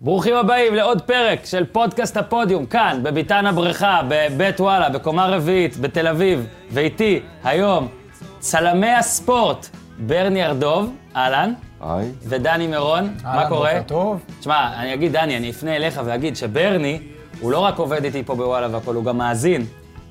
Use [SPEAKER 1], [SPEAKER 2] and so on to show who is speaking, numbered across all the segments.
[SPEAKER 1] ברוכים הבאים לעוד פרק של פודקאסט הפודיום, כאן, בביתן הבריכה, בבית וואלה, בקומה רביעית, בתל אביב, ואיתי היום צלמי הספורט, ברני ארדוב, אהלן,
[SPEAKER 2] היי,
[SPEAKER 1] ודני מירון, מה
[SPEAKER 3] אהלן,
[SPEAKER 1] קורה?
[SPEAKER 3] בוקר טוב.
[SPEAKER 1] תשמע, אני אגיד, דני, אני אפנה אליך ואגיד שברני, הוא לא רק עובד איתי פה בוואלה והכול, הוא גם מאזין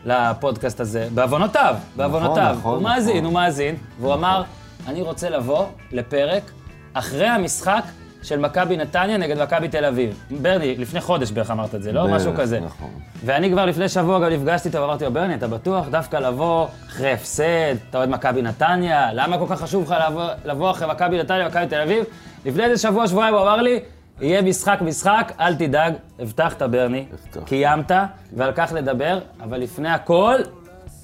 [SPEAKER 1] לפודקאסט הזה, בעוונותיו, בעוונותיו.
[SPEAKER 2] נכון,
[SPEAKER 1] הוא מאזין,
[SPEAKER 2] נכון.
[SPEAKER 1] הוא מאזין, והוא אמר, אני רוצה לבוא לפרק אחרי המשחק של מכבי נתניה נגד מכבי תל אביב. ברני, לפני חודש בערך אמרת את זה, לא?
[SPEAKER 2] בערך,
[SPEAKER 1] משהו כזה.
[SPEAKER 2] נכון.
[SPEAKER 1] ואני כבר לפני שבוע גם נפגשתי איתו ואמרתי לו, ברני, אתה בטוח דווקא לבוא אחרי הפסד, אתה אוהד מכבי נתניה, למה כל כך חשוב לך לבוא, לבוא אחרי מכבי נתניה ומכבי תל אביב? לפני איזה שבוע, שבועיים הוא אמר לי, יהיה משחק משחק, אל תדאג, הבטחת ברני,
[SPEAKER 2] הבטחתי.
[SPEAKER 1] קיימת, ועל כך נדבר, אבל לפני הכל...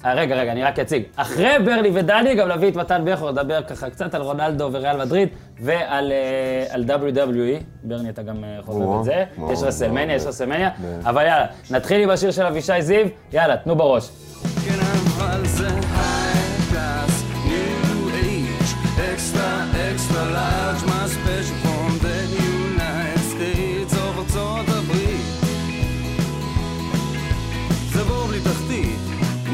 [SPEAKER 1] אה, רגע, רגע, אני רק אציג. אחרי ברני ודני, גם נביא את מתן בכר, נדבר ככה קצת על רונלדו וריאל מדריד, ועל אה, על WWE. ברני, אתה גם אה, חובב
[SPEAKER 2] או,
[SPEAKER 1] את זה.
[SPEAKER 2] או,
[SPEAKER 1] יש רסלמניה,
[SPEAKER 2] או,
[SPEAKER 1] יש
[SPEAKER 2] או.
[SPEAKER 1] רסלמניה,
[SPEAKER 2] כן.
[SPEAKER 1] אבל יאללה, נתחיל עם השיר של אבישי זיו, יאללה, תנו בראש.
[SPEAKER 4] Thinking I'm on the high class, new age, extra, extra large, my special from the United States of ארצות הברית. זה בור בלי תחתית,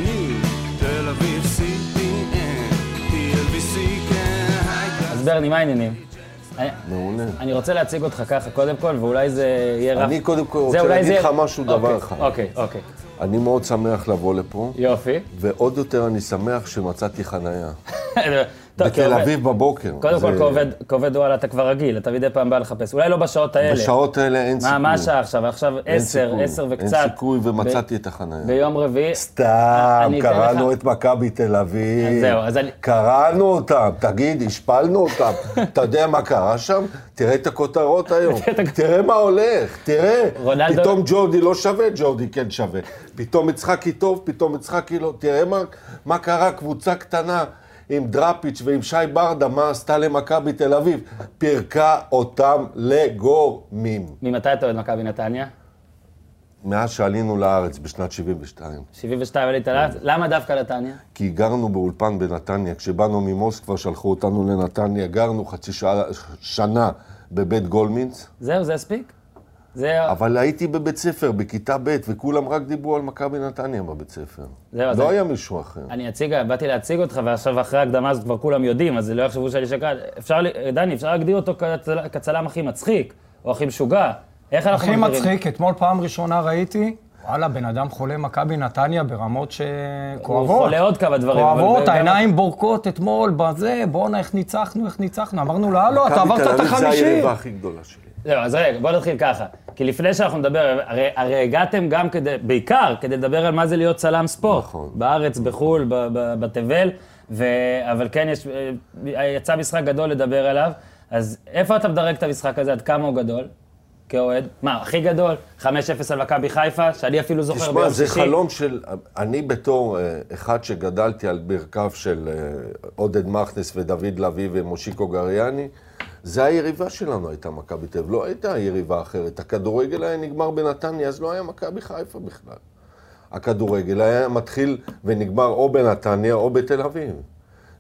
[SPEAKER 4] ניו, תל אביב, CPN, TLBC, כן, high class.
[SPEAKER 1] אז ברני, מה העניינים? אני-
[SPEAKER 2] מעולה.
[SPEAKER 1] אני רוצה להציג אותך ככה קודם כל, ואולי זה יהיה רף.
[SPEAKER 2] אני קודם כל
[SPEAKER 1] זה
[SPEAKER 2] רוצה
[SPEAKER 1] אולי
[SPEAKER 2] להגיד
[SPEAKER 1] זה-
[SPEAKER 2] לך משהו, דבר
[SPEAKER 1] אוקיי,
[SPEAKER 2] אחד.
[SPEAKER 1] אוקיי, אוקיי.
[SPEAKER 2] אני מאוד שמח לבוא לפה,
[SPEAKER 1] יופי.
[SPEAKER 2] ועוד יותר אני שמח שמצאתי חנייה.
[SPEAKER 1] טוב,
[SPEAKER 2] בתל
[SPEAKER 1] כעובד-
[SPEAKER 2] אביב בבוקר.
[SPEAKER 1] קודם כל,
[SPEAKER 2] זה-
[SPEAKER 1] כעובד- כעובד וואלה, אתה כבר רגיל, אתה מדי פעם בא לחפש. אולי לא בשעות האלה.
[SPEAKER 2] בשעות האלה אין סיכוי.
[SPEAKER 1] מה, מה השעה עכשיו? עכשיו
[SPEAKER 2] אין
[SPEAKER 1] עשר,
[SPEAKER 2] סיכוי.
[SPEAKER 1] עשר וקצת.
[SPEAKER 2] אין סיכוי, ומצאתי
[SPEAKER 1] ב-
[SPEAKER 2] את החנייה.
[SPEAKER 1] ביום רביעי.
[SPEAKER 2] סתם,
[SPEAKER 1] אני אתן
[SPEAKER 2] קראנו
[SPEAKER 1] לך-
[SPEAKER 2] את מכבי תל
[SPEAKER 1] אז
[SPEAKER 2] אביב.
[SPEAKER 1] זהו, אז אני-
[SPEAKER 2] קראנו אותם, תגיד, השפלנו אותם. אתה יודע מה קרה שם? תראה את הכותרות היום. תראה מה הולך, תראה.
[SPEAKER 1] רונלדו-
[SPEAKER 2] פתאום ג'ורדי לא שווה, ג'ורדי כן שווה. פתאום יצחקי טוב, פתאום יצחקי לא. תראה מה- מה קרה, קבוצה קטנה. עם דראפיץ' ועם שי ברדה, מה עשתה למכבי תל אביב? פירקה אותם לגורמים.
[SPEAKER 1] ממתי אתה אוהד מכבי נתניה?
[SPEAKER 2] מאז שעלינו לארץ בשנת 72.
[SPEAKER 1] 72 עלית לארץ? למה דווקא נתניה?
[SPEAKER 2] כי גרנו באולפן בנתניה. כשבאנו ממוסקבה, שלחו אותנו לנתניה, גרנו חצי שעה, שנה בבית גולמינץ,
[SPEAKER 1] זהו, זה הספיק? זה...
[SPEAKER 2] אבל הייתי בבית ספר, בכיתה ב', וכולם רק דיברו על מכבי נתניה בבית ספר.
[SPEAKER 1] זהו, אז
[SPEAKER 2] לא
[SPEAKER 1] אני-
[SPEAKER 2] היה מישהו אחר.
[SPEAKER 1] אני אציג, באתי להציג אותך, ועכשיו אחרי ההקדמה הזאת כבר כולם יודעים, אז לא יחשבו שאני שקרן. אפשר, ל- דני, אפשר להגדיר אותו כצל- כצלם הכי מצחיק, או הכי משוגע. איך אנחנו
[SPEAKER 3] הכי
[SPEAKER 1] מגדירים?
[SPEAKER 3] מצחיק, אתמול פעם ראשונה ראיתי, וואלה, בן אדם חולה מכבי נתניה ברמות שכואבות.
[SPEAKER 1] הוא חולה עוד כמה דברים, אבל
[SPEAKER 3] כואבות,
[SPEAKER 1] ב-
[SPEAKER 3] העיניים בורקות אתמול, בזה, בואנה, איך ניצחנו, איך ניצחנו. אמרנו לה, לא, אתה
[SPEAKER 2] מכבי תל
[SPEAKER 3] עברת את
[SPEAKER 2] אביב זה
[SPEAKER 3] החמישי.
[SPEAKER 2] היריבה הכי גדולה שלי.
[SPEAKER 1] זהו, אז רגע, בוא נתחיל ככה. כי לפני שאנחנו נדבר, הרי, הרי הגעתם גם כדי, בעיקר כדי לדבר על מה זה להיות צלם ספורט.
[SPEAKER 2] נכון.
[SPEAKER 1] בארץ, בחו"ל, ב- ב- בתבל, ו... אבל כן, יש, אה, יצא משחק גדול לדבר עליו. אז איפה אתה מדרג את המשחק הזה? עד כמה הוא גדול? כאוהד? מה, הכי גדול? 5-0 על מכבי חיפה, שאני אפילו זוכר
[SPEAKER 2] תשמע,
[SPEAKER 1] ביום
[SPEAKER 2] זה
[SPEAKER 1] שישי.
[SPEAKER 2] חלום של... אני בתור אה, אחד שגדלתי על ברכיו של אה, עודד מכנס ודוד לביא ומושיקו גריאני, זה היריבה שלנו הייתה מכבי תל אביב, לא הייתה יריבה אחרת. הכדורגל היה נגמר בנתניה, אז לא היה מכבי חיפה בכלל. הכדורגל היה מתחיל ונגמר או בנתניה או בתל אביב.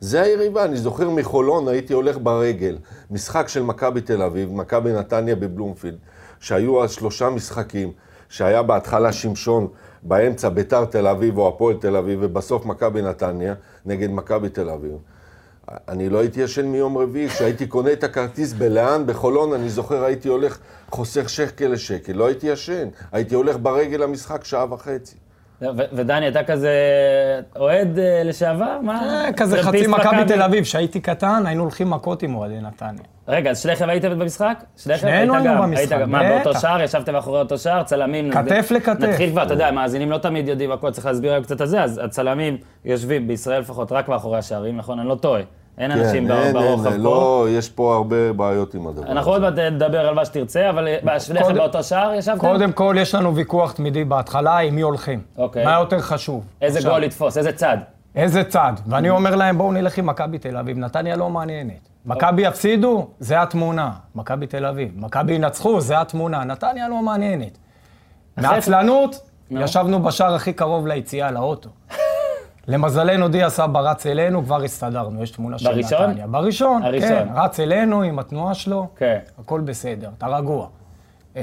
[SPEAKER 2] זה היריבה, אני זוכר מחולון הייתי הולך ברגל, משחק של מכבי תל אביב, מכבי נתניה בבלומפילד, שהיו אז שלושה משחקים, שהיה בהתחלה שמשון, באמצע ביתר תל אביב או הפועל תל אביב, ובסוף מכבי נתניה נגד מכבי תל אביב. אני לא הייתי ישן מיום רביעי, כשהייתי קונה את הכרטיס בלאן, בחולון, אני זוכר הייתי הולך חוסך שקל לשקל, לא הייתי ישן, הייתי הולך ברגל למשחק שעה וחצי.
[SPEAKER 1] ו- ודני, אתה כזה אוהד אה, לשעבר? מה?
[SPEAKER 3] אה, כזה חצי
[SPEAKER 1] טרמפיסט
[SPEAKER 3] מכבי תל אביב, כשהייתי קטן, היינו הולכים מכות עם אוהדי נתניה.
[SPEAKER 1] רגע, אז שניכם הייתם במשחק? שניכם
[SPEAKER 3] שנינו
[SPEAKER 1] היית
[SPEAKER 3] היינו
[SPEAKER 1] גם,
[SPEAKER 3] במשחק,
[SPEAKER 1] היית גם. מה, באותו
[SPEAKER 3] בטח.
[SPEAKER 1] שער? ישבתם מאחורי אותו שער? צלמים...
[SPEAKER 3] כתף
[SPEAKER 1] נתחיל-
[SPEAKER 3] לכתף.
[SPEAKER 1] נתחיל כבר, אתה יודע, המאזינים לא תמיד יודעים הכל, צריך להסביר היום קצת על זה, אז הצלמים יושבים, בישראל לפחות, רק מאחורי השערים, נכון? אני לא טועה. אין אנשים
[SPEAKER 2] כן, אין,
[SPEAKER 1] בר- ברוחב
[SPEAKER 2] אין,
[SPEAKER 1] פה.
[SPEAKER 2] לא, יש פה הרבה בעיות עם הדבר.
[SPEAKER 1] אנחנו עוד מעט נדבר על מה שתרצה, אבל אה, שניכם
[SPEAKER 3] קודם-
[SPEAKER 1] באותו שער ישבתם?
[SPEAKER 3] קודם כל, יש לנו ויכוח תמידי בהתחלה, עם מי הולכים.
[SPEAKER 1] אוקיי.
[SPEAKER 3] מה יותר חשוב?
[SPEAKER 1] איזה
[SPEAKER 3] עכשיו,
[SPEAKER 1] גול לתפוס, איזה צד.
[SPEAKER 3] איזה צד. ואני אומר להם, בואו נלך עם מכבי תל אביב, נתניה לא מעניינת. מכבי יפסידו, זה התמונה. מכבי תל אביב. מכבי ינצחו, זה התמונה. נתניה לא מעניינת. מעצלנות,
[SPEAKER 1] נו.
[SPEAKER 3] ישבנו בשער הכי קרוב ליציאה, לאוטו. למזלנו דיה סבא רץ אלינו, כבר הסתדרנו, יש תמונה של
[SPEAKER 1] בראשון?
[SPEAKER 3] נתניה. בראשון?
[SPEAKER 1] הראשון.
[SPEAKER 3] כן, רץ אלינו עם התנועה שלו,
[SPEAKER 1] כן.
[SPEAKER 3] הכל בסדר, אתה רגוע. אה,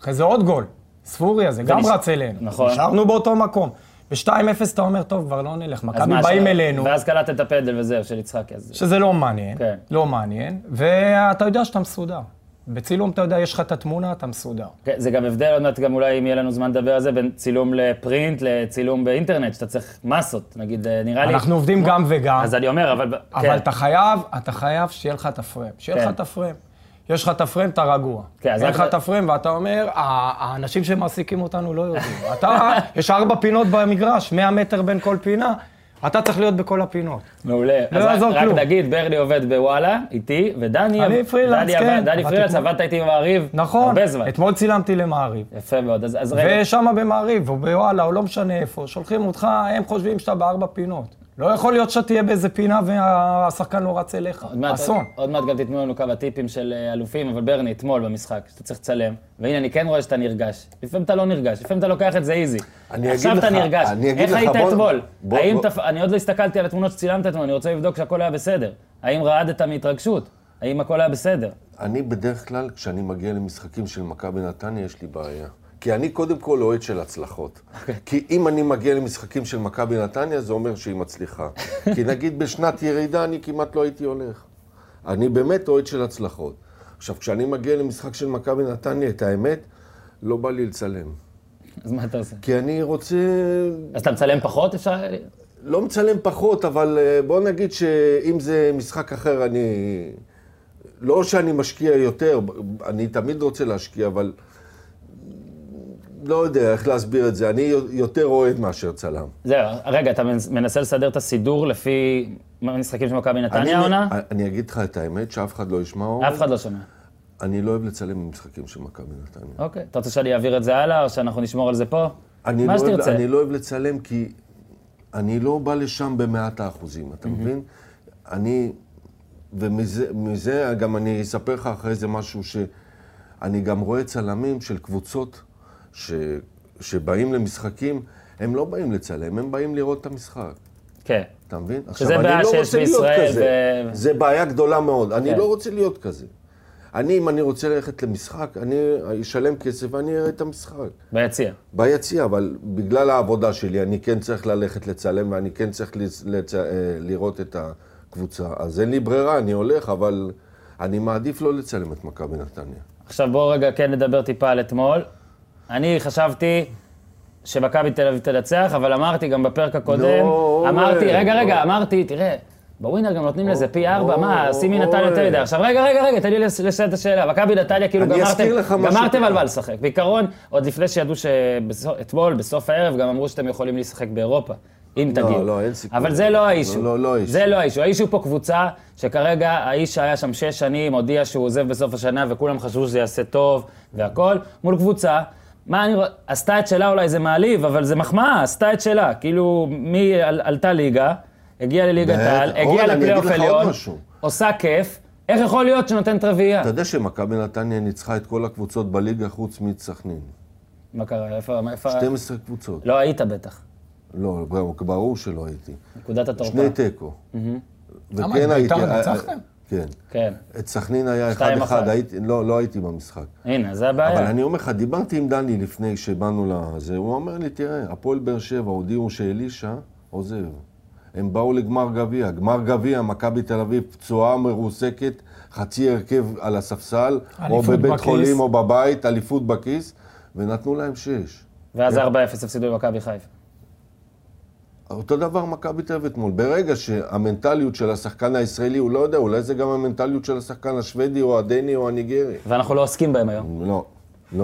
[SPEAKER 3] אחרי זה עוד גול, ספוריה, זה גם
[SPEAKER 1] ונש-
[SPEAKER 3] רץ אלינו.
[SPEAKER 1] נכון.
[SPEAKER 3] נשארנו באותו מקום. ב-2-0 אתה אומר, טוב, כבר לא נלך,
[SPEAKER 1] אז
[SPEAKER 3] מכבי
[SPEAKER 1] מה,
[SPEAKER 3] באים
[SPEAKER 1] ש-
[SPEAKER 3] אלינו.
[SPEAKER 1] ואז קלטת את הפדל וזהו, של יצחקי. אז...
[SPEAKER 3] שזה לא מעניין,
[SPEAKER 1] כן.
[SPEAKER 3] לא מעניין, ואתה יודע שאתה מסודר. בצילום אתה יודע, יש לך את התמונה, אתה מסודר.
[SPEAKER 1] כן, זה גם הבדל, עוד מעט גם אולי אם יהיה לנו זמן לדבר על זה, בין צילום לפרינט לצילום באינטרנט, שאתה צריך מסות, נגיד, אה, נראה לי...
[SPEAKER 3] אנחנו עובדים גם וגם,
[SPEAKER 1] אז אני אומר, אבל...
[SPEAKER 3] אבל
[SPEAKER 1] כן,
[SPEAKER 3] אתה חייב, אתה חייב שיהיה לך את הפריים. שיהיה
[SPEAKER 1] כן.
[SPEAKER 3] לך את הפריים. יש לך את הפריים, אתה רגוע.
[SPEAKER 1] כן, אז
[SPEAKER 3] אין
[SPEAKER 1] רק-
[SPEAKER 3] לך את הפריים, ואתה אומר, "ה- האנשים שמעסיקים אותנו לא יודעים. אתה, יש ארבע פינות במגרש, 100 מטר בין כל פינה, אתה צריך להיות בכל הפינות.
[SPEAKER 1] מעולה.
[SPEAKER 3] לא
[SPEAKER 1] אז רק-
[SPEAKER 3] יעזור כלום.
[SPEAKER 1] רק נגיד, ברלי עובד בוואלה, איתי, ודני...
[SPEAKER 3] אני
[SPEAKER 1] עב-
[SPEAKER 3] פרילנס,
[SPEAKER 1] דני
[SPEAKER 3] כן.
[SPEAKER 1] עבד- דני
[SPEAKER 3] אבל
[SPEAKER 1] פרילנס,
[SPEAKER 3] תתמודד.
[SPEAKER 1] עבדת איתי במעריב.
[SPEAKER 3] נכון,
[SPEAKER 1] הרבה זמן.
[SPEAKER 3] אתמול צילמתי למעריב.
[SPEAKER 1] יפה מאוד, אז אז רגע.
[SPEAKER 3] ושם במעריב, או בוואלה, או לא משנה איפה, שולחים אותך, הם חושבים שאתה בארבע פינות. לא יכול להיות שאתה תהיה באיזה פינה והשחקן לא רץ אליך.
[SPEAKER 1] עוד מעט-
[SPEAKER 3] אסון.
[SPEAKER 1] עוד מעט גם תיתנו לנו כמה טיפים של אה, אלופים, אבל ברני, אתמול במשחק, שאתה צריך לצלם, והנה, אני כן רואה שאתה נרגש. לפעמים אתה לא נרגש, לפעמים אתה לוקח את זה איזי.
[SPEAKER 2] אני אגיד
[SPEAKER 1] עכשיו אתה
[SPEAKER 2] לך-
[SPEAKER 1] נרגש.
[SPEAKER 2] אני אגיד
[SPEAKER 1] איך
[SPEAKER 2] לך,
[SPEAKER 1] היית
[SPEAKER 2] בוא-
[SPEAKER 1] אתמול?
[SPEAKER 2] בוא-
[SPEAKER 1] האם
[SPEAKER 2] בוא-
[SPEAKER 1] תפ- אני עוד לא הסתכלתי על התמונות שצילמת אתמול, אני רוצה לבדוק שהכל היה בסדר. האם רעדת מהתרגשות? האם הכל היה בסדר?
[SPEAKER 2] אני בדרך כלל, כשאני מגיע למשחקים של מכבי נתניה, יש לי בעיה. כי אני קודם כל אוהד של הצלחות.
[SPEAKER 1] אוקיי.
[SPEAKER 2] כי אם אני מגיע למשחקים של מכבי נתניה, זה אומר שהיא מצליחה. כי נגיד בשנת ירידה אני כמעט לא הייתי הולך. אני באמת אוהד של הצלחות. עכשיו, כשאני מגיע למשחק של מכבי נתניה, את האמת, לא בא לי לצלם.
[SPEAKER 1] אז מה אתה עושה?
[SPEAKER 2] כי אני רוצה...
[SPEAKER 1] אז אתה מצלם פחות אפשר?
[SPEAKER 2] לא מצלם פחות, אבל אה, בוא נגיד שאם זה משחק אחר, אני... לא שאני משקיע יותר, אני תמיד רוצה להשקיע, אבל לא יודע איך להסביר את זה. אני יותר אוהד מאשר צלם.
[SPEAKER 1] זהו, רגע, אתה מנס- מנסה לסדר את הסידור לפי משחקים של מכבי
[SPEAKER 2] אני,
[SPEAKER 1] נתניה העונה?
[SPEAKER 2] אני אגיד לך את האמת, שאף אחד לא ישמע, אורן.
[SPEAKER 1] אף אחד לא שומע.
[SPEAKER 2] אני לא אוהב לצלם במשחקים של מכבי נתניה.
[SPEAKER 1] אוקיי. אתה רוצה שאני אעביר את זה הלאה, או שאנחנו נשמור על זה פה?
[SPEAKER 2] אני
[SPEAKER 1] מה
[SPEAKER 2] לא אוהב-
[SPEAKER 1] שתרצה.
[SPEAKER 2] אני לא אוהב לצלם כי אני לא בא לשם במאת האחוזים, אתה מבין? אני, ומזה מזה גם אני אספר לך אחרי זה משהו ש... אני גם רואה צלמים של קבוצות ש, שבאים למשחקים, הם לא באים לצלם, הם באים לראות את המשחק.
[SPEAKER 1] כן.
[SPEAKER 2] אתה מבין? לא
[SPEAKER 1] בעיה שיש בישראל
[SPEAKER 2] כזה.
[SPEAKER 1] ו-
[SPEAKER 2] זה בעיה גדולה מאוד. אני
[SPEAKER 1] כן.
[SPEAKER 2] לא רוצה להיות כזה. אני, אם אני רוצה ללכת למשחק, אני אשלם כסף ואני אראה את המשחק.
[SPEAKER 1] ביציע.
[SPEAKER 2] ביציע, אבל בגלל העבודה שלי, אני כן צריך ללכת לצלם ואני כן צריך לצ... לצ... אה, לראות את הקבוצה. אז אין לי ברירה, אני הולך, אבל אני מעדיף לא לצלם את מכבי נתניה.
[SPEAKER 1] עכשיו בואו רגע כן נדבר טיפה על אתמול. אני חשבתי שמכבי תל אביב תנצח, אבל אמרתי גם בפרק הקודם,
[SPEAKER 2] לא,
[SPEAKER 1] אמרתי,
[SPEAKER 2] אורן,
[SPEAKER 1] רגע, רגע,
[SPEAKER 2] אורן.
[SPEAKER 1] אמרתי, תראה, בווינר גם נותנים לזה פי ארבע, מה,
[SPEAKER 2] אורן.
[SPEAKER 1] סימי נתן יותר מדי. עכשיו, רגע, רגע, רגע, תן לי לס- לסיים את השאלה. מכבי נתניה, כאילו
[SPEAKER 2] אני
[SPEAKER 1] גמרתם,
[SPEAKER 2] אזכיר לך משהו
[SPEAKER 1] גמרתם
[SPEAKER 2] קטן.
[SPEAKER 1] על מה לשחק. בעיקרון, עוד לפני שידעו שאתמול, בסוף הערב, גם אמרו שאתם יכולים לשחק באירופה. אם
[SPEAKER 2] לא,
[SPEAKER 1] תגיעו.
[SPEAKER 2] לא, אין סיכוי.
[SPEAKER 1] אבל זה לא האישו.
[SPEAKER 2] לא, לא האישו.
[SPEAKER 1] זה לא האישו. האישו פה קבוצה שכרגע האיש שהיה שם שש שנים, הודיע שהוא עוזב בסוף השנה, וכולם חשבו שזה יעשה טוב והכל, מול קבוצה. מה אני רואה, עשתה את שלה אולי זה מעליב, אבל זה מחמאה, עשתה את שלה. כאילו, מי על, עלתה ליגה, הגיעה לליגת
[SPEAKER 2] בטח.
[SPEAKER 1] העל,
[SPEAKER 2] אורן,
[SPEAKER 1] הגיעה
[SPEAKER 2] אני אגיד
[SPEAKER 1] לפלייאוף
[SPEAKER 2] לך עוד
[SPEAKER 1] עליון,
[SPEAKER 2] משהו.
[SPEAKER 1] עושה כיף, איך יכול להיות שנותנת רביעייה?
[SPEAKER 2] אתה יודע שמכבי נתניה ניצחה את כל הקבוצות בליגה חוץ מסכנין.
[SPEAKER 1] מה קרה, איפה, מה- איפה...
[SPEAKER 2] 12 קבוצות.
[SPEAKER 1] לא היית בטח,
[SPEAKER 2] לא, ברור שלא הייתי.
[SPEAKER 1] נקודת התורפה.
[SPEAKER 2] שני תיקו.
[SPEAKER 3] Mm-hmm. למה, את בית"ר ניצחתם?
[SPEAKER 2] כן.
[SPEAKER 1] כן,
[SPEAKER 2] את סכנין היה 1-1,
[SPEAKER 1] שתיים אחת.
[SPEAKER 2] הייתי- לא לא הייתי במשחק.
[SPEAKER 1] הנה, זה הבעיה.
[SPEAKER 3] אה.
[SPEAKER 2] אבל אני אומר לך, דיברתי עם דני לפני שבאנו לזה, הוא אומר לי, תראה, הפועל באר שבע הודיעו שאלישע עוזב. הם באו לגמר גביע. גמר גביע, מכבי תל אביב פצועה, מרוסקת, חצי הרכב על הספסל, או
[SPEAKER 3] אליפות
[SPEAKER 2] בבית
[SPEAKER 3] בכיס.
[SPEAKER 2] חולים או בבית, אליפות בכיס, ונתנו להם שש.
[SPEAKER 1] ואז 4-0 הפסידו למכבי חיפה.
[SPEAKER 2] אותו דבר מכבי תל אביב אתמול. ברגע שהמנטליות של השחקן הישראלי, הוא לא יודע, אולי זה גם המנטליות של השחקן השוודי או הדני או הניגרי.
[SPEAKER 1] ואנחנו לא עוסקים בהם היום.
[SPEAKER 2] לא, לא,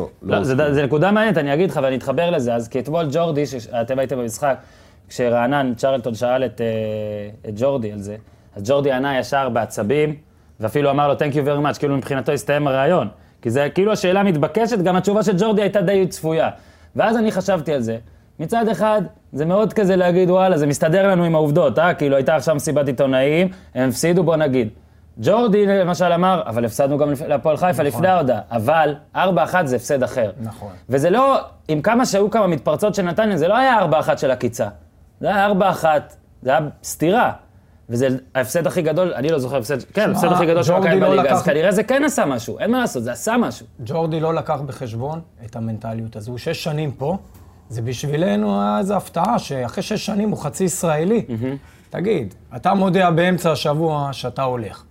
[SPEAKER 3] אה,
[SPEAKER 1] לא,
[SPEAKER 2] עושים.
[SPEAKER 1] זה, זה נקודה מעניינת, אני אגיד לך ואני אתחבר לזה. אז כי אתמול ג'ורדי, שאתם הייתם במשחק, כשרענן צ'רלטון שאל את, אה, את ג'ורדי על זה, אז ג'ורדי ענה ישר בעצבים, ואפילו אמר לו, Thank you very much, כאילו מבחינתו הסתיים הראיון. כי זה כאילו השאלה מתבקשת, גם התשובה של ג'ורדי הייתה די צפויה. ואז אני חשבתי על זה. מצד אחד, זה מאוד כזה להגיד, וואלה, זה מסתדר לנו עם העובדות, אה? כאילו, הייתה עכשיו מסיבת עיתונאים, הם הפסידו, בוא נגיד. ג'ורדי למשל אמר, אבל הפסדנו גם לפ- להפועל חיפה לפני ההודעה, אבל 4-1 זה הפסד אחר.
[SPEAKER 3] נכון.
[SPEAKER 1] וזה לא, עם כמה שהיו כמה מתפרצות של נתניה, זה לא היה 4-1 של עקיצה. זה היה 4-1, זה היה סתירה. וזה ההפסד הכי גדול, אני לא זוכר הפסד, כן, ההפסד
[SPEAKER 3] שמע,
[SPEAKER 1] הכי גדול של
[SPEAKER 3] ג'ורדי
[SPEAKER 1] מכבי
[SPEAKER 3] לא
[SPEAKER 1] בליגה, אז
[SPEAKER 3] לקח-
[SPEAKER 1] כנראה זה כן עשה משהו, אין מה לעשות, זה עשה משהו.
[SPEAKER 3] ג'ורדי לא לקח בחשבון את המנטליות הזו. הוא שש שנים פה, זה בשבילנו היה איזו הפתעה, שאחרי שש שנים הוא חצי ישראלי. תגיד, אתה מודיע באמצע השבוע שאתה הולך.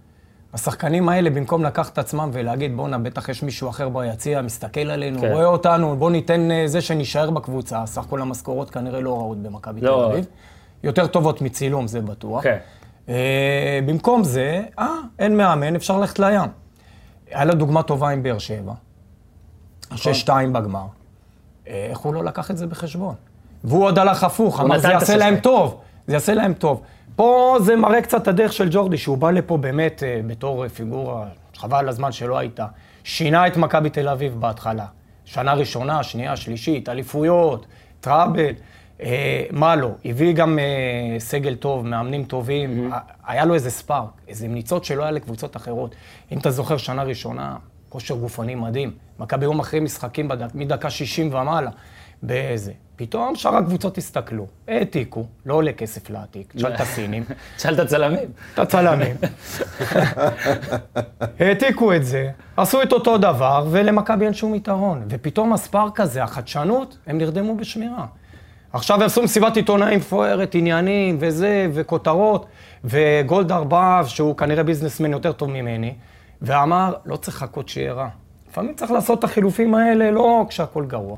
[SPEAKER 3] השחקנים האלה, במקום לקחת את עצמם ולהגיד, בואנה, בטח יש מישהו אחר ביציע, מסתכל עלינו,
[SPEAKER 1] כן.
[SPEAKER 3] רואה אותנו, בוא ניתן אה, זה שנישאר בקבוצה. סך כל המשכורות כנראה לא רעות במכבי
[SPEAKER 1] לא
[SPEAKER 3] תל
[SPEAKER 1] רעות.
[SPEAKER 3] אביב. יותר טובות מצילום, זה בטוח.
[SPEAKER 1] כן.
[SPEAKER 3] אה, במקום זה, אה, אין מאמן, אפשר ללכת לים. היה לו דוגמה טובה עם באר שבע.
[SPEAKER 1] נכון.
[SPEAKER 3] שש שתיים בגמר. אה, איך הוא לא לקח את זה בחשבון? והוא עוד הלך הפוך, אמר
[SPEAKER 1] נתן
[SPEAKER 3] זה
[SPEAKER 1] את
[SPEAKER 3] יעשה
[SPEAKER 1] השש
[SPEAKER 3] להם
[SPEAKER 1] שתיים."
[SPEAKER 3] טוב, זה יעשה להם טוב. פה זה מראה קצת את הדרך של ג'ורדי, שהוא בא לפה באמת אה, בתור אה, פיגורה, חבל על הזמן שלא הייתה. שינה את מכבי תל אביב בהתחלה. שנה ראשונה, שנייה, שלישית, אליפויות, טראבל, אה, מה לא. הביא גם אה, סגל טוב, מאמנים טובים. ה- היה לו איזה ספארק, איזה ניצות שלא היה לקבוצות אחרות. אם אתה זוכר, שנה ראשונה, כושר גופני מדהים. מכבי יום אחרי משחקים בדק, מדקה 60 ומעלה. באיזה. פתאום שאר הקבוצות הסתכלו, העתיקו, לא עולה כסף להעתיק, תשאל את הסינים,
[SPEAKER 1] תשאל את הצלמים.
[SPEAKER 3] את הצלמים. העתיקו את זה, עשו את אותו דבר, ולמכבי אין שום יתרון. ופתאום הספארק הזה, החדשנות, הם נרדמו בשמירה. עכשיו עשו מסיבת עיתונאים מפוארת, עניינים וזה, וכותרות, וגולדהר בא, שהוא כנראה ביזנסמן יותר טוב ממני, ואמר, לא צריך לחכות שיהיה רע. לפעמים צריך לעשות את החילופים האלה, לא כשהכול גרוע.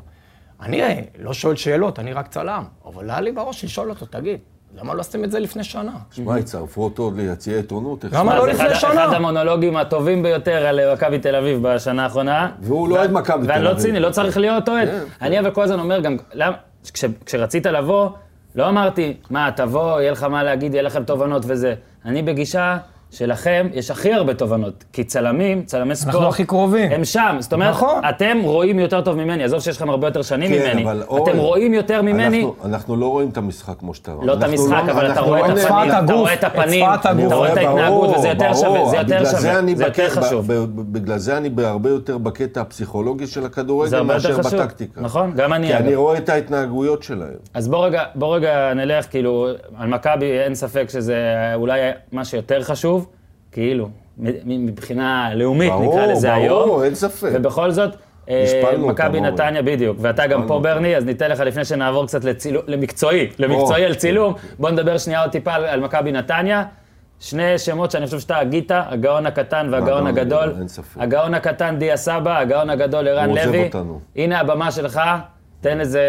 [SPEAKER 3] אני אה, לא שואל שאלות, אני רק צלם, אבל היה לי בראש לשאול אותו, תגיד, למה לא עשיתם את זה לפני שנה?
[SPEAKER 2] שמע, יצרפו אותו עוד ליציע עיתונות. איך
[SPEAKER 3] למה
[SPEAKER 2] שהוא-
[SPEAKER 3] לא
[SPEAKER 1] אז אחד-
[SPEAKER 3] לפני שנה.
[SPEAKER 1] אחד המונולוגים הטובים ביותר על אה, מכבי תל אביב בשנה האחרונה.
[SPEAKER 2] והוא לא אוהד מכבי תל
[SPEAKER 1] ואני לא
[SPEAKER 2] אביב. כן.
[SPEAKER 1] ציני, לא צריך להיות אוהד. אני אבל כל הזמן אומר גם, למה- כש- כשרצית לבוא, לא אמרתי, מה, תבוא, יהיה לך מה להגיד, יהיה לכם תובנות וזה. אני בגישה שלכם יש הכי הרבה תובנות, כי צלמים, צלמי ספורט,
[SPEAKER 3] הכי קרובים.
[SPEAKER 1] הם שם. זאת אומרת,
[SPEAKER 3] נכון.
[SPEAKER 1] אתם רואים יותר טוב ממני, עזוב שיש לכם הרבה יותר שנים
[SPEAKER 2] כן,
[SPEAKER 1] ממני.
[SPEAKER 2] אבל
[SPEAKER 1] אתם
[SPEAKER 2] אורן,
[SPEAKER 1] רואים יותר ממני.
[SPEAKER 2] אנחנו- אנחנו לא רואים את המשחק כמו שאתה רואה.
[SPEAKER 1] לא את
[SPEAKER 2] אנחנו
[SPEAKER 1] המשחק, אבל אתה
[SPEAKER 2] אנחנו
[SPEAKER 1] רואה את
[SPEAKER 2] לא
[SPEAKER 3] רואים את
[SPEAKER 1] הפנים,
[SPEAKER 3] שפת
[SPEAKER 1] אתה
[SPEAKER 3] הגוף,
[SPEAKER 1] רואה את
[SPEAKER 3] את
[SPEAKER 1] הפנים,
[SPEAKER 3] שפת
[SPEAKER 1] אתה
[SPEAKER 3] הגוף.
[SPEAKER 2] אני
[SPEAKER 1] רואה את
[SPEAKER 2] רואה,
[SPEAKER 1] ההתנהגות,
[SPEAKER 2] ברור,
[SPEAKER 1] וזה יותר
[SPEAKER 2] ברור. אה,
[SPEAKER 1] שווה, זה יותר
[SPEAKER 2] בגלל
[SPEAKER 1] שווה,
[SPEAKER 2] אני
[SPEAKER 1] זה יותר
[SPEAKER 2] בקטע-
[SPEAKER 1] חשוב.
[SPEAKER 2] ב- ב- בגלל זה אני בהרבה יותר בקטע הפסיכולוגי של
[SPEAKER 1] זה
[SPEAKER 2] הכדורגל
[SPEAKER 1] הרבה יותר
[SPEAKER 2] מאשר
[SPEAKER 1] חשוב.
[SPEAKER 2] בטקטיקה.
[SPEAKER 1] נכון, גם אני,
[SPEAKER 2] כי
[SPEAKER 1] אגב.
[SPEAKER 2] אני רואה את ההתנהגויות שלהם.
[SPEAKER 1] אז בוא רגע, בוא רגע נלך, כאילו, על מכבי אין ספק שזה אולי מה שיותר חשוב, כאילו, מ- מ- מבחינה לאומית
[SPEAKER 2] ברור,
[SPEAKER 1] נקרא לזה היום.
[SPEAKER 2] ברור, אין ספק.
[SPEAKER 1] ובכל זאת, אה,
[SPEAKER 2] השפלנו אותם,
[SPEAKER 1] מכבי
[SPEAKER 2] אורן.
[SPEAKER 1] נתניה בדיוק, ואתה גם פה ברני, אז ניתן לך לפני שנעבור קצת לצילום, למקצועי, למקצועי
[SPEAKER 2] או. כן.
[SPEAKER 1] על צילום. בוא נדבר שנייה עוד טיפה על- על מכבי נתניה. שני שמות שאני חושב שאתה הגית, הגאון הקטן והגאון
[SPEAKER 2] הגאון
[SPEAKER 1] הגדול.
[SPEAKER 2] הגדול, אין ספק.
[SPEAKER 1] הגאון הקטן דיה סבא, הגאון הגדול ערן
[SPEAKER 2] הוא עוזב
[SPEAKER 1] לוי.
[SPEAKER 2] אותנו.
[SPEAKER 1] הנה הבמה שלך, תן איזה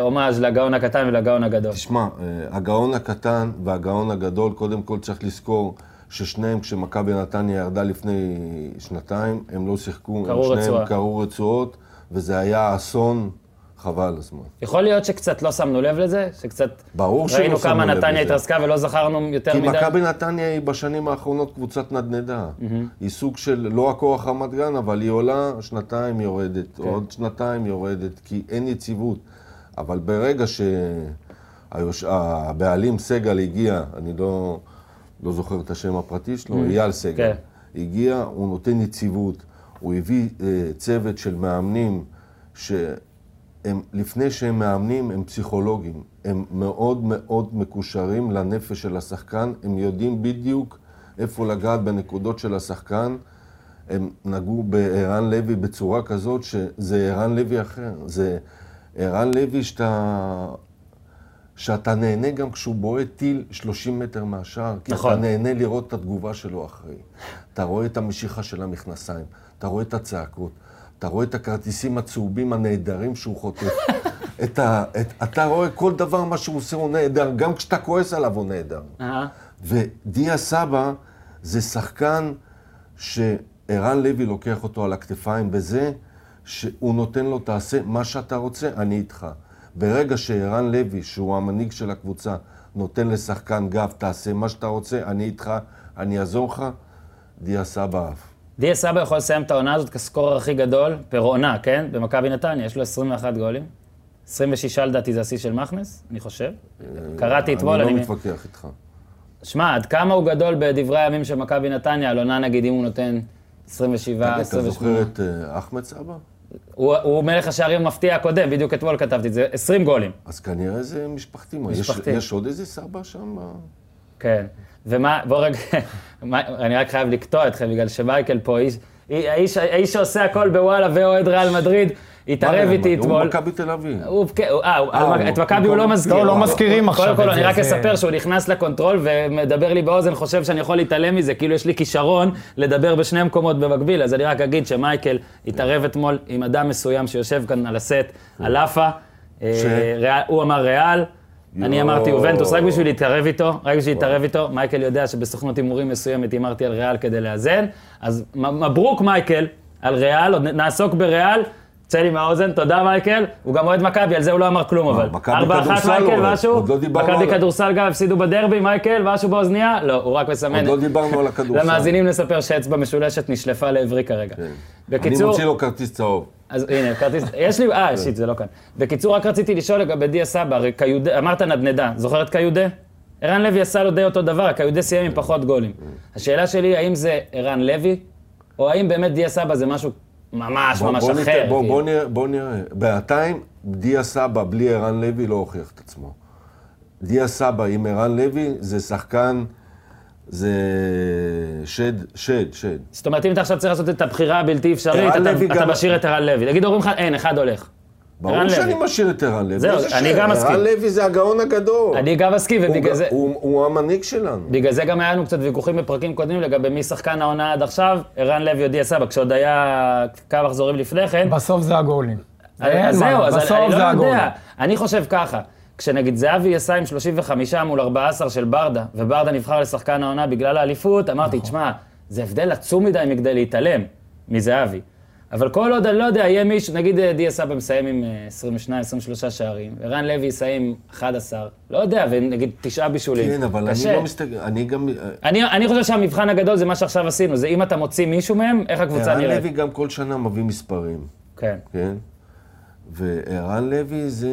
[SPEAKER 1] הומאז' לגאון הקטן ולגאון הגדול.
[SPEAKER 2] תשמע, אה, הגאון הקטן והגאון הגדול, קודם כל צריך לזכור ששניהם, כשמכבי נתניה ירדה לפני שנתיים, הם לא שיחקו,
[SPEAKER 1] קרעו
[SPEAKER 2] הם
[SPEAKER 1] רצועה.
[SPEAKER 2] שניהם קרעו רצועות, וזה היה אסון, חבל על הזמן.
[SPEAKER 1] יכול להיות שקצת לא שמנו לב לזה, שקצת...
[SPEAKER 2] ברור
[SPEAKER 1] ראינו
[SPEAKER 2] שלא שמנו
[SPEAKER 1] כמה
[SPEAKER 2] לב
[SPEAKER 1] נתניה
[SPEAKER 2] לזה.
[SPEAKER 1] התרסקה ולא זכרנו יותר
[SPEAKER 2] כי
[SPEAKER 1] מדי.
[SPEAKER 2] מכבי נתניה היא בשנים האחרונות קבוצת נדנדה. היא סוג של, לא הכוח רמת גן, אבל היא עולה, שנתיים
[SPEAKER 1] כן.
[SPEAKER 2] יורדת, עוד שנתיים יורדת, כי אין יציבות. אבל ברגע שהבעלים סגל הגיע, אני לא, לא זוכר את השם הפרטי שלו, אייל
[SPEAKER 1] כן.
[SPEAKER 2] סגל, הגיע, הוא נותן יציבות. הוא הביא אה, צוות של מאמנים שהם, לפני שהם מאמנים, הם פסיכולוגים. הם מאוד מאוד מקושרים לנפש של השחקן, הם יודעים בדיוק איפה לגעת בנקודות של השחקן. הם נגעו בערן לוי בצורה כזאת שזה ערן לוי אחר. זה ערן לוי שאתה... שאתה נהנה גם כשהוא בועט טיל 30 מטר מהשער, כי
[SPEAKER 1] נכון.
[SPEAKER 2] אתה נהנה לראות את התגובה שלו אחרי. אתה רואה את המשיכה של המכנסיים, אתה רואה את הצעקות, אתה רואה את הכרטיסים הצהובים הנהדרים שהוא חוטף. את ה, את, אתה רואה כל דבר מה שהוא עושה הוא נהדר, גם כשאתה כועס עליו הוא נהדר.
[SPEAKER 1] אהה.
[SPEAKER 2] ודיה סבא זה שחקן שערן לוי לוקח אותו על הכתפיים בזה שהוא נותן לו, תעשה מה שאתה רוצה, אני איתך. ברגע שערן לוי, שהוא המנהיג של הקבוצה, נותן לשחקן גב, תעשה מה שאתה רוצה, אני איתך, אני אעזור לך, דיה סבא אף.
[SPEAKER 1] דיה סבא יכול לסיים את העונה הזאת כסקורר הכי גדול, פר עונה, כן? במכבי נתניה, יש לו 21 גולים. 26 לדעתי זה השיא של מכנס, אני חושב. קראתי אתמול,
[SPEAKER 2] אה, אני
[SPEAKER 1] אני...
[SPEAKER 2] לא מתווכח איתך.
[SPEAKER 1] שמע, עד כמה הוא גדול בדברי הימים של מכבי נתניה, על עונה נגיד אם הוא נותן 27,
[SPEAKER 2] תגיד, אתה
[SPEAKER 1] 28.
[SPEAKER 2] זוכר את אה, אחמד סבא?
[SPEAKER 1] הוא הוא מלך השערים המפתיע הקודם, בדיוק אתמול כתבתי את זה, 20 גולים.
[SPEAKER 2] אז כנראה זה משפחתי. מה, יש-
[SPEAKER 1] משפחתי.
[SPEAKER 2] יש עוד איזה סבא שם?
[SPEAKER 1] כן. ומה, בוא רגע, מה- אני רק חייב לקטוע אתכם, בגלל שמייקל פה, איש- אי- האיש האיש שעושה הכל בוואלה ואוהד ריאל מדריד, התערב איתי
[SPEAKER 2] אה, הוא
[SPEAKER 1] אתמול.
[SPEAKER 2] מכבי תל אביב.
[SPEAKER 1] הוא, כן, הוא- אה, הוא-
[SPEAKER 2] אה,
[SPEAKER 1] על-
[SPEAKER 2] הוא-
[SPEAKER 1] את מכבי הוא לא
[SPEAKER 2] במקום-
[SPEAKER 1] מזכיר.
[SPEAKER 3] לא, לא
[SPEAKER 1] הוא-
[SPEAKER 3] מזכירים
[SPEAKER 1] הוא-
[SPEAKER 3] עכשיו
[SPEAKER 1] קודם כל,
[SPEAKER 3] את
[SPEAKER 1] אני
[SPEAKER 3] זה,
[SPEAKER 1] רק
[SPEAKER 3] זה-
[SPEAKER 1] אספר שהוא נכנס לקונטרול ומדבר לי באוזן, חושב שאני יכול להתעלם מזה, כאילו יש לי כישרון לדבר בשני מקומות במקביל. אז אני רק אגיד שמייקל התערב אתמול עם אדם מסוים שיושב כאן על הסט, על לאפה. אה,
[SPEAKER 2] ש-
[SPEAKER 1] ריאל- הוא אמר ריאל. אני
[SPEAKER 2] יואו.
[SPEAKER 1] אמרתי יובנטוס, רק בשביל להתערב איתו, רק בשביל להתערב איתו, מייקל יודע שבסוכנות הימורים מסוימת הימרתי על ריאל כדי לאזן, אז מ- מברוק מייקל על ריאל, עוד נ- נעסוק בריאל, צא לי מהאוזן, תודה מייקל, הוא גם אוהד מכבי, על זה הוא לא אמר כלום אבל.
[SPEAKER 2] מכבי
[SPEAKER 1] 4-1
[SPEAKER 2] כדורסל
[SPEAKER 1] מייקל
[SPEAKER 2] הוא אוהד,
[SPEAKER 1] משהו,
[SPEAKER 2] עוד לא דיברנו
[SPEAKER 1] מכבי
[SPEAKER 2] עליו.
[SPEAKER 1] כדורסל גם הפסידו בדרבי, מייקל, משהו באוזנייה, לא, הוא רק מסמן.
[SPEAKER 2] עוד לא דיברנו על הכדורסל.
[SPEAKER 1] למאזינים נספר שאצבע משולשת נשלפה לעברי כרגע.
[SPEAKER 2] אני
[SPEAKER 1] בקיצור,
[SPEAKER 2] מוציא לו כרטיס צהוב.
[SPEAKER 1] אז הנה, כרטיס, יש לי,
[SPEAKER 2] כן.
[SPEAKER 1] אה, שיט, זה לא כאן. בקיצור, רק רציתי לשאול לגבי דיה סבא, הרי קיודה, אמרת נדנדה, זוכר את קיודה? ערן לוי עשה לו די אותו דבר, הקיודה סיים עם פחות גולים. השאלה שלי, האם זה ערן לוי, או האם באמת דיה סבא זה משהו ממש
[SPEAKER 2] בוא-
[SPEAKER 1] ממש
[SPEAKER 2] בוא ניתן-
[SPEAKER 1] אחר?
[SPEAKER 2] בוא-
[SPEAKER 1] כאילו?
[SPEAKER 2] בוא נראה- בוא נראה. בינתיים, דיה סבא בלי ערן לוי לא הוכיח את עצמו. דיה סבא עם ערן לוי זה שחקן, זה שד, שד, שד.
[SPEAKER 1] זאת אומרת, אם אתה עכשיו צריך לעשות את הבחירה הבלתי אפשרית,
[SPEAKER 2] ערן
[SPEAKER 1] אתה-
[SPEAKER 2] לוי
[SPEAKER 1] אתה
[SPEAKER 2] גם-
[SPEAKER 1] משאיר את ערן לוי. תגיד, אומרים לך, אין, אחד הולך.
[SPEAKER 2] ברור
[SPEAKER 1] ערן
[SPEAKER 2] שאני
[SPEAKER 1] לוי.
[SPEAKER 2] משאיר את ערן לוי.
[SPEAKER 1] זהו,
[SPEAKER 2] איזה
[SPEAKER 1] אני
[SPEAKER 2] שד?
[SPEAKER 1] גם מסכים.
[SPEAKER 2] ערן לוי זה הגאון הגדול.
[SPEAKER 1] אני גם מסכים,
[SPEAKER 2] הוא
[SPEAKER 1] ובגלל
[SPEAKER 2] ג-
[SPEAKER 1] זה...
[SPEAKER 2] הוא הוא המנהיג שלנו.
[SPEAKER 1] בגלל זה גם היה לנו קצת ויכוחים בפרקים קודמים לגבי מי שחקן העונה עד עכשיו, ערן לוי או דיה סבא, כשעוד היה כמה מחזורים לפני כן.
[SPEAKER 3] בסוף זה הגולים. אין
[SPEAKER 1] אה, אז זהו,
[SPEAKER 3] מה,
[SPEAKER 1] אז אני-
[SPEAKER 3] בסוף
[SPEAKER 1] אני
[SPEAKER 3] זה
[SPEAKER 1] לא
[SPEAKER 3] הגולים.
[SPEAKER 1] יודע. אני חושב ככה, כשנגיד זהבי עשה עם 35 מול 14 של ברדה, וברדה נבחר לשחקן העונה בגלל האליפות, אמרתי,
[SPEAKER 2] נכון.
[SPEAKER 1] תשמע, זה הבדל עצום מדי מכדי להתעלם מזהבי. אבל כל עוד, אני לא יודע, יהיה מישהו, נגיד אה, דיה סבא מסיים עם אה, 22, 23 שערים, ערן לוי יסיים עם 11, לא יודע, ונגיד תשעה בישולים.
[SPEAKER 2] כן, אבל אני
[SPEAKER 1] קשה.
[SPEAKER 2] לא מסתכל, אני גם...
[SPEAKER 1] אני, אני חושב שהמבחן הגדול זה מה שעכשיו עשינו, זה אם אתה מוציא מישהו מהם, איך הקבוצה
[SPEAKER 2] ערן
[SPEAKER 1] נראית.
[SPEAKER 2] לוי גם כל שנה מביא מספרים.
[SPEAKER 1] כן.
[SPEAKER 2] כן? וערן לוי זה...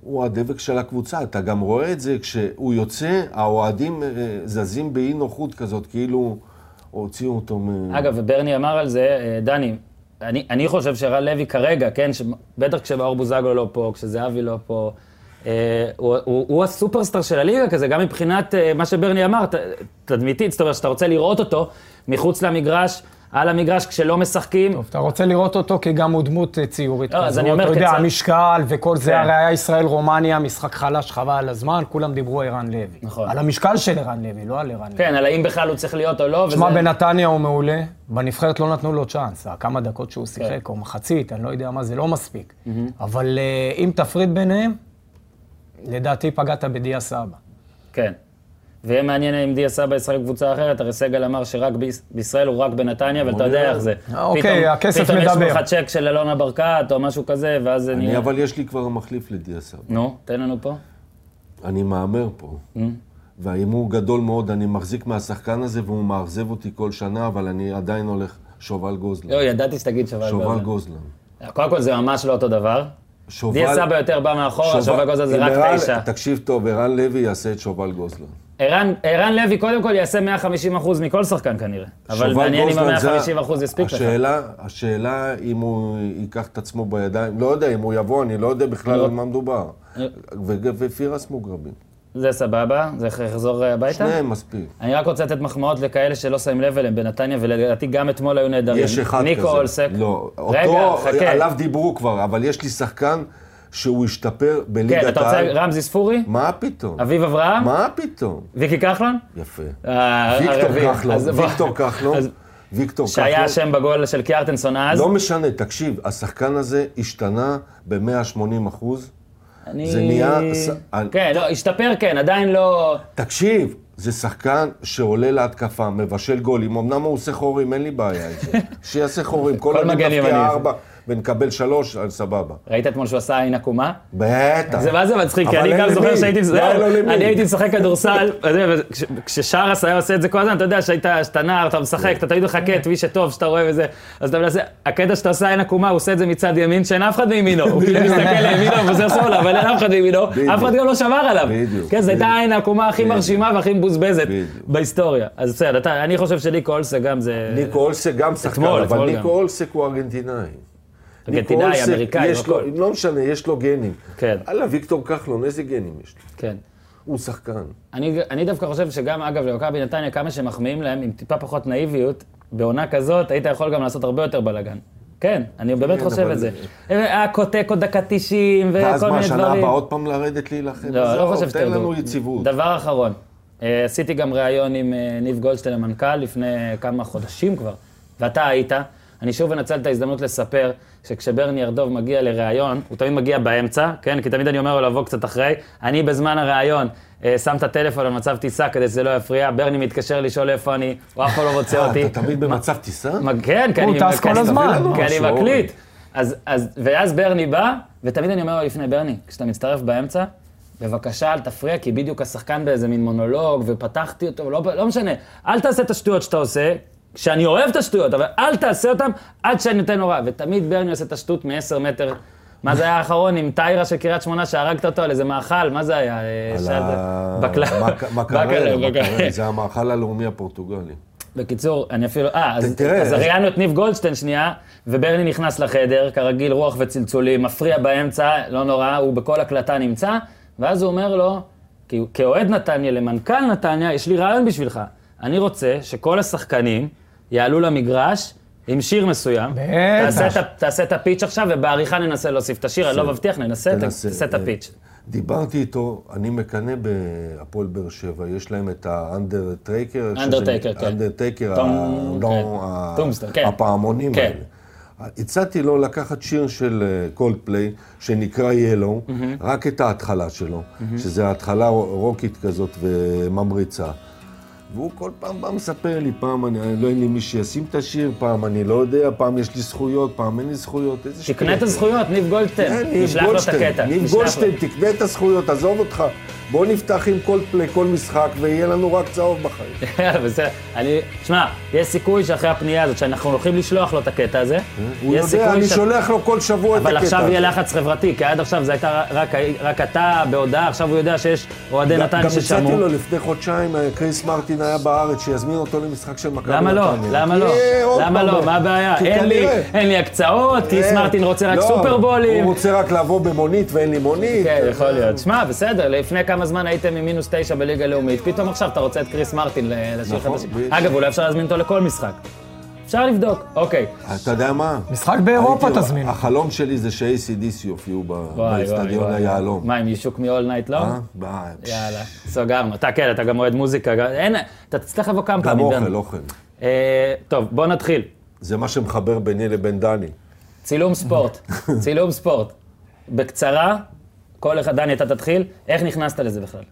[SPEAKER 2] הוא הדבק של הקבוצה, אתה גם רואה את זה כשהוא יוצא, האוהדים אה, זזים באי נוחות כזאת, כאילו הוציאו אותו
[SPEAKER 3] Mm.
[SPEAKER 2] מ...
[SPEAKER 1] אגב, וברני אמר על זה, אה, דני, אני, אני חושב שרן לוי כרגע, כן, ש... בטח כשמאור בוזגלו לא פה, כשזהבי לא פה, אה, הוא, הוא, הוא הסופרסטאר של הליגה כזה, גם מבחינת אה, מה שברני אמר, ת, תדמיתית, זאת אומרת שאתה רוצה לראות אותו מחוץ למגרש, על המגרש, כשלא משחקים.
[SPEAKER 3] טוב, אתה רוצה לראות אותו כי גם הוא דמות אה, ציורית
[SPEAKER 1] לא, אז
[SPEAKER 3] כזאת.
[SPEAKER 1] אני אומר
[SPEAKER 3] אתה יודע,
[SPEAKER 1] כצד-
[SPEAKER 3] המשקל וכל
[SPEAKER 1] כן.
[SPEAKER 3] זה, הרי היה ישראל-רומניה, משחק חלש, חבל על הזמן, כולם דיברו על ערן לוי.
[SPEAKER 1] נכון.
[SPEAKER 3] על המשקל של ערן לוי, לא על ערן לוי.
[SPEAKER 1] כן, על האם בכלל הוא צריך להיות או לא,
[SPEAKER 3] תשמע, בנתניה הוא מעולה, בנבחרת לא נתנו לו צ'אנס, כמה דקות
[SPEAKER 1] כן.
[SPEAKER 3] שהוא שיחק, או מחצית, אני לא יודע מה, זה לא מספיק. אבל אה, אם תפריד ביניהם, לדעתי פגעת בדיה סבא.
[SPEAKER 1] כן. ויהיה מעניין אם דיה סבא ישחק בקבוצה אחרת, הרי סגל אמר שרק ביש- בישראל הוא רק בנתניה, אבל אתה יודע איך זה.
[SPEAKER 3] אה, אוקיי,
[SPEAKER 1] פתאום-
[SPEAKER 3] הכסף
[SPEAKER 1] פתאום
[SPEAKER 3] מדבר.
[SPEAKER 1] יש לך צ'ק של אלונה ברקת או משהו כזה, ואז זה
[SPEAKER 2] אני,
[SPEAKER 1] נהיה...
[SPEAKER 2] אבל יש לי כבר מחליף לדיה סבא.
[SPEAKER 1] נו, תן לנו פה.
[SPEAKER 2] אני מהמר פה.
[SPEAKER 1] אה?
[SPEAKER 2] וההימור גדול מאוד, אני מחזיק מהשחקן הזה והוא מאכזב אותי כל שנה, אבל אני עדיין הולך שובל גוזלן.
[SPEAKER 1] לא, ידעתי שתגיד שובל
[SPEAKER 2] שובל
[SPEAKER 1] גוזל.
[SPEAKER 2] גוזלן.
[SPEAKER 1] קודם כל זה ממש לא אותו דבר.
[SPEAKER 2] שובל...
[SPEAKER 1] דיה סבא יותר בא מאחורה, שובל גוזל זה
[SPEAKER 2] אם
[SPEAKER 1] רק
[SPEAKER 2] ערן-
[SPEAKER 1] תשע.
[SPEAKER 2] תקשיב טוב, ערן לוי יעשה את שובל גוזלן.
[SPEAKER 1] ערן ערן לוי קודם כל יעשה 150% מכל שחקן כנראה. אבל
[SPEAKER 2] שובל
[SPEAKER 1] מעניין אם
[SPEAKER 2] גוזלן זה- אה,
[SPEAKER 1] ה-150% יספיק לך.
[SPEAKER 2] השאלה, השאלה אם הוא ייקח את עצמו בידיים, לא יודע אם הוא יבוא, אני לא יודע בכלל
[SPEAKER 1] לא.
[SPEAKER 2] על מה מדובר.
[SPEAKER 1] לא.
[SPEAKER 2] ו- ופירס מוגרבים.
[SPEAKER 1] זה סבבה, זה יחזור אה, הביתה?
[SPEAKER 2] שניהם מספיק.
[SPEAKER 1] אני רק רוצה לתת מחמאות לכאלה שלא שמים לב אליהם בנתניה, ולדעתי גם אתמול היו נהדרים.
[SPEAKER 2] יש אחד כזה.
[SPEAKER 1] אה, ניקו אולסק.
[SPEAKER 2] לא,
[SPEAKER 1] רגע,
[SPEAKER 2] אותו,
[SPEAKER 1] חכה.
[SPEAKER 2] עליו דיברו כבר, אבל יש לי שחקן שהוא השתפר
[SPEAKER 1] כן,
[SPEAKER 2] בליגת
[SPEAKER 1] אתה רוצה
[SPEAKER 2] העל.
[SPEAKER 1] רמזי ספורי?
[SPEAKER 2] מה פתאום?
[SPEAKER 1] אביב אברהם?
[SPEAKER 2] מה פתאום?
[SPEAKER 1] ויקי כחלון?
[SPEAKER 2] יפה.
[SPEAKER 1] אה,
[SPEAKER 2] ויקטור
[SPEAKER 1] הרביעי.
[SPEAKER 2] כחלון,
[SPEAKER 1] אז בוא-
[SPEAKER 2] ויקטור כחלון,
[SPEAKER 1] אז-
[SPEAKER 2] ויקטור כחלון.
[SPEAKER 1] שהיה אשם בגול של קיארטנסון אז.
[SPEAKER 2] לא משנה, תקשיב, השחקן הזה השתנה ב-180 אחוז.
[SPEAKER 1] אני-
[SPEAKER 2] זה נהיה ס-
[SPEAKER 1] כן, לא, השתפר כן, עדיין לא...
[SPEAKER 2] תקשיב, זה שחקן שעולה להתקפה, מבשל גולים. אמנם הוא עושה חורים, אין לי בעיה עם זה. שיעשה חורים. כל
[SPEAKER 1] כל
[SPEAKER 2] עוד
[SPEAKER 1] מגן
[SPEAKER 2] נפקיע
[SPEAKER 1] ימני.
[SPEAKER 2] ארבע ונקבל שלוש, אז סבבה.
[SPEAKER 1] ראית אתמול שהוא עשה עין עקומה?
[SPEAKER 2] בטח.
[SPEAKER 1] זה מה זה מצחיק, כי
[SPEAKER 2] אבל
[SPEAKER 1] אני
[SPEAKER 2] אין
[SPEAKER 1] גם
[SPEAKER 2] למי.
[SPEAKER 1] זוכר שהייתי...
[SPEAKER 2] לא,
[SPEAKER 1] זהו,
[SPEAKER 2] אין לו למי.
[SPEAKER 1] אני הייתי משחק כדורסל, אתה יודע, וכש- כששרס היה עושה את זה כל הזמן, אתה יודע שהיית, שאתה נער, אתה משחק, אתה תמיד מחכה
[SPEAKER 2] כן.
[SPEAKER 1] את מי שטוב, שאתה רואה וזה, אז אתה מנסה, הקטע שאתה עושה עין עקומה, הוא עושה את זה מצד ימין, שאין אף אחד מימינו, הוא כאילו מסתכל לימינו ובוזר שמאלה, אבל אין אף אחד מימינו, אף אחד גם לא שמר עליו.
[SPEAKER 2] בדיוק,
[SPEAKER 1] כן, זו הייתה
[SPEAKER 2] בדיוק.
[SPEAKER 1] העין העקומה הכי מרשימה והכי מבוזבזת
[SPEAKER 2] בדיוק.
[SPEAKER 1] בהיסטוריה. אז בסדר, אתה- אני חושב שליקו אולסה גם זה...
[SPEAKER 2] ניקו אולסק גם שחקן,
[SPEAKER 1] אתמול,
[SPEAKER 2] אבל
[SPEAKER 1] אתמול
[SPEAKER 2] ניקו
[SPEAKER 1] גם.
[SPEAKER 2] אולסק הוא ארגנטינאי.
[SPEAKER 1] ארגנטינאי,
[SPEAKER 2] ניקו אולסק,
[SPEAKER 1] אמריקאי,
[SPEAKER 2] יש לו-
[SPEAKER 1] הכל.
[SPEAKER 2] לא משנה, יש לו גנים.
[SPEAKER 1] כן.
[SPEAKER 2] הלאה, ויקטור כחלון, איזה גנים יש לו?
[SPEAKER 1] כן.
[SPEAKER 2] הוא שחקן.
[SPEAKER 1] אני, אני דווקא חושב שגם, אגב, למכבי נתניה, כמה שמחמיאים להם, עם טיפה פחות נאיביות, בעונה כזאת היית יכול גם לעשות הרבה יותר בלאגן. כן, אני באמת
[SPEAKER 2] כן,
[SPEAKER 1] חושב
[SPEAKER 2] אבל-
[SPEAKER 1] את זה. היה קוטקו דקה 90 וכל מיני דברים.
[SPEAKER 2] ואז מה, שנה הבאה עוד פעם לרדת להילחם?
[SPEAKER 1] לא, לא
[SPEAKER 2] עזוב,
[SPEAKER 1] חושב
[SPEAKER 2] תן
[SPEAKER 1] שתרדו.
[SPEAKER 2] לנו יציבות.
[SPEAKER 1] דבר אחרון, אה, עשיתי גם ריאיון עם אה, ניב גולדשטיין, המנכ"ל, לפני כמה חודשים כבר, ואתה היית. אני שוב אנצל את ההזדמנות לספר שכשברני ארדוב מגיע לראיון, הוא תמיד מגיע באמצע, כן? כי תמיד אני אומר לו לבוא קצת אחרי. אני בזמן הראיון אה, שם את הטלפון על מצב טיסה כדי שזה לא יפריע, ברני מתקשר לשאול איפה אני, הוא אף פעם לא מוצא
[SPEAKER 2] אה,
[SPEAKER 1] אותי.
[SPEAKER 2] אתה תמיד במצב טיסה?
[SPEAKER 1] מה- כן, כי אני...
[SPEAKER 3] הוא טס
[SPEAKER 1] כי
[SPEAKER 3] כל
[SPEAKER 1] אני-
[SPEAKER 3] הזמן. לא,
[SPEAKER 1] כי אני
[SPEAKER 2] משהו,
[SPEAKER 1] מקליט. אז, אז, ואז ברני בא, ותמיד אני אומר לו לפני ברני, כשאתה מצטרף באמצע, בבקשה, אל תפריע, כי בדיוק השחקן באיזה מין מונולוג, ופתחתי אותו, לא, לא משנה. אל תעשה את השטויות שאתה עושה, שאני אוהב את השטויות, אבל אל תעשה אותן עד שאני נותן הוראה. ותמיד ברני עושה את השטות מ-10 מטר. מה זה היה האחרון עם טיירה של קריית שמונה שהרגת אותו על איזה מאכל? מה זה היה? אה,
[SPEAKER 2] על
[SPEAKER 1] שאלת?
[SPEAKER 2] ה-
[SPEAKER 1] בקלאב.
[SPEAKER 2] מק- מקרלה,
[SPEAKER 1] בקלאב,
[SPEAKER 2] מקרלה,
[SPEAKER 1] בקלאב.
[SPEAKER 2] זה המאכל הלאומי הפורטוגלי.
[SPEAKER 1] בקיצור, אני אפילו... אה, אז,
[SPEAKER 2] ת- תראה.
[SPEAKER 1] אז ראיינו את ניב גולדשטיין שנייה, וברני נכנס לחדר, כרגיל רוח וצלצולים, מפריע באמצע, לא נורא, הוא בכל הקלטה נמצא, ואז הוא אומר לו, "כ- כאוהד נתניה, למנכ"ל נתניה, יש לי רעיון בשבילך. אני רוצה שכל השחקנים יעלו למגרש עם שיר מסוים.
[SPEAKER 3] בטח.
[SPEAKER 1] תעשה את ה- תעשה את הפיץ' עכשיו, ובעריכה ננסה להוסיף את השיר, אני לא מבטיח, ננסה, ת-
[SPEAKER 2] תנסה,
[SPEAKER 1] תעשה את
[SPEAKER 2] אה,
[SPEAKER 1] הפיץ'.
[SPEAKER 2] דיברתי איתו, אני מקנא בהפועל באר שבע, יש להם את האנדרטייקר. איך שזה-
[SPEAKER 1] אנדרטייקר, כן.
[SPEAKER 2] האנדרטייקר, ה-
[SPEAKER 1] טום-
[SPEAKER 2] לא,
[SPEAKER 1] כן.
[SPEAKER 2] ה-
[SPEAKER 1] טומסטון, כן.
[SPEAKER 2] הפעמונים
[SPEAKER 1] כן.
[SPEAKER 2] האלה. הצעתי לו לקחת שיר של קולדפליי, שנקרא ילו, רק את ההתחלה שלו, שזה התחלה רוקית כזאת וממריצה. והוא כל פעם בא מספר לי, פעם אני, לא אין לי מי שישים את השיר, פעם אני לא יודע, פעם יש לי זכויות, פעם אין לי זכויות, איזה שטויות.
[SPEAKER 1] תקנה את הזכויות, ניב גולדשטיין,
[SPEAKER 2] כן. ניב
[SPEAKER 1] נשלח לו את
[SPEAKER 2] גולדשטיין,
[SPEAKER 1] הקטע.
[SPEAKER 2] ניב
[SPEAKER 1] נשלח לו.
[SPEAKER 2] גולדשטיין, תקנה את הזכויות, עזוב אותך. בוא נפתח עם כל פלי, כל משחק, ויהיה לנו רק צהוב בחיים.
[SPEAKER 1] יאללה, בסדר. כן, אני, שמע, יש סיכוי שאחרי הפנייה הזאת, שאנחנו הולכים לשלוח לו את הקטע הזה, יש
[SPEAKER 2] הוא יודע,
[SPEAKER 1] סיכוי
[SPEAKER 2] אני
[SPEAKER 1] ש-
[SPEAKER 2] שולח לו כל שבוע את הקטע.
[SPEAKER 1] אבל עכשיו
[SPEAKER 2] הזה.
[SPEAKER 1] יהיה לחץ חברתי, כי עד עכשיו זה הייתה רק, רק אתה בהודעה, עכשיו הוא יודע שיש אוהדי
[SPEAKER 2] גם
[SPEAKER 1] נתניה
[SPEAKER 2] הצעתי
[SPEAKER 1] ששמעו.
[SPEAKER 2] לו לפני חודשיים, אה, קריס מרטין היה בארץ, שיזמין אותו למשחק של מכבי
[SPEAKER 1] למה לא?
[SPEAKER 2] נתניה.
[SPEAKER 1] למה לא?
[SPEAKER 2] יהיה עוד
[SPEAKER 1] למה
[SPEAKER 2] פעם
[SPEAKER 1] לא?
[SPEAKER 2] לא.
[SPEAKER 1] מה הבעיה?
[SPEAKER 2] כי
[SPEAKER 1] אין לי-
[SPEAKER 2] כנראה-
[SPEAKER 1] אין לי הקצאות, כי
[SPEAKER 2] אה,
[SPEAKER 1] סמארטין רוצה רק
[SPEAKER 2] לא,
[SPEAKER 1] סופרבולים.
[SPEAKER 2] הוא רוצה רק לבוא במונית ואין לי מונית.
[SPEAKER 1] כן, יכול להיות. שמע, בסדר, לפני כמה זמן הייתם עם מינוס תשע בליגה לאומית, פתאום עכשיו אתה רוצה את קריס מרטין ל- לשיר
[SPEAKER 2] נכון,
[SPEAKER 1] חדשים.
[SPEAKER 2] בדיוק.
[SPEAKER 1] אגב, אולי אפשר להזמין אותו לכל משחק. אפשר לבדוק, אוקיי.
[SPEAKER 2] אתה יודע מה?
[SPEAKER 3] משחק באירופה
[SPEAKER 2] הייתי-
[SPEAKER 3] תזמין.
[SPEAKER 2] החלום שלי זה ש-ACDC יופיעו ב-
[SPEAKER 1] וואי, וואי,
[SPEAKER 2] באצטדיון
[SPEAKER 1] וואי.
[SPEAKER 2] היהלום.
[SPEAKER 1] מה, עם ישוק מ-all night long?
[SPEAKER 2] אה? ביי.
[SPEAKER 1] יאללה, סגרנו. אתה כן, אתה גם אוהד מוזיקה. גם- אין, אתה תצטרך לבוא כמה
[SPEAKER 2] גם
[SPEAKER 1] פעמים. דן.
[SPEAKER 2] אוכל, לא? אוכל.
[SPEAKER 1] אה, טוב, בוא נתחיל.
[SPEAKER 2] זה מה שמחבר ביני לבין דני.
[SPEAKER 1] צילום ספורט. צילום ספורט. בקצרה, כל אחד, דני, אתה תתחיל. איך נכנסת לזה בכלל?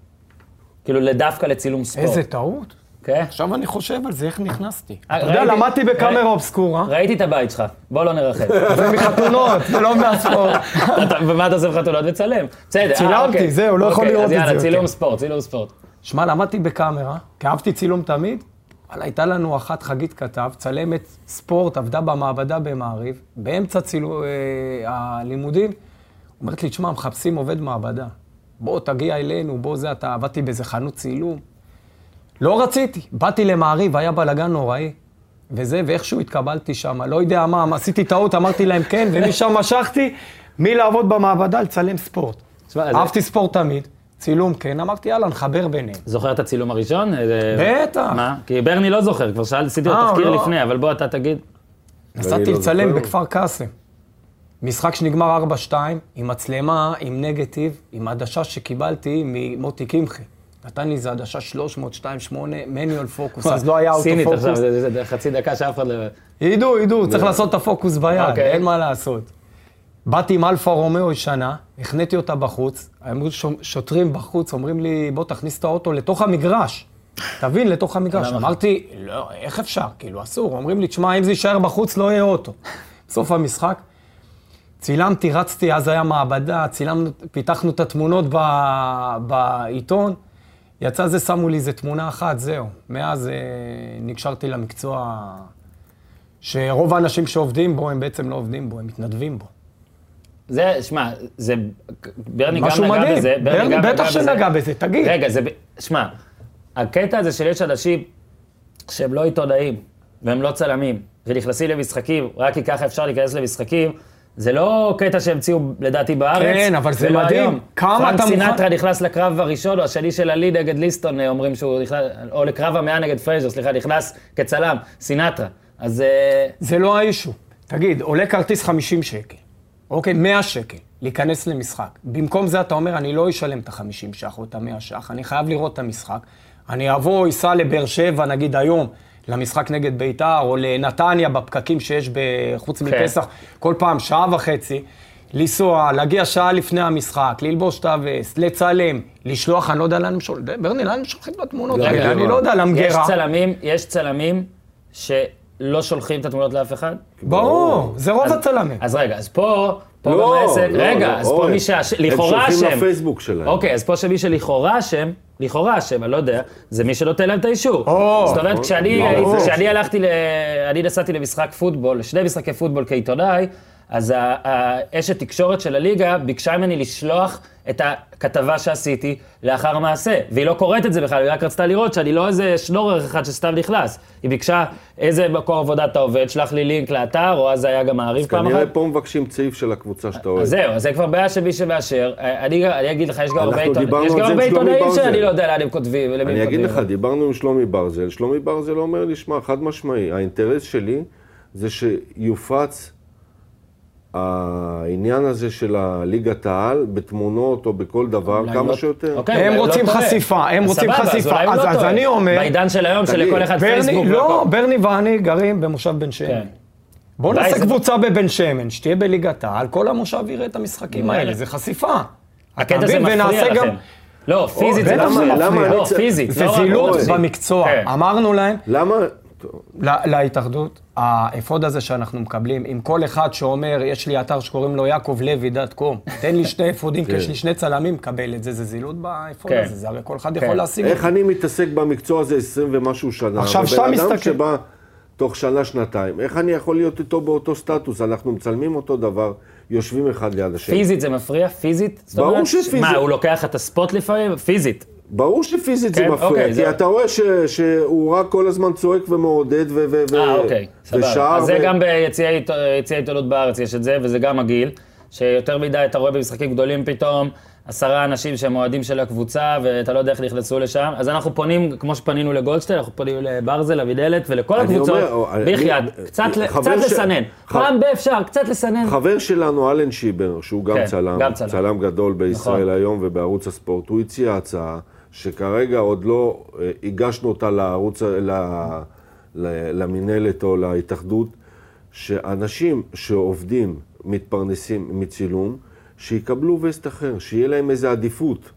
[SPEAKER 1] כאילו, דווקא לצילום ספורט.
[SPEAKER 3] איזה טעות.
[SPEAKER 1] כן?
[SPEAKER 3] עכשיו אני חושב על זה, איך נכנסתי.
[SPEAKER 1] אה,
[SPEAKER 3] אתה יודע,
[SPEAKER 1] ראיתי-
[SPEAKER 3] למדתי בקאמרה
[SPEAKER 1] ראי-
[SPEAKER 3] אובסקורה,
[SPEAKER 1] ראיתי את הבית שלך, בוא לא נרחב.
[SPEAKER 3] ומחתונות, ולא מהספורט.
[SPEAKER 1] אתה- ומה אתה עושה בחתונות? מצלם. בסדר, אה,
[SPEAKER 3] צילמתי,
[SPEAKER 1] אוקיי.
[SPEAKER 3] זהו, לא יכול
[SPEAKER 1] אוקיי,
[SPEAKER 3] לראות את
[SPEAKER 1] אז
[SPEAKER 3] זה
[SPEAKER 1] יאללה, צילום
[SPEAKER 3] יותר.
[SPEAKER 1] ספורט, צילום ספורט.
[SPEAKER 3] שמע, למדתי בקאמרה, כי אהבתי צילום תמיד, אבל הייתה לנו אחת, חגית כתב, צלמת ספורט, עבדה במעבדה במעריב, באמצע צילו, אה, הלימודים, אומרת לי, תשמע, מחפשים עובד מעבדה. בוא, תגיע אלינו, בוא זה, אתה עבדתי באיזה חנות צילום. לא רציתי, באתי למעריב, היה בלאגן נוראי. וזה, ואיכשהו התקבלתי שם, לא יודע מה, עשיתי טעות, אמרתי להם כן, ומשם משכתי מלעבוד במעבדה לצלם ספורט.
[SPEAKER 1] תשמע, אז-
[SPEAKER 3] אהבתי ספורט תמיד, צילום כן, אמרתי יאללה, נחבר ביניהם.
[SPEAKER 1] זוכר את הצילום הראשון? אה,
[SPEAKER 3] בטח.
[SPEAKER 1] מה? כי ברני לא זוכר, כבר שאל- עשיתי לו
[SPEAKER 3] אה,
[SPEAKER 1] תחקיר
[SPEAKER 3] לא.
[SPEAKER 1] לפני, אבל בוא אתה תגיד.
[SPEAKER 2] ואני
[SPEAKER 3] נסעתי
[SPEAKER 2] לא
[SPEAKER 3] לצלם
[SPEAKER 2] זוכר.
[SPEAKER 3] בכפר קאסם. משחק שנגמר 4-2, עם מצלמה, עם נגטיב, עם עדשה שקיבלתי ממוטי קמחי. נתן לי איזה עדשה 300-2.8, מניואל פוקוס, אז לא היה
[SPEAKER 1] סינית עכשיו,
[SPEAKER 3] אוטופוקוס.
[SPEAKER 1] זה- זה זה חצי דקה שאף אחד לא...
[SPEAKER 3] ידעו, ידעו, צריך לעשות את הפוקוס ביד,
[SPEAKER 1] אוקיי.
[SPEAKER 3] אין מה לעשות. באתי עם אלפה רומאו ישנה, החניתי אותה בחוץ, אמרו שו- שוטרים בחוץ, אומרים לי, בוא תכניס את האוטו לתוך המגרש. תבין, לתוך המגרש. אמרתי, לא, איך אפשר? כאילו, אסור. אומרים לי, תשמע, אם זה יישאר בחוץ, לא יהיה אוטו. בסוף המשחק, צילמתי, רצתי, אז היה מעבדה, צילמנו, פיתחנו את התמונות ב, בעיתון. יצא זה, שמו לי איזה תמונה אחת, זהו. מאז אה, נקשרתי למקצוע שרוב האנשים שעובדים בו, הם בעצם לא עובדים בו, הם מתנדבים בו.
[SPEAKER 1] זה, שמע, זה... ברני גם
[SPEAKER 3] משהו
[SPEAKER 1] נגע
[SPEAKER 3] מדהים.
[SPEAKER 1] בזה.
[SPEAKER 3] ברני
[SPEAKER 1] גם
[SPEAKER 3] בטח שנגע בזה, תגיד.
[SPEAKER 1] רגע, זה... ב- שמע, הקטע הזה של יש אנשים שהם לא עיתונאים והם לא צלמים ונכנסים למשחקים, רק כי ככה אפשר להיכנס למשחקים, זה לא קטע שהמציאו לדעתי בארץ,
[SPEAKER 3] כן, אבל זה
[SPEAKER 1] ולא
[SPEAKER 3] מדהים.
[SPEAKER 1] היום.
[SPEAKER 3] כמה אתה
[SPEAKER 1] פרנק
[SPEAKER 3] מוכן-
[SPEAKER 1] סינטרה נכנס לקרב הראשון, או השני של הלי נגד ליסטון, אה, אומרים שהוא נכנס, או לקרב המאה נגד פרייזר, סליחה, נכנס כצלם, סינטרה. אז אה,
[SPEAKER 3] זה לא האישו. תגיד, עולה כרטיס 50 שקל, אוקיי? 100 שקל, להיכנס למשחק. במקום זה אתה אומר, אני לא אשלם את ה-50 ש"ח או את ה-100 ש"ח, אני חייב לראות את המשחק. אני אבוא, אסע לבאר שבע, נגיד היום, למשחק נגד ביתר, או לנתניה, בפקקים שיש בחוץ
[SPEAKER 1] כן.
[SPEAKER 3] מפסח, כל פעם שעה וחצי. לנסוע, להגיע שעה לפני המשחק, ללבוש את הווסט, לצלם, לשלוח, אני לא יודע לאן הם שולחים, ברני, לאן הם שולחים את התמונות?
[SPEAKER 2] למגירה.
[SPEAKER 3] האלה? אני לא יודע,
[SPEAKER 1] יש
[SPEAKER 3] למגירה.
[SPEAKER 1] צלמים, יש צלמים שלא שולחים את התמונות לאף אחד?
[SPEAKER 3] ברור, זה רוב הצלמים.
[SPEAKER 1] אז רגע, אז פה, פה
[SPEAKER 2] לא,
[SPEAKER 1] גם העסק,
[SPEAKER 2] לא,
[SPEAKER 1] רגע,
[SPEAKER 2] לא,
[SPEAKER 1] אז פה
[SPEAKER 2] אורן.
[SPEAKER 1] מי שהש-
[SPEAKER 2] הם
[SPEAKER 1] לכאורה אשם.
[SPEAKER 2] שולחים לפייסבוק שלהם.
[SPEAKER 1] אוקיי, אז פה שמי שלכאורה אשם, לכאורה אשם, אני לא יודע, זה מי שלא תן להם את האישור.
[SPEAKER 3] או,
[SPEAKER 1] זאת אומרת, כשאני,
[SPEAKER 2] ברור.
[SPEAKER 1] כשאני הלכתי, ל... אני נסעתי למשחק פוטבול, לשני משחקי פוטבול כעיתונאי, אז ה- ה- אשת תקשורת של הליגה ביקשה ממני לשלוח את הכתבה שעשיתי לאחר המעשה. והיא לא קוראת את זה בכלל, היא רק רצתה לראות שאני לא איזה שנורר אחד שסתם נכנס. היא ביקשה איזה מקור עבודה אתה עובד, שלח לי לינק לאתר, או אז זה היה גם מעריב פעם אחת.
[SPEAKER 2] כנראה פה מבקשים צעיף של הקבוצה שאתה
[SPEAKER 1] אז
[SPEAKER 2] אוהב.
[SPEAKER 1] זהו, אז זה כבר בעיה של מי שמאשר. אה, אני, אני אגיד לך, יש גם הרבה
[SPEAKER 2] אנחנו
[SPEAKER 1] עיתונאים,
[SPEAKER 2] דיברנו
[SPEAKER 1] יש
[SPEAKER 2] על
[SPEAKER 1] גם
[SPEAKER 2] זה עם
[SPEAKER 1] הרבה
[SPEAKER 2] שלומי
[SPEAKER 1] עיתונאים
[SPEAKER 2] ברזל.
[SPEAKER 1] שאני לא יודע לאן הם כותבים ולמי הם
[SPEAKER 2] אני אגיד
[SPEAKER 1] כותבים.
[SPEAKER 2] לך, דיברנו עם שלומי ברזל, שלומי ברזל אומר לי, שמע, חד משמעי, האינטרס שלי זה שיופץ העניין הזה של הליגת העל בתמונות או בכל דבר,
[SPEAKER 1] אולי
[SPEAKER 2] כמה
[SPEAKER 1] לא-
[SPEAKER 2] שיותר.
[SPEAKER 1] אוקיי,
[SPEAKER 3] הם
[SPEAKER 1] אולי הוא לא
[SPEAKER 3] רוצים
[SPEAKER 1] טועה.
[SPEAKER 3] חשיפה, הם
[SPEAKER 1] אז
[SPEAKER 3] רוצים
[SPEAKER 1] סבבה,
[SPEAKER 3] חשיפה.
[SPEAKER 1] אולי הוא
[SPEAKER 3] אז-
[SPEAKER 1] לא
[SPEAKER 3] אז
[SPEAKER 1] טועה.
[SPEAKER 3] אני אומר-
[SPEAKER 1] בעידן של היום,
[SPEAKER 2] תגיד,
[SPEAKER 1] שלכל אחד פייסבוק.
[SPEAKER 3] ברני, לא,
[SPEAKER 1] והכל.
[SPEAKER 3] ברני ואני גרים במושב בן
[SPEAKER 1] כן.
[SPEAKER 3] שמן. בואו
[SPEAKER 1] אולי
[SPEAKER 3] נעשה
[SPEAKER 1] זה-
[SPEAKER 3] קבוצה בבן שמן, שתהיה בליגת העל, כל המושב יראה את המשחקים
[SPEAKER 1] אולי.
[SPEAKER 3] האלה, זה חשיפה. אתה
[SPEAKER 1] הקטע הזה
[SPEAKER 3] מבין?
[SPEAKER 1] מפריע
[SPEAKER 3] ונעשה
[SPEAKER 1] לכם.
[SPEAKER 3] גם-
[SPEAKER 1] לא, פיזית זה
[SPEAKER 3] בטח
[SPEAKER 1] מפריע.
[SPEAKER 3] זה מפריע.
[SPEAKER 1] לא,
[SPEAKER 2] אני צ-
[SPEAKER 1] פיזית. לא רק
[SPEAKER 3] וזילות
[SPEAKER 1] פיזית.
[SPEAKER 3] במקצוע.
[SPEAKER 1] כן.
[SPEAKER 3] אמרנו להם,
[SPEAKER 2] למה? טוב,
[SPEAKER 3] ל- להתאחדות, האפוד הזה שאנחנו מקבלים, עם כל אחד שאומר, יש לי אתר שקוראים לו יעקב לוי דאט קום, תן לי שני אפודים, כי יש לי שני צלמים, קבל את זה, זה זילות באפוד
[SPEAKER 1] כן.
[SPEAKER 3] הזה, זה הרי כל אחד
[SPEAKER 1] כן.
[SPEAKER 3] יכול להשיג.
[SPEAKER 2] איך אני מתעסק במקצוע הזה 20 ומשהו שנה?
[SPEAKER 3] עכשיו,
[SPEAKER 2] ובן
[SPEAKER 3] שם
[SPEAKER 2] אדם
[SPEAKER 3] מסתכל-
[SPEAKER 2] שבא תוך שנה, שנתיים, איך אני יכול להיות איתו באותו סטטוס? אנחנו מצלמים אותו דבר, יושבים אחד ליד השני.
[SPEAKER 1] פיזית זה מפריע? פיזית? זאת
[SPEAKER 2] ברור
[SPEAKER 1] אומרת,
[SPEAKER 2] שפיזית.
[SPEAKER 1] מה, הוא לוקח את הספוט לפעמים? פיזית.
[SPEAKER 2] ברור שפיזית
[SPEAKER 1] כן,
[SPEAKER 2] זה מפריע,
[SPEAKER 1] אוקיי,
[SPEAKER 2] כי
[SPEAKER 1] זה-
[SPEAKER 2] אתה רואה ש, שהוא רק כל הזמן צועק ומעודד ו... ו- ו-
[SPEAKER 1] אה, אוקיי, סבבה.
[SPEAKER 2] ושר
[SPEAKER 1] אז זה
[SPEAKER 2] ו-
[SPEAKER 1] גם ביציעי עית- יציעי עיתונות בארץ יש את זה, וזה גם הגיל, שיותר מדי אתה רואה במשחקים גדולים פתאום, עשרה אנשים שהם אוהדים של הקבוצה, ואתה לא יודע איך נכנסו לשם. אז אנחנו פונים, כמו שפנינו לגולדשטיין, אנחנו פונים לברזל, אבידלת ולכל
[SPEAKER 2] אני
[SPEAKER 1] הקבוצות.
[SPEAKER 2] אומר, או- אני-
[SPEAKER 1] בחייאת, קצת ל-
[SPEAKER 2] חבר
[SPEAKER 1] קצת
[SPEAKER 2] ש-
[SPEAKER 1] לסנן.
[SPEAKER 2] ח-
[SPEAKER 1] פעם באפשר, קצת לסנן.
[SPEAKER 2] חבר שלנו, אלן שיבר, שהוא גם
[SPEAKER 1] כן,
[SPEAKER 2] צלם,
[SPEAKER 1] גם צלם.
[SPEAKER 2] גדול בישראל
[SPEAKER 1] נכון.
[SPEAKER 2] היום ובערוץ הספורט, הוא הציע הצעה שכרגע עוד לא אה, הגשנו אותה לערוץ, ה- ל- ל- למינהלת או להתאחדות, שאנשים שעובדים, מתפרנסים מצילום, שיקבלו וסט אחר, שיהיה להם איזו עדיפות.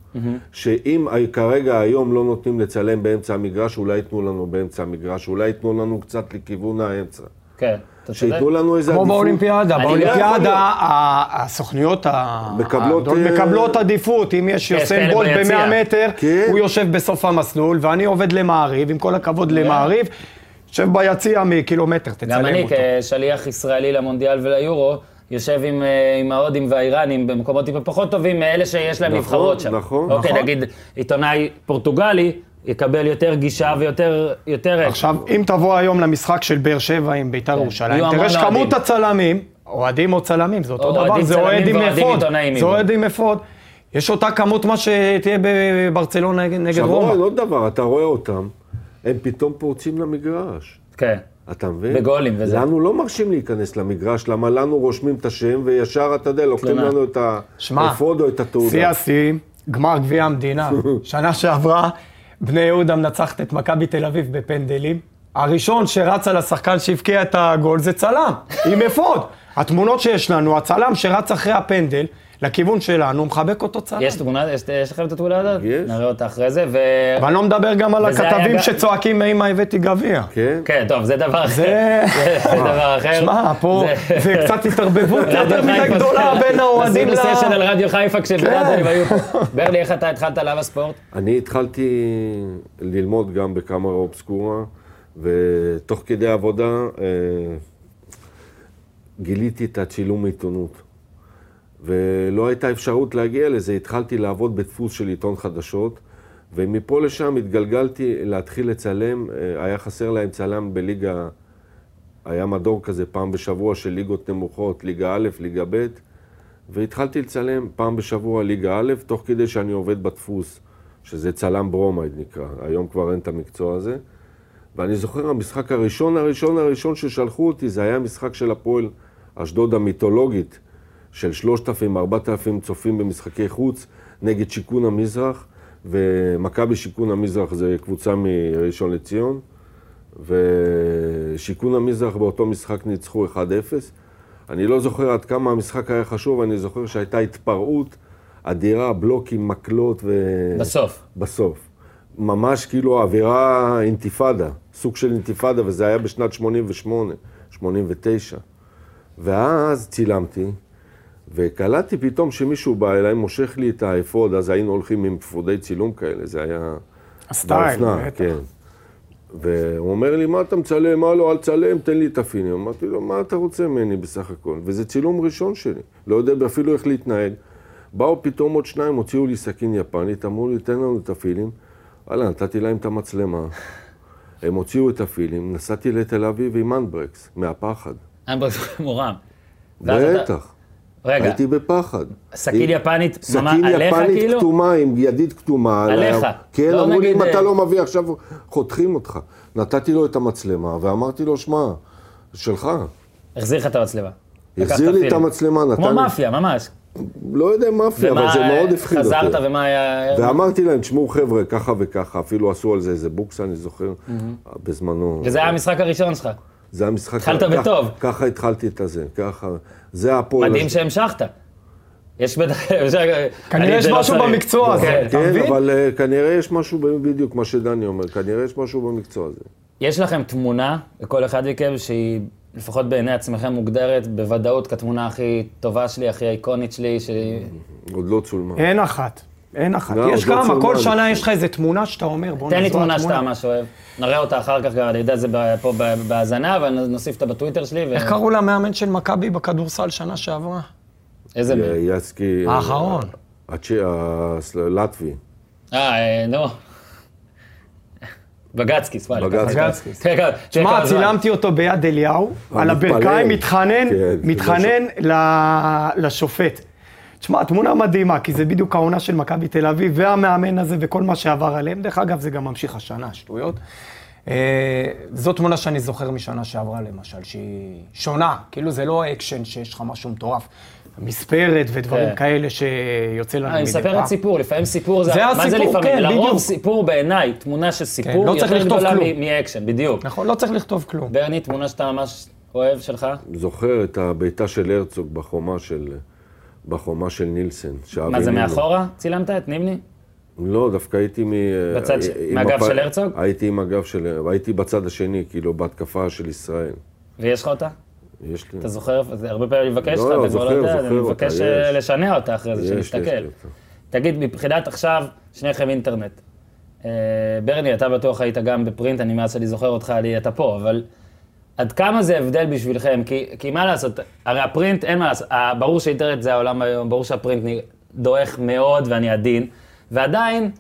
[SPEAKER 2] שאם ה- כרגע היום לא נותנים לצלם באמצע המגרש, אולי ייתנו לנו באמצע המגרש, אולי ייתנו לנו קצת לכיוון האמצע.
[SPEAKER 1] כן, אתה צודק.
[SPEAKER 2] שייתנו לנו איזה
[SPEAKER 3] כמו
[SPEAKER 2] עדיפות.
[SPEAKER 3] באולימפיאדה,
[SPEAKER 1] אני לא
[SPEAKER 2] יכול להיות.
[SPEAKER 3] באולימפיאדה ה- הסוכניות ה-
[SPEAKER 2] מקבלות,
[SPEAKER 3] הגדולות
[SPEAKER 2] אה,
[SPEAKER 3] מקבלות עדיפות, אם יש יוסם
[SPEAKER 1] כאלה
[SPEAKER 3] בולט
[SPEAKER 1] כן, ביציע.
[SPEAKER 3] ב-100 מטר,
[SPEAKER 2] כן.
[SPEAKER 3] הוא יושב בסוף המסלול, ואני עובד למעריב, עם כל הכבוד למעריב, יושב ביציע מקילומטר,
[SPEAKER 1] כן. גם
[SPEAKER 3] תצלם
[SPEAKER 1] אני, כן.
[SPEAKER 3] אותו.
[SPEAKER 1] כשליח ישראלי למונדיאל וליורו, יושב עם, אה, עם ההודים והאיראנים במקומות טיפה פחות טובים מאלה שיש להם
[SPEAKER 2] נכון,
[SPEAKER 1] נבחרות שם.
[SPEAKER 2] נכון,
[SPEAKER 1] אוקיי,
[SPEAKER 3] נכון.
[SPEAKER 1] נגיד עיתונאי פורטוגלי יקבל יותר גישה ויותר... יותר...
[SPEAKER 3] עכשיו, אם תבוא היום למשחק של באר שבע עם ביתר ירושלים,
[SPEAKER 1] כן. יהיו
[SPEAKER 3] תראה
[SPEAKER 1] המון
[SPEAKER 3] שכמות
[SPEAKER 1] אוהדים.
[SPEAKER 3] הצלמים, אוהדים או צלמים, זה אותו
[SPEAKER 1] או-
[SPEAKER 3] דבר,
[SPEAKER 1] אוהדים
[SPEAKER 3] זה
[SPEAKER 1] צלמים
[SPEAKER 3] אוהד עם
[SPEAKER 1] ואוהדים
[SPEAKER 3] אפוד,
[SPEAKER 1] עיתונאים,
[SPEAKER 3] זה
[SPEAKER 1] אם-
[SPEAKER 3] אוהד עם אפוד. יש אותה כמות מה שתהיה בברצלונה נגד
[SPEAKER 2] עכשיו
[SPEAKER 3] רומא.
[SPEAKER 2] אורן, עוד דבר, אתה רואה אותם, הם פתאום פורצים למגרש.
[SPEAKER 1] כן.
[SPEAKER 2] אתה מבין?
[SPEAKER 1] בגולים וזה.
[SPEAKER 2] לנו לא מרשים להיכנס למגרש, למה לנו רושמים את השם וישר, אתה יודע, לוקחים
[SPEAKER 1] תלונה.
[SPEAKER 2] לנו את
[SPEAKER 3] שמע,
[SPEAKER 2] האפוד או את
[SPEAKER 3] שיא
[SPEAKER 2] התעודה.
[SPEAKER 3] השיאים, גמר גביע המדינה. שנה שעברה, בני יהודה מנצחת את מכבי תל אביב בפנדלים. הראשון שרץ על השחקן שהבקיע את הגול זה צלם, עם אפוד. התמונות שיש לנו, הצלם שרץ אחרי הפנדל, לכיוון שלנו, מחבק אותו צלם.
[SPEAKER 1] יש תמונה, יש, יש לכם את התמונה הזאת?
[SPEAKER 2] יש.
[SPEAKER 1] נראה אותה אחרי זה, ו...
[SPEAKER 3] ואני לא מדבר גם על
[SPEAKER 1] וזה היה
[SPEAKER 3] הכתבים
[SPEAKER 1] גם-
[SPEAKER 3] שצועקים, אמא, הבאתי גביע.
[SPEAKER 2] כן?
[SPEAKER 1] כן, טוב, זה דבר אחר.
[SPEAKER 3] זה-
[SPEAKER 1] זה דבר אחר.
[SPEAKER 3] שמע, פה
[SPEAKER 1] זה-
[SPEAKER 3] זה קצת התערבבות יותר
[SPEAKER 1] רדיו
[SPEAKER 3] מדי
[SPEAKER 1] חיפה,
[SPEAKER 3] גדולה
[SPEAKER 1] זה-
[SPEAKER 3] בין האוהדים ל... כן.
[SPEAKER 1] עשינו סשן על רדיו חיפה כשבנאדלים היו פה. ברלי, איך אתה התחלת עליו הספורט?
[SPEAKER 2] אני התחלתי ללמוד גם בקאמרה אובסקורה, ותוך כדי עבודה אה, גיליתי את הצילום עיתונות. ולא הייתה אפשרות להגיע לזה, התחלתי לעבוד בדפוס של עיתון חדשות, ומפה לשם התגלגלתי להתחיל לצלם, אה, היה חסר להם צלם בליגה היה מדור כזה פעם בשבוע של ליגות נמוכות, ליגה א', ליגה ב', והתחלתי לצלם פעם בשבוע ליגה א', תוך כדי שאני עובד בדפוס, שזה צלם ברומייד נקרא, היום כבר אין את המקצוע הזה. ואני זוכר, המשחק הראשון, הראשון, הראשון ששלחו אותי, זה היה משחק של הפועל אשדוד המיתולוגית, של 3,000, 4,000 צופים במשחקי חוץ, נגד שיכון המזרח, ומכבי שיכון המזרח זה קבוצה מראשון לציון, ושיכון המזרח באותו משחק ניצחו 1-0. אני לא זוכר עד כמה המשחק היה חשוב, אני זוכר שהייתה התפרעות אדירה, בלוקים, מקלות ו...
[SPEAKER 1] בסוף.
[SPEAKER 2] בסוף. ממש כאילו אווירה אינתיפאדה, סוג של אינתיפאדה, וזה היה בשנת 88, 89. ואז צילמתי, וקלטתי פתאום שמישהו בא אליי, מושך לי את האפוד, אז היינו הולכים עם אפודי צילום כאלה, זה היה...
[SPEAKER 3] הסטייל,
[SPEAKER 2] באופנה,
[SPEAKER 3] בטח.
[SPEAKER 2] כן. והוא אומר לי, מה אתה מצלם? מה לא, אל תצלם, תן לי את הפינים. אמרתי לו, מה אתה רוצה ממני בסך הכל? וזה צילום ראשון שלי, לא יודע אפילו איך להתנהג. באו פתאום עוד שניים, הוציאו לי סכין יפנית, אמרו לי, תן לנו את הפילים. וואלה, נתתי להם את המצלמה. הם הוציאו את הפילים, נסעתי לתל אביב עם אנברקס, מהפחד.
[SPEAKER 1] אמברס מורם. ואז אתה-
[SPEAKER 2] בטח.
[SPEAKER 1] רגע,
[SPEAKER 2] הייתי בפחד.
[SPEAKER 1] סכין
[SPEAKER 2] היא-
[SPEAKER 1] יפנית, ממש
[SPEAKER 2] אה, סכין
[SPEAKER 1] עליך
[SPEAKER 2] יפנית
[SPEAKER 1] כאילו?
[SPEAKER 2] כתומה עם ידית כתומה. על
[SPEAKER 1] עליך.
[SPEAKER 2] ה- כן,
[SPEAKER 1] לא
[SPEAKER 2] אמרו לי,
[SPEAKER 1] נגיד,
[SPEAKER 2] אם
[SPEAKER 1] אה,
[SPEAKER 2] אתה לא מביא עכשיו, חותכים אותך. נתתי לו את המצלמה, ואמרתי לו, שמע, שלך.
[SPEAKER 1] החזיר לך את המצלמה.
[SPEAKER 2] החזיר לי את המצלמה, נתן
[SPEAKER 1] כמו
[SPEAKER 2] לי...
[SPEAKER 1] מאפיה, ממש.
[SPEAKER 2] לא יודע מאפיה, אבל
[SPEAKER 1] ומה,
[SPEAKER 2] זה מאוד
[SPEAKER 1] אה,
[SPEAKER 2] הפחיד אותי.
[SPEAKER 1] חזרת ומה היה...
[SPEAKER 2] ואמרתי להם, תשמעו חבר'ה, ככה וככה, אפילו עשו על זה איזה בוקס, אני זוכר, בזמנו.
[SPEAKER 1] וזה היה המשחק הראשון
[SPEAKER 2] לא,
[SPEAKER 1] שלך.
[SPEAKER 2] זה היה משחק...
[SPEAKER 1] התחלת
[SPEAKER 2] ככה-
[SPEAKER 1] בטוב.
[SPEAKER 2] ככה התחלתי את הזה, ככה. זה הפועל...
[SPEAKER 1] מדהים
[SPEAKER 2] אש-
[SPEAKER 1] שהמשכת. יש בטח... אפשר- אני-
[SPEAKER 3] כנראה יש
[SPEAKER 1] זה לא
[SPEAKER 3] משהו
[SPEAKER 1] צריך.
[SPEAKER 3] במקצוע הזה.
[SPEAKER 1] כן.
[SPEAKER 3] אתה
[SPEAKER 2] כן,
[SPEAKER 3] מבין?
[SPEAKER 2] אבל אה, כנראה יש משהו, ב- בדיוק מה שדני אומר, כנראה יש משהו במקצוע הזה.
[SPEAKER 1] יש לכם תמונה, לכל אחד מכם, שהיא לפחות בעיני עצמכם מוגדרת בוודאות כתמונה הכי טובה שלי, הכי איקונית שלי, שהיא...
[SPEAKER 2] עוד לא צולמה.
[SPEAKER 3] אין אחת. אין אחת.
[SPEAKER 2] לא,
[SPEAKER 3] יש
[SPEAKER 2] עוד לא
[SPEAKER 3] כמה, כל
[SPEAKER 2] צולמן.
[SPEAKER 3] שנה יש לך איזה תמונה שאתה אומר, בוא נזרוע
[SPEAKER 1] תן לי תמונה שאתה ממש אוהב. נראה אותה אחר כך, גם אני יודע זה ב- פה ב- בהאזנה, אבל נוסיף אותה בטוויטר שלי. ו-
[SPEAKER 3] איך קראו למאמן של מכבי בכדורסל שנה שעברה?
[SPEAKER 1] איזה... מי?
[SPEAKER 2] י- יסקי...
[SPEAKER 3] האחרון.
[SPEAKER 2] הצ'י... הלטבי.
[SPEAKER 1] אה, אה, נו. בגצקיס, וואלה.
[SPEAKER 2] בגצקיס.
[SPEAKER 3] בגצקיס.
[SPEAKER 1] כן, כן, כן.
[SPEAKER 3] מה,
[SPEAKER 1] כן, כן,
[SPEAKER 3] צילמתי אותו ביד אליהו,
[SPEAKER 2] מתפלל.
[SPEAKER 3] על הברכיים, מתחנן,
[SPEAKER 2] כן,
[SPEAKER 3] מתחנן ל- לשופט. תשמע, התמונה מדהימה, כי זה בדיוק העונה של מכבי תל אביב, והמאמן הזה וכל מה שעבר עליהם. דרך אגב, זה גם ממשיך השנה, שטויות. אה, זו תמונה שאני זוכר משנה שעברה, למשל, שהיא שונה. כאילו, זה לא אקשן שיש לך משהו מטורף. מספרת ודברים
[SPEAKER 1] כן.
[SPEAKER 3] כאלה שיוצא לנו
[SPEAKER 1] אני
[SPEAKER 3] מדי פעם.
[SPEAKER 1] מספרת סיפור, לפעמים סיפור זה...
[SPEAKER 3] זה
[SPEAKER 1] מה זה
[SPEAKER 3] הסיפור,
[SPEAKER 1] לפעמים?
[SPEAKER 3] כן,
[SPEAKER 1] לרוב
[SPEAKER 3] בדיוק.
[SPEAKER 1] סיפור בעיניי, תמונה של
[SPEAKER 3] כן,
[SPEAKER 1] סיפור
[SPEAKER 3] לא
[SPEAKER 1] היא
[SPEAKER 3] צריך
[SPEAKER 1] יותר
[SPEAKER 3] לכתוב
[SPEAKER 1] גדולה
[SPEAKER 3] כלום.
[SPEAKER 1] מ- מאקשן, בדיוק.
[SPEAKER 3] נכון, לא צריך לכתוב כלום.
[SPEAKER 1] ברני, תמונה שאתה ממש אוהב שלך?
[SPEAKER 2] זוכר את הבעיטה של הרצוג בחומה של... בחומה של נילסן. שאבי
[SPEAKER 1] מה זה,
[SPEAKER 2] נימני.
[SPEAKER 1] מאחורה? צילמת את נימני?
[SPEAKER 2] לא, דווקא הייתי מ... אה,
[SPEAKER 1] בצד ש-
[SPEAKER 2] עם
[SPEAKER 1] מהגב של הרצוג?
[SPEAKER 2] הייתי עם הגב של... הייתי בצד השני, כאילו, בהתקפה של ישראל.
[SPEAKER 1] ויש לך אותה?
[SPEAKER 2] יש לי...
[SPEAKER 1] אתה זוכר? זה הרבה פעמים אני מבקש
[SPEAKER 2] לא,
[SPEAKER 1] אותה, ואתה כבר
[SPEAKER 2] זוכר,
[SPEAKER 1] לא יודע, אז
[SPEAKER 2] זוכר
[SPEAKER 1] אני
[SPEAKER 2] אותה,
[SPEAKER 1] מבקש
[SPEAKER 2] יש.
[SPEAKER 1] אה, לשנע אותה אחרי זה,
[SPEAKER 2] יש, יש לי
[SPEAKER 1] שנסתכל.
[SPEAKER 2] אותה.
[SPEAKER 1] תגיד, מבחינת עכשיו, שניכם אינטרנט. אה, ברני, אתה בטוח היית גם בפרינט, אני מאז שאני זוכר אותך, אני, אתה פה, אבל עד כמה זה הבדל בשבילכם? כי, כי מה לעשות, הרי הפרינט, אין מה לעשות, אה, ברור שאינטרנט זה העולם היום, ברור שהפרינט נ- דועך מאוד ואני עדין, ועדיין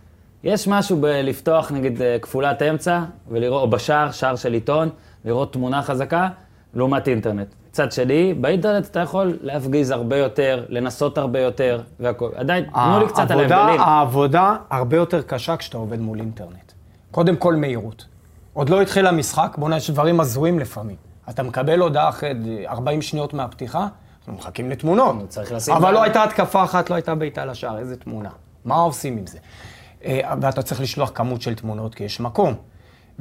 [SPEAKER 1] יש משהו בלפתוח נגיד אה, כפולת אמצע, ולראות, או בשער, שער של עיתון, לראות תמונה חזקה, לעומת אינטרנט. מצד שני, באינטרנט אתה יכול להפגיז הרבה יותר, לנסות הרבה יותר, והכול. עדיין, תנו
[SPEAKER 3] אה,
[SPEAKER 1] לי קצת על
[SPEAKER 3] העבודה-
[SPEAKER 1] ההבדלים.
[SPEAKER 3] העבודה הרבה יותר קשה כשאתה עובד מול אינטרנט. קודם כל מהירות. עוד לא התחיל המשחק, בוא'נה, יש דברים הזויים לפעמים. אתה מקבל הודעה אחרי 40 שניות מהפתיחה, אנחנו מחכים לתמונות.
[SPEAKER 1] צריך לשים
[SPEAKER 3] אבל
[SPEAKER 1] לב.
[SPEAKER 3] לא הייתה התקפה אחת, לא הייתה בעיטה לשער, איזה תמונה. מה עושים עם זה? אה, ואתה צריך לשלוח כמות של תמונות, כי יש מקום.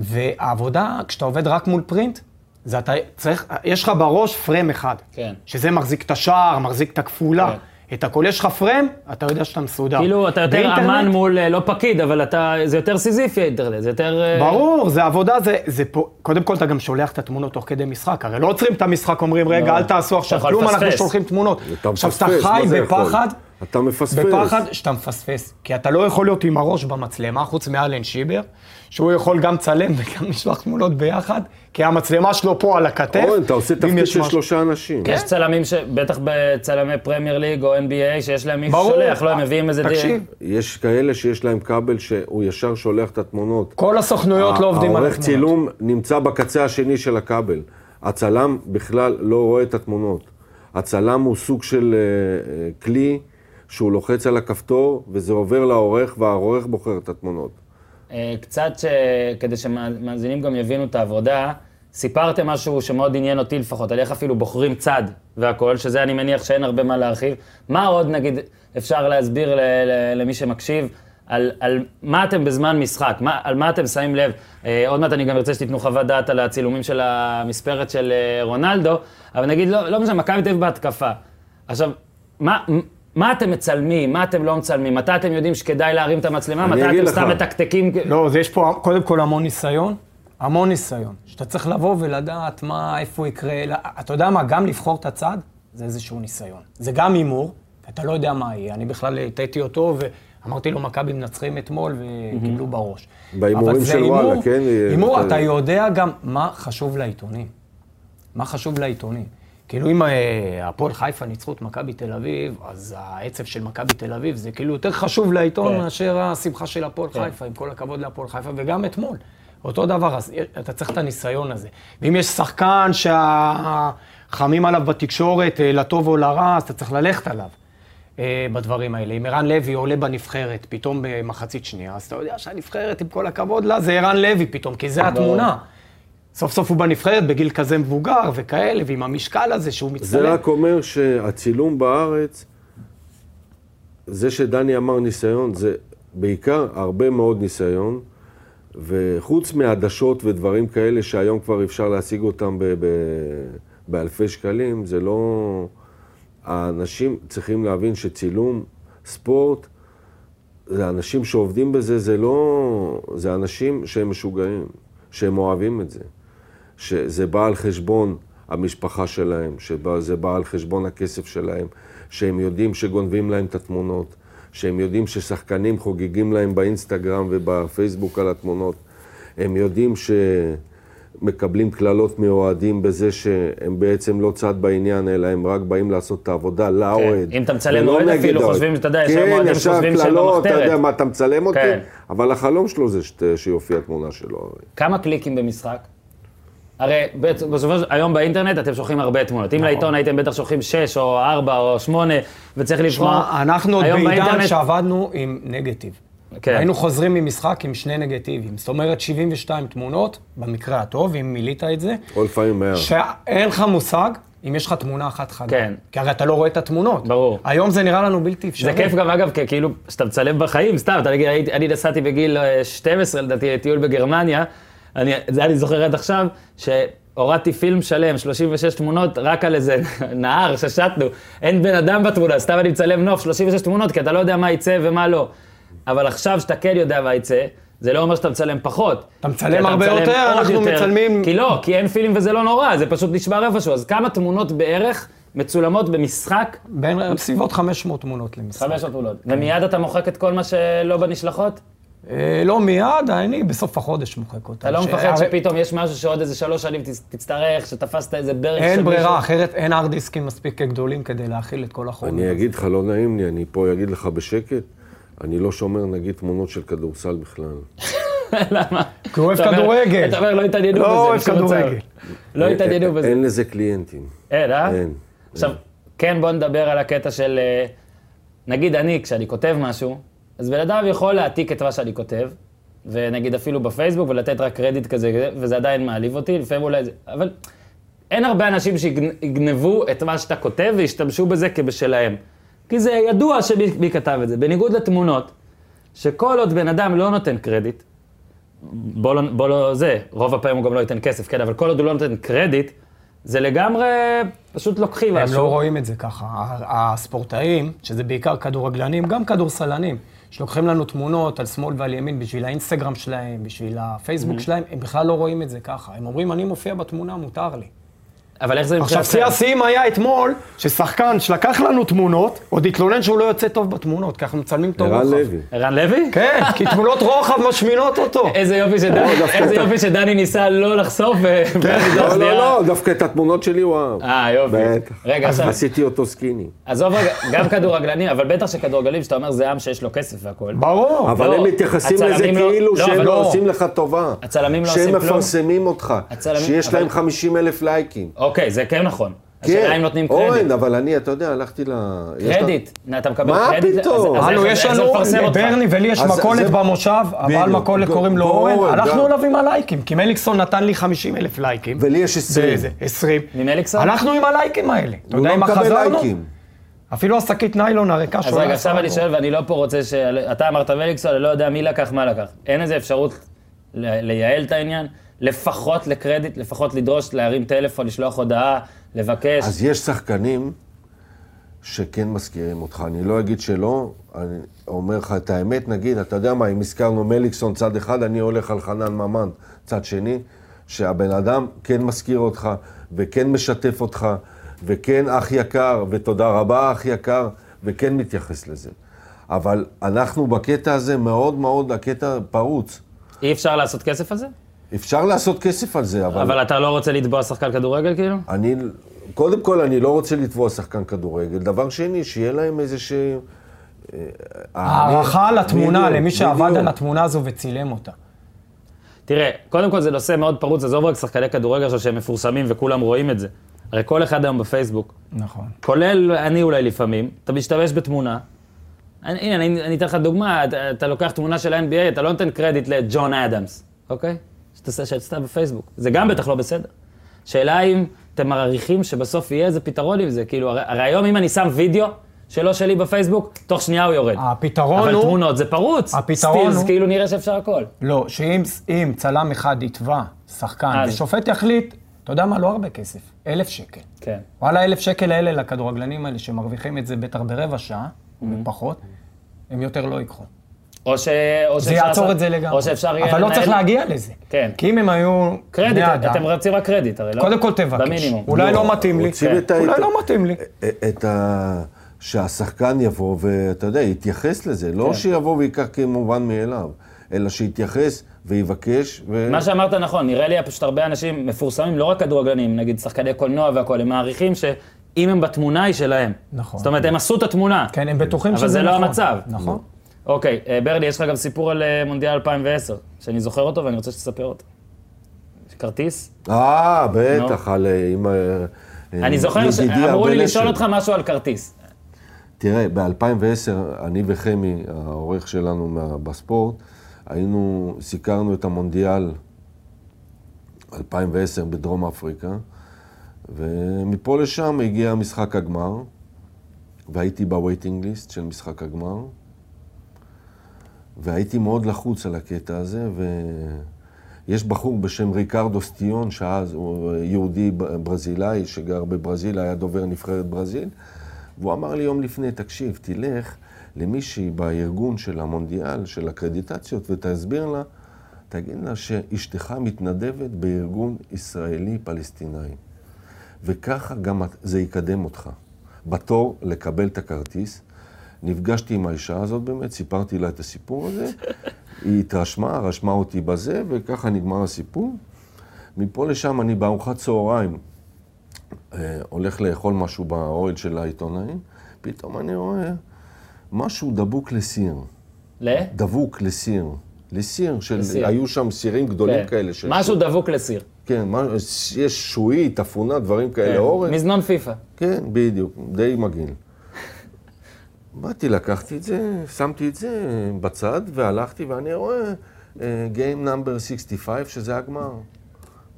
[SPEAKER 3] והעבודה, כשאתה עובד רק מול פרינט, זה אתה צריך, יש לך בראש פריים אחד.
[SPEAKER 1] כן.
[SPEAKER 3] שזה מחזיק את השער, מחזיק את הכפולה. את הכל, יש לך פריים, אתה יודע שאתה מסודר.
[SPEAKER 1] כאילו, אתה יותר
[SPEAKER 3] לא. באינטרנט,
[SPEAKER 1] אמן מול, אה, לא פקיד, אבל אתה, זה יותר סיזיפי האינטרנט, זה יותר... אה,
[SPEAKER 3] ברור, זה עבודה, זה, זה פה, קודם כל אתה גם שולח את התמונות תוך כדי משחק, הרי לא עוצרים את המשחק, אומרים, רגע,
[SPEAKER 1] לא.
[SPEAKER 3] אל תעשו עכשיו
[SPEAKER 1] אתה יכול
[SPEAKER 3] כלום,
[SPEAKER 1] לפספס.
[SPEAKER 3] אנחנו שולחים תמונות.
[SPEAKER 2] אתה
[SPEAKER 3] עכשיו, אתה
[SPEAKER 2] מפספס,
[SPEAKER 3] חי
[SPEAKER 2] מה זה יכול?
[SPEAKER 3] בפחד,
[SPEAKER 2] אתה מפספס.
[SPEAKER 3] בפחד שאתה מפספס, כי אתה לא יכול להיות עם הראש במצלמה, חוץ מאלן שיבר, שהוא יכול גם לצלם וגם לשלוח תמונות ביחד, כי המצלמה שלו פה על הכתף.
[SPEAKER 2] אורן, אתה עושה
[SPEAKER 3] ואם
[SPEAKER 2] תפקיד
[SPEAKER 3] יש
[SPEAKER 2] של
[SPEAKER 3] משהו-
[SPEAKER 2] שלושה אנשים.
[SPEAKER 1] יש צלמים, ש... בטח בצלמי פרמייר ליג או NBA, שיש להם מישהו
[SPEAKER 3] ברור.
[SPEAKER 1] שולח, לא, הם מביאים איזה...
[SPEAKER 3] תקשיב,
[SPEAKER 1] דין.
[SPEAKER 2] יש כאלה שיש להם כבל שהוא ישר שולח את התמונות.
[SPEAKER 3] כל הסוכנויות לא עובדים על
[SPEAKER 2] אה, העורך
[SPEAKER 3] התמונות.
[SPEAKER 2] צילום נמצא בקצה השני של הכבל. הצלם בכלל לא רואה את התמונות. הצלם הוא סוג של אה, אה, כלי שהוא לוחץ על הכפתור וזה עובר לעורך והעורך בוחר את התמונות.
[SPEAKER 1] אה, קצת ש... כדי שמאזינים גם יבינו את העבודה, סיפרתם משהו שמאוד עניין אותי לפחות, על איך אפילו בוחרים צד והכול, שזה אני מניח שאין הרבה מה להרחיב. מה עוד, נגיד, אפשר להסביר ל... ל... למי שמקשיב? על, על מה אתם בזמן משחק, מה, על מה אתם שמים לב. אה, עוד מעט אני גם ארצה שתיתנו חוות דעת על הצילומים של המספרת של אה, רונלדו, אבל נגיד, לא, לא משנה, מכבי תל אביב בהתקפה. עכשיו, מה, מה אתם מצלמים, מה אתם לא מצלמים, מתי אתם יודעים שכדאי להרים את המצלמה,
[SPEAKER 2] אני
[SPEAKER 1] מתי
[SPEAKER 2] אגיד
[SPEAKER 1] אתם
[SPEAKER 2] לך.
[SPEAKER 1] סתם מתקתקים?
[SPEAKER 2] כן.
[SPEAKER 3] לא, אז יש פה קודם כל המון ניסיון, המון ניסיון. שאתה צריך לבוא ולדעת מה, איפה יקרה. לא- אתה יודע מה, גם לבחור את הצד, זה איזשהו ניסיון. זה גם הימור, אתה לא יודע מה יהיה. אני בכלל הטעיתי אותו, ואמרתי לו, מכבי מנצחים אתמול, וקיבלו בראש.
[SPEAKER 2] בהימורים
[SPEAKER 3] אבל זה
[SPEAKER 2] של
[SPEAKER 3] הימור-
[SPEAKER 2] וואלה, כן?
[SPEAKER 3] הימור,
[SPEAKER 2] אתה-
[SPEAKER 3] אתה יודע גם מה חשוב לעיתונים. מה חשוב לעיתונים? כאילו אם אה, הפועל חיפה ניצחו את מכבי תל אביב, אז העצב של מכבי תל אביב זה כאילו יותר חשוב לעיתון
[SPEAKER 1] כן.
[SPEAKER 3] מאשר השמחה של הפועל חיפה, עם כל הכבוד להפועל חיפה, וגם אתמול. אותו דבר, אז אה, אתה צריך את הניסיון הזה. ואם יש שחקן שחמים עליו בתקשורת, אה, לטוב או לרע, אז אתה צריך ללכת עליו אה, בדברים האלה. אם ערן לוי עולה בנבחרת פתאום במחצית שנייה, אז אתה יודע שהנבחרת, עם כל הכבוד לה, זה ערן לוי פתאום, כי זה התמונה. סוף סוף הוא בנבחרת בגיל כזה מבוגר וכאלה, ועם המשקל הזה שהוא
[SPEAKER 2] זה
[SPEAKER 3] מצטלם.
[SPEAKER 2] רק אומר שהצילום בארץ, זה שדני אמר ניסיון, זה בעיקר הרבה מאוד ניסיון, וחוץ מעדשות ודברים כאלה שהיום כבר אפשר להשיג אותם ב- ב- באלפי שקלים, זה לא... האנשים צריכים להבין שצילום ספורט, זה אנשים שעובדים בזה, זה לא... זה אנשים שהם משוגעים, שהם אוהבים את זה. שזה בא על חשבון המשפחה שלהם, שזה בא על חשבון הכסף שלהם, שהם יודעים שגונבים להם את התמונות, שהם יודעים ששחקנים חוגגים להם באינסטגרם ובפייסבוק על התמונות, הם יודעים שמקבלים קללות מאוהדים בזה שהם בעצם לא צד בעניין, אלא הם רק באים לעשות את העבודה לאוהד.
[SPEAKER 1] כן, אם אתה מצלם
[SPEAKER 2] ולא
[SPEAKER 1] אוהד
[SPEAKER 2] נגד
[SPEAKER 1] אפילו,
[SPEAKER 2] האוהד.
[SPEAKER 1] חושבים שאתה יודע, יש היום
[SPEAKER 2] כן,
[SPEAKER 1] אוהדים
[SPEAKER 2] ישר
[SPEAKER 1] שחושבים שהם
[SPEAKER 2] קללות, אתה יודע
[SPEAKER 1] במחתרת.
[SPEAKER 2] מה, אתה מצלם אותי?
[SPEAKER 1] כן.
[SPEAKER 2] אבל החלום שלו זה שת- שיופיע תמונה שלו. הרי.
[SPEAKER 1] כמה קליקים במשחק? הרי בעצם- בסופו של היום באינטרנט אתם שולחים הרבה תמונות. אם לעיתון הייתם בטח שולחים 6 או 4 או 8, וצריך לבחור...
[SPEAKER 3] תשמע, אנחנו עוד
[SPEAKER 1] היום
[SPEAKER 3] בעידן
[SPEAKER 1] באינטרנט-
[SPEAKER 3] שעבדנו עם נגטיב.
[SPEAKER 1] כן.
[SPEAKER 3] היינו חוזרים ממשחק עם שני נגטיבים, זאת אומרת 72 תמונות, במקרה הטוב, אם מילאת את זה,
[SPEAKER 2] או לפעמים מהר.
[SPEAKER 3] שאין לך מושג אם יש לך תמונה אחת חדה.
[SPEAKER 1] כן.
[SPEAKER 3] כי הרי אתה לא רואה את התמונות.
[SPEAKER 1] ברור.
[SPEAKER 3] היום זה נראה לנו בלתי אפשרי.
[SPEAKER 1] זה כיף גם, אגב, כי כאילו, שאתה מצלם בחיים, סתם, אתה נגיד, הייתי- אני נסעתי בגיל אה, 12, לדעתי, לטיול בגרמניה, אני, זה אני זוכר עד עכשיו, שהורדתי פילם שלם, 36 תמונות, רק על איזה נהר ששטנו, אין בן אדם בתמונה, סתם אני מצלם נוף, 36 תמונות, כי אתה לא יודע מה יצא ומה לא. אבל עכשיו, שאתה כן יודע מה יצא, זה לא אומר שאתה מצלם פחות.
[SPEAKER 3] אתה מצלם
[SPEAKER 1] כי
[SPEAKER 3] הרבה
[SPEAKER 1] מצלם
[SPEAKER 3] יותר,
[SPEAKER 1] עוד
[SPEAKER 3] אנחנו מצלמים-
[SPEAKER 1] כי לא, כי אין פילם וזה לא נורא, זה פשוט נשבר איפשהו. אז כמה תמונות בערך מצולמות במשחק
[SPEAKER 3] בין בסביבות 500 תמונות למשחק.
[SPEAKER 1] 500 פעולות.
[SPEAKER 3] כן.
[SPEAKER 1] ומיד אתה מוחק את כל מה שלא בנשלחות?
[SPEAKER 3] אה, לא מיד, אני בסוף החודש מוחק אותה.
[SPEAKER 1] אתה לא
[SPEAKER 3] ש- אה,
[SPEAKER 1] מפחד
[SPEAKER 3] הרי-
[SPEAKER 1] שפתאום יש משהו שעוד איזה שלוש שנים תצ- תצטרך, שתפסת איזה ברך של
[SPEAKER 3] אין ברירה,
[SPEAKER 1] מישהו?
[SPEAKER 3] אחרת אין הרד דיסקים מספיק גדולים כדי להכיל את כל החומר.
[SPEAKER 2] אני אגיד לך, לא נעים לי, אני פה אגיד לך בשקט, אני לא שומר נגיד תמונות של כדורסל בכלל.
[SPEAKER 3] כי הוא אוהב
[SPEAKER 1] אתה אומר-
[SPEAKER 3] כדורגל.
[SPEAKER 1] אתה אומר, לא התעניינו בזה.
[SPEAKER 3] לא אוהב
[SPEAKER 1] בשום מצב."
[SPEAKER 3] כדורגל.
[SPEAKER 1] לא
[SPEAKER 2] אין-
[SPEAKER 1] התעניינו
[SPEAKER 2] אין-
[SPEAKER 1] בזה.
[SPEAKER 2] אין לזה קליינטים.
[SPEAKER 1] אין, אה?
[SPEAKER 2] אה, אין.
[SPEAKER 1] עכשיו, כן, בוא נדבר על הקטע של... אה, נגיד אני, כשאני כותב משהו, אז בן אדם יכול להעתיק את מה שאני כותב, ונגיד אפילו בפייסבוק, ולתת רק קרדיט כזה, וזה עדיין מעליב אותי, לפעמים אולי זה... אבל אין הרבה אנשים שיגנבו את מה שאתה כותב וישתמשו בזה כבשלהם. כי זה ידוע שמי מי כתב את זה. בניגוד לתמונות, שכל עוד בן אדם לא נותן קרדיט, בוא לא, בוא לא זה, רוב הפעמים הוא גם לא ייתן כסף, כן, אבל כל עוד הוא לא נותן קרדיט, זה לגמרי פשוט לוקחים
[SPEAKER 3] הם
[SPEAKER 1] משהו.
[SPEAKER 3] לא רואים את זה ככה. ה- הספורטאים, שזה בעיקר כדורגלנים, גם כדורסלנים, שלוקחים לנו תמונות על שמאל ועל ימין בשביל האינסטגרם
[SPEAKER 1] Mm-hmm.
[SPEAKER 3] שלהם, בשביל הפייסבוק שלהם, הם בכלל לא רואים את זה ככה. הם אומרים, אני מופיע בתמונה, מותר לי.
[SPEAKER 1] אבל איך זה מבחינת...
[SPEAKER 5] עכשיו, שיא השיאים היה אתמול, ששחקן שלקח לנו תמונות, עוד התלונן שהוא לא יוצא טוב בתמונות, כי אנחנו מצלמים את הרוחב.
[SPEAKER 2] ערן לוי.
[SPEAKER 1] ערן לוי?
[SPEAKER 5] כן, כי תמונות רוחב משמינות אותו.
[SPEAKER 1] איזה יופי שדני- איזה יופי שדני ניסה לא לחשוף ו...
[SPEAKER 2] לא, לא, לא, דווקא את התמונות שלי הוא אהב.
[SPEAKER 1] אה, יופי.
[SPEAKER 2] בטח.
[SPEAKER 1] רגע, עכשיו,
[SPEAKER 2] עשיתי אותו סקיני.
[SPEAKER 1] עזוב רגע, גם כדורגלנים, אבל בטח שכדורגלנים, שאתה אומר, זה עם שיש לו כסף והכול.
[SPEAKER 5] ברור.
[SPEAKER 2] אבל
[SPEAKER 1] לא,
[SPEAKER 2] הם מתייחסים
[SPEAKER 1] הצלמים
[SPEAKER 2] לזה
[SPEAKER 1] לא-
[SPEAKER 2] כאילו
[SPEAKER 1] לא,
[SPEAKER 2] שהם
[SPEAKER 1] אבל
[SPEAKER 2] לא
[SPEAKER 1] לא.
[SPEAKER 2] עושים לך טובה.
[SPEAKER 1] הצלמים לא עושים
[SPEAKER 2] שהם
[SPEAKER 1] כלום.
[SPEAKER 2] מפרסמים אותך.
[SPEAKER 1] הצלמים-
[SPEAKER 2] שיש
[SPEAKER 1] אבל-
[SPEAKER 2] להם 50 אלף לייקים.
[SPEAKER 1] אוקיי, זה כן נכון.
[SPEAKER 2] כן.
[SPEAKER 1] השאלה אם נותנים קרדיט.
[SPEAKER 2] אורן, אבל אני, אתה יודע, הלכתי ל... יש לה-
[SPEAKER 1] קרדיט. נה, אתה מקבל
[SPEAKER 2] מה
[SPEAKER 1] קרדיט? אז-
[SPEAKER 2] פתאום?
[SPEAKER 1] אז
[SPEAKER 3] הלו,
[SPEAKER 1] איך-
[SPEAKER 3] יש
[SPEAKER 1] איך זה
[SPEAKER 3] לנו,
[SPEAKER 1] מפרסם אותך?
[SPEAKER 3] לברני ולי יש
[SPEAKER 2] אז
[SPEAKER 3] מכולת
[SPEAKER 2] זה-
[SPEAKER 3] במושב, הבעל
[SPEAKER 2] בדיוק.
[SPEAKER 3] מכולת
[SPEAKER 2] ג-
[SPEAKER 3] קוראים לו לא.
[SPEAKER 2] ג-
[SPEAKER 3] אורן,
[SPEAKER 2] אורן,
[SPEAKER 3] הלכנו
[SPEAKER 2] גם.
[SPEAKER 3] אליו עם הלייקים, כי מליקסון
[SPEAKER 5] נתן לי 50 אלף לייקים.
[SPEAKER 2] ולי יש 20.
[SPEAKER 5] באיזה? 20.
[SPEAKER 1] עם אליקסון?
[SPEAKER 5] הלכנו עם הלייקים האלה. אתה
[SPEAKER 2] הוא
[SPEAKER 5] יודע
[SPEAKER 2] לא
[SPEAKER 5] מה
[SPEAKER 2] מקבל
[SPEAKER 5] חזרנו?
[SPEAKER 2] לייקים.
[SPEAKER 5] אפילו השקית ניילון הריקה
[SPEAKER 1] אז
[SPEAKER 5] שהוא
[SPEAKER 1] רגע,
[SPEAKER 5] היה
[SPEAKER 1] עכשיו
[SPEAKER 5] שם
[SPEAKER 1] אני
[SPEAKER 5] בו.
[SPEAKER 1] שואל, ואני לא פה רוצה ש... אתה אמרת וליקסון, אני לא יודע מי לקח, מה לקח. אין איזה אפשרות ל- לייעל את העניין? לפחות לקרדיט, לפחות לדרוש להרים טלפון, לשלוח הודעה, לבקש.
[SPEAKER 2] אז יש שחקנים שכן מזכירים אותך. אני לא אגיד שלא, אני אומר לך את האמת, נגיד, אתה יודע מה, אם הזכרנו מליקסון צד אחד, אני הולך על חנן ממן צד שני, שהבן אדם כן מזכיר אותך, וכן משתף אותך, וכן אח יקר, ותודה רבה אח יקר, וכן מתייחס לזה. אבל אנחנו בקטע הזה מאוד מאוד, הקטע פרוץ.
[SPEAKER 1] אי אפשר לעשות כסף על זה?
[SPEAKER 2] אפשר לעשות כסף על זה, אבל...
[SPEAKER 1] אבל אתה לא רוצה לתבוע שחקן כדורגל כאילו?
[SPEAKER 2] אני, קודם כל, אני לא רוצה לתבוע שחקן כדורגל. דבר שני, שיהיה להם איזה ש... אה,
[SPEAKER 3] הערכה לתמונה,
[SPEAKER 2] בדיוק,
[SPEAKER 3] למי שעבד
[SPEAKER 2] בדיוק.
[SPEAKER 3] על התמונה הזו וצילם אותה.
[SPEAKER 1] תראה, קודם כל זה נושא מאוד פרוץ, עזוב רק שחקני כדורגל עכשיו שהם מפורסמים וכולם רואים את זה. הרי כל אחד היום בפייסבוק,
[SPEAKER 3] נכון.
[SPEAKER 1] כולל אני אולי לפעמים, אתה משתמש בתמונה. אני, הנה, אני, אני אתן לך דוגמה, אתה, אתה לוקח תמונה של ה-NBA, אתה לא נותן קרדיט לג'ון אדמס, אוקיי? שאתה שעשתה בפייסבוק. זה גם בטח לא בסדר. שאלה אם אתם מעריכים שבסוף יהיה איזה פתרון עם זה, כאילו, הרי, הרי היום אם אני שם וידאו שלא שלי בפייסבוק, תוך שנייה הוא יורד.
[SPEAKER 3] הפתרון
[SPEAKER 1] אבל
[SPEAKER 3] הוא-
[SPEAKER 1] תמונות זה פרוץ.
[SPEAKER 3] הפתרון
[SPEAKER 1] סטילס,
[SPEAKER 3] הוא-
[SPEAKER 1] כאילו נראה שאפשר הכל.
[SPEAKER 3] לא, שאם אם צלם אחד יתבע שחקן,
[SPEAKER 1] אז.
[SPEAKER 3] ושופט יחליט, אתה יודע מה, לא הרבה כסף, אלף שקל.
[SPEAKER 1] כן.
[SPEAKER 3] וואלה, אלף שקל האלה לכדורגלנים האלה, שמרוויחים את זה בטח ברבע שעה,
[SPEAKER 1] Mm-hmm.
[SPEAKER 3] ופחות, הם יותר לא ייקחו.
[SPEAKER 1] או ש... או
[SPEAKER 3] זה
[SPEAKER 1] שאפשר
[SPEAKER 3] יעצור
[SPEAKER 1] לעשות-
[SPEAKER 3] את זה לגמרי.
[SPEAKER 1] או שאפשר יהיה
[SPEAKER 3] אבל לא צריך
[SPEAKER 1] לנהל-
[SPEAKER 3] להגיע לזה.
[SPEAKER 1] כן.
[SPEAKER 3] כי אם הם היו
[SPEAKER 1] קרדיט,
[SPEAKER 3] בני אדם,
[SPEAKER 1] אתם רצים רק קרדיט, הרי לא?
[SPEAKER 3] קודם כל תבקש.
[SPEAKER 1] במינימום.
[SPEAKER 3] אולי לא מתאים לי.
[SPEAKER 2] רוצים את ה- אה,
[SPEAKER 3] אולי לא מתאים לי.
[SPEAKER 2] את ה... שהשחקן יבוא ואתה יודע, יתייחס לזה.
[SPEAKER 3] כן.
[SPEAKER 2] לא שיבוא וייקח כמובן מאליו, אלא שיתייחס ויבקש. ו...
[SPEAKER 1] מה שאמרת נכון, נראה לי פשוט הרבה אנשים מפורסמים, לא רק כדורגלנים, נגיד שחקני קולנוע והכול, הם מעריכים שאם הם בתמונה היא שלהם.
[SPEAKER 3] נכון.
[SPEAKER 1] זאת אומרת, הם עשו את התמונה.
[SPEAKER 3] כן, הם בטוחים שזה
[SPEAKER 1] אבל זה
[SPEAKER 3] נכון.
[SPEAKER 1] לא המצב.
[SPEAKER 3] נכון.
[SPEAKER 1] אוקיי, אה, ברלי, יש לך גם סיפור על אה, מונדיאל 2010, שאני זוכר אותו ואני רוצה שתספר אותו. כרטיס?
[SPEAKER 2] אה, בטח, על... אה, עם... אה,
[SPEAKER 1] אני
[SPEAKER 2] אה,
[SPEAKER 1] זוכר
[SPEAKER 2] ידידי
[SPEAKER 1] שאמרו לי
[SPEAKER 2] ארבל
[SPEAKER 1] לשאול
[SPEAKER 2] אשל.
[SPEAKER 1] אותך משהו על כרטיס.
[SPEAKER 2] תראה, ב-2010, אני וחמי, העורך שלנו מה- בספורט, היינו, סיקרנו את המונדיאל 2010 בדרום אפריקה, ומפה לשם הגיע משחק הגמר, והייתי בווייטינג ליסט של משחק הגמר, והייתי מאוד לחוץ על הקטע הזה, ויש בחור בשם ריקרדו סטיון, שאז הוא יהודי ב- ברזילאי, שגר בברזיל, היה דובר נבחרת ברזיל, והוא אמר לי יום לפני, תקשיב, תלך למישהי בארגון של המונדיאל, של הקרדיטציות, ותסביר לה, תגיד לה שאשתך מתנדבת בארגון ישראלי-פלסטיני. וככה גם את- זה יקדם אותך. בתור לקבל את הכרטיס, נפגשתי עם האישה הזאת באמת, סיפרתי לה את הסיפור הזה, היא התרשמה, רשמה אותי בזה, וככה נגמר הסיפור. מפה לשם אני בארוחת צהריים אה, הולך לאכול משהו באוהל של העיתונאים, פתאום אני רואה משהו דבוק לסיר.
[SPEAKER 1] ל?
[SPEAKER 2] דבוק לסיר. לסיר, של...
[SPEAKER 1] לסיר.
[SPEAKER 2] היו שם סירים גדולים
[SPEAKER 1] כן.
[SPEAKER 2] כאלה. של-
[SPEAKER 1] משהו דבוק לסיר.
[SPEAKER 2] כן, מה- יש שועית, אפונה, דברים כאלה,
[SPEAKER 1] כן.
[SPEAKER 2] אורן.
[SPEAKER 1] מזנון פיפא.
[SPEAKER 2] כן, בדיוק, די מגעיל. באתי, לקחתי את זה, שמתי את זה בצד, והלכתי, ואני רואה אה, Game number 65, שזה הגמר.